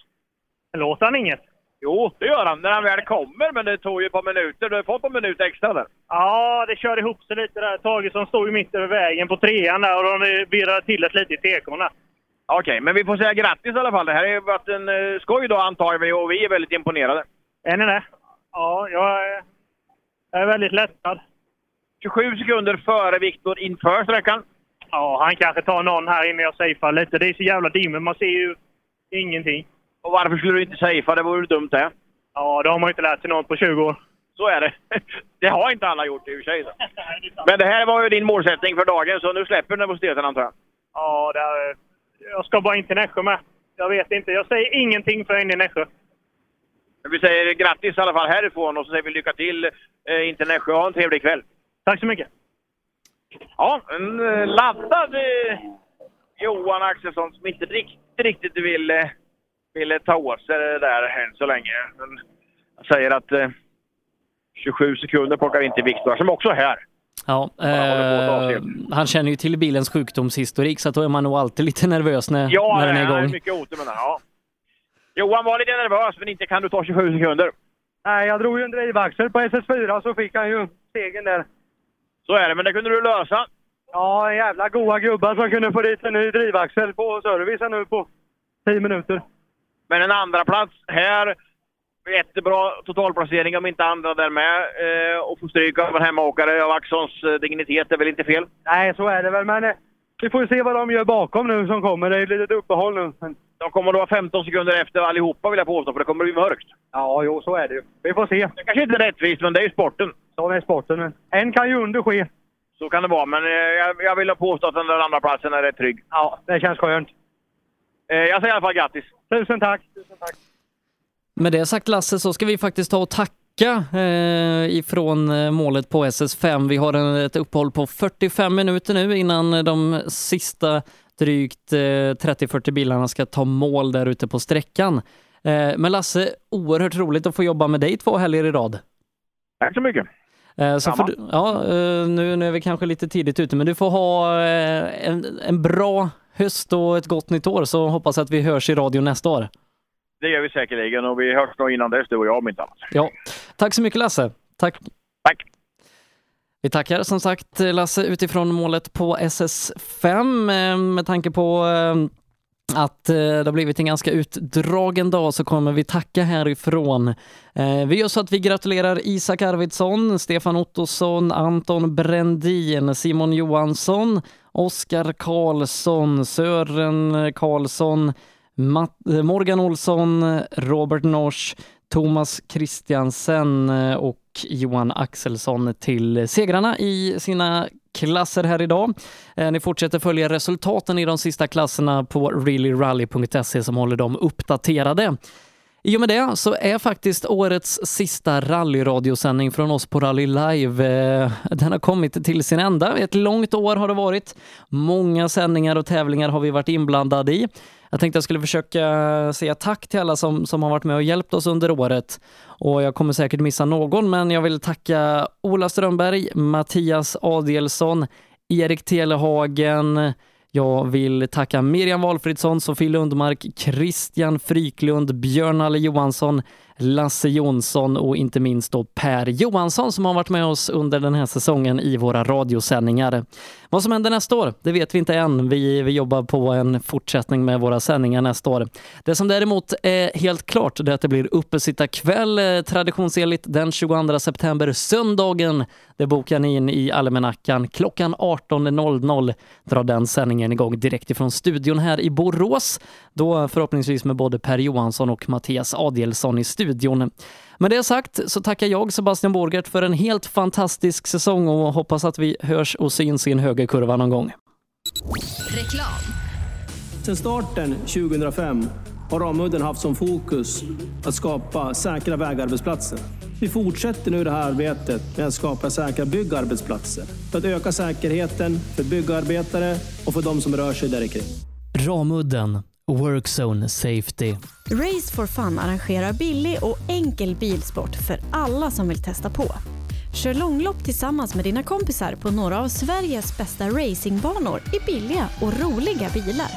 Låter han inget?
Jo, det gör han när han väl kommer, men det tog ju ett par minuter. Du har fått en minut extra där.
Ja, det kör ihop sig lite där. Tage som står ju mitt över vägen på trean där och de virrar till ett lite i tekorna.
Okej, men vi får säga grattis i alla fall. Det här har ju varit en eh, skoj då antar vi och vi är väldigt imponerade.
Är ni det? Ja, jag är, jag är väldigt lättad.
27 sekunder före Viktor inför sträckan.
Ja, han kanske tar någon här inne jag safear lite. Det är så jävla dimmigt. Man ser ju ingenting.
Och varför skulle du inte safea? Det vore ju dumt det.
Ja, det har man ju inte lärt sig något på 20 år.
Så är det. Det har inte alla gjort i och för sig. Så. Men det här var ju din målsättning för dagen, så nu släpper du nervositeten antar jag.
Ja, det är, jag ska bara in till Nässjö med. Jag vet inte. Jag säger ingenting för in i Nässjö.
Men vi säger grattis i alla fall härifrån och så säger vi lycka till eh, in till Nässjö. Ha en trevlig kväll.
Tack så mycket.
Ja, en eh, laddad eh, Johan Axelsson som inte riktigt, riktigt ville, ville ta åt sig det där än så länge. Men jag säger att eh, 27 sekunder plockar inte Viktor, som också är här.
Ja, eh, han känner ju till bilens sjukdomshistorik så att då är man nog alltid lite nervös när,
Ja,
när den är
han är
igång.
mycket otur med den. Ja. Johan var lite nervös, men inte kan du ta 27 sekunder.
Nej, jag drog ju en drivaxel på SS4 så fick han ju segern där.
Så är det, men det kunde du lösa.
Ja, jävla goa gubbar som kunde få dit en ny drivaxel på servicen nu på 10 minuter.
Men en andra plats här. Jättebra totalplacering om inte andra där med. Eh, och få stryk av en hemmaåkare av Axons eh, dignitet är väl inte fel?
Nej, så är det väl, men eh, vi får ju se vad de gör bakom nu som kommer. Det är ju lite uppehåll nu. Men...
De kommer att vara 15 sekunder efter allihopa vill jag påstå, för det kommer att bli mörkt.
Ja, jo, så är det ju. Vi får se.
Det kanske inte är rättvist, men det är ju sporten.
Så är sporten, men en kan ju under ske.
Så kan det vara, men eh, jag, jag vill påstå att den där andra platsen är rätt trygg.
Ja, det känns skönt.
Eh, jag säger i alla fall grattis!
Tusen tack!
Med det sagt Lasse så ska vi faktiskt ta och tacka eh, ifrån eh, målet på SS5. Vi har en, ett uppehåll på 45 minuter nu innan de sista drygt eh, 30-40 bilarna ska ta mål där ute på sträckan. Eh, men Lasse, oerhört roligt att få jobba med dig två helger i rad.
Tack så mycket!
Eh, Så får du, ja, eh, nu, nu är vi kanske lite tidigt ute, men du får ha eh, en, en bra höst och ett gott nytt år så hoppas att vi hörs i radio nästa år.
Det gör vi säkerligen och vi hörs nog innan dess du och jag om inte annat.
Ja. Tack så mycket Lasse. Tack.
Tack.
Vi tackar som sagt Lasse utifrån målet på SS5 eh, med tanke på eh, att eh, det har blivit en ganska utdragen dag så kommer vi tacka härifrån. Eh, Vi gör så att vi gratulerar Isak Arvidsson, Stefan Ottosson, Anton Brändin, Simon Johansson, Oskar Karlsson, Sören Karlsson, Matt- eh, Morgan Olsson, Robert Nors, Thomas Christiansen eh, och Johan Axelsson till segrarna i sina klasser här idag. Eh, Ni fortsätter följa resultaten i de sista klasserna på reallyrally.se som håller dem uppdaterade. I och med det så är faktiskt årets sista rallyradiosändning från oss på Rally Live, eh, den har kommit till sin ända. Ett långt år har det varit. Många sändningar och tävlingar har vi varit inblandade i. Jag tänkte jag skulle försöka säga tack till alla som, som har varit med och hjälpt oss under året. Och jag kommer säkert missa någon, men jag vill tacka Ola Strömberg, Mattias Adelsson, Erik Telehagen, jag vill tacka Miriam Walfridsson, Sofie Lundmark, Christian Fryklund, Björn Alle Johansson, Lasse Jonsson och inte minst då Per Johansson som har varit med oss under den här säsongen i våra radiosändningar. Vad som händer nästa år, det vet vi inte än. Vi, vi jobbar på en fortsättning med våra sändningar nästa år. Det som däremot är helt klart det är att det blir uppesittarkväll eh, traditionsenligt den 22 september, söndagen. Det bokar ni in i almanackan klockan 18.00 drar den sändningen igång direkt ifrån studion här i Borås. Då förhoppningsvis med både Per Johansson och Mattias Adelsson i studion. Med det sagt så tackar jag Sebastian Borgert för en helt fantastisk säsong och hoppas att vi hörs och syns i en högerkurva någon gång.
Reklam.
Sedan starten 2005 har Ramudden haft som fokus att skapa säkra vägarbetsplatser. Vi fortsätter nu det här arbetet med att skapa säkra byggarbetsplatser för att öka säkerheten för byggarbetare och för de som rör sig där i kring.
Ramudden, Workzone Safety.
Race for Fun arrangerar billig och enkel bilsport för alla som vill testa på. Kör långlopp tillsammans med dina kompisar på några av Sveriges bästa racingbanor i billiga och roliga bilar.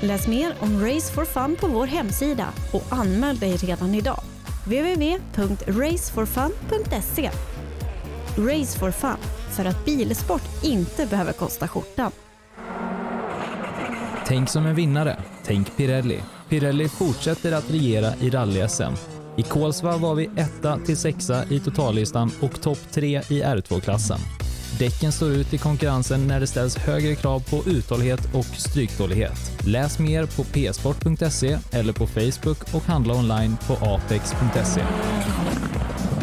Läs mer om Race for Fun på vår hemsida och anmäl dig redan idag. www.raceforfun.se Race for Fun, för att bilsport inte behöver kosta skjortan.
Tänk som en vinnare. Tänk Pirelli. Pirelli fortsätter att regera i rally-SM. I Kolsva var vi etta till sexa i totallistan och topp tre i R2-klassen. Däcken står ut i konkurrensen när det ställs högre krav på uthållighet och stryktålighet. Läs mer på psport.se eller på Facebook och handla online på apex.se.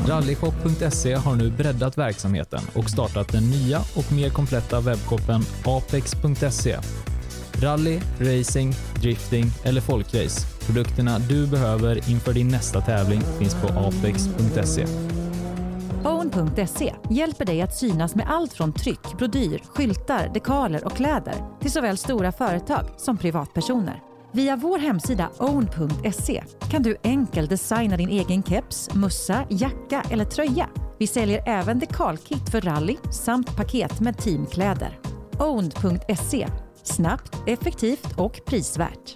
Rallyshop.se E har nu breddat verksamheten och startat den nya och mer kompletta webbshoppen apex.se. E. Rally, racing, drifting eller folkrace. Produkterna du behöver inför din nästa tävling finns på apex.se.
Own.se hjälper dig att synas med allt från tryck, brodyr, skyltar, dekaler och kläder till såväl stora företag som privatpersoner. Via vår hemsida own.se kan du enkelt designa din egen keps, mussa, jacka eller tröja. Vi säljer även dekalkit för rally samt paket med teamkläder. Own.se Snabbt, effektivt och prisvärt.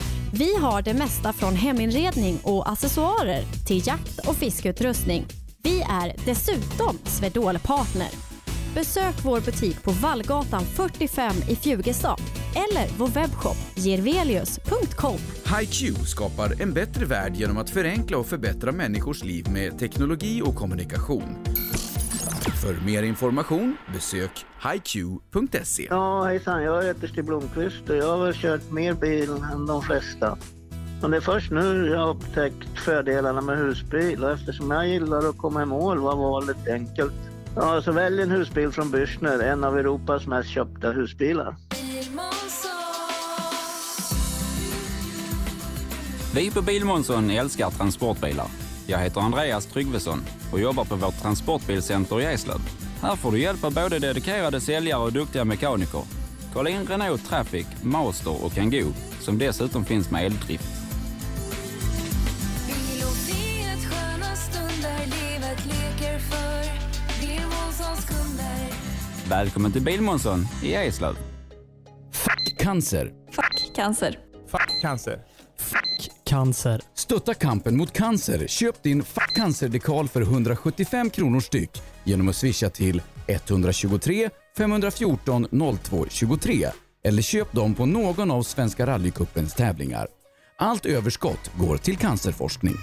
Vi har det mesta från heminredning och accessoarer till jakt och fiskeutrustning. Vi är dessutom Swedol partner. Besök vår butik på Vallgatan 45 i Fjugestad eller vår webbshop girvelius.com.
HiQ skapar en bättre värld genom att förenkla och förbättra människors liv med teknologi och kommunikation. För mer information besök hiq.se.
Ja, hejsan. Jag heter Stig Blomqvist och jag har väl kört mer bil än de flesta. Men det är först nu jag har upptäckt fördelarna med husbil och eftersom jag gillar att komma i mål var valet enkelt. Ja, så välj en husbil från Bürstner, en av Europas mest köpta husbilar.
Mm.
Vi på Bilmånsson älskar transportbilar. Jag heter Andreas Tryggvesson och jobbar på vårt transportbilcenter i Eslöv. Här får du hjälp av både dedikerade säljare och duktiga mekaniker. Kolla in Renault Traffic, Master och Kangoo som dessutom finns med eldrift. Välkommen till Bilmånsson i Eslöv.
Fuck cancer.
Fuck cancer.
Fuck cancer.
Cancer.
Stötta kampen mot cancer. Köp din Fuck cancer-dekal för 175 kronor styck genom att swisha till 123 514 02 23 eller köp dem på någon av Svenska rallycupens tävlingar. Allt överskott går till cancerforskning.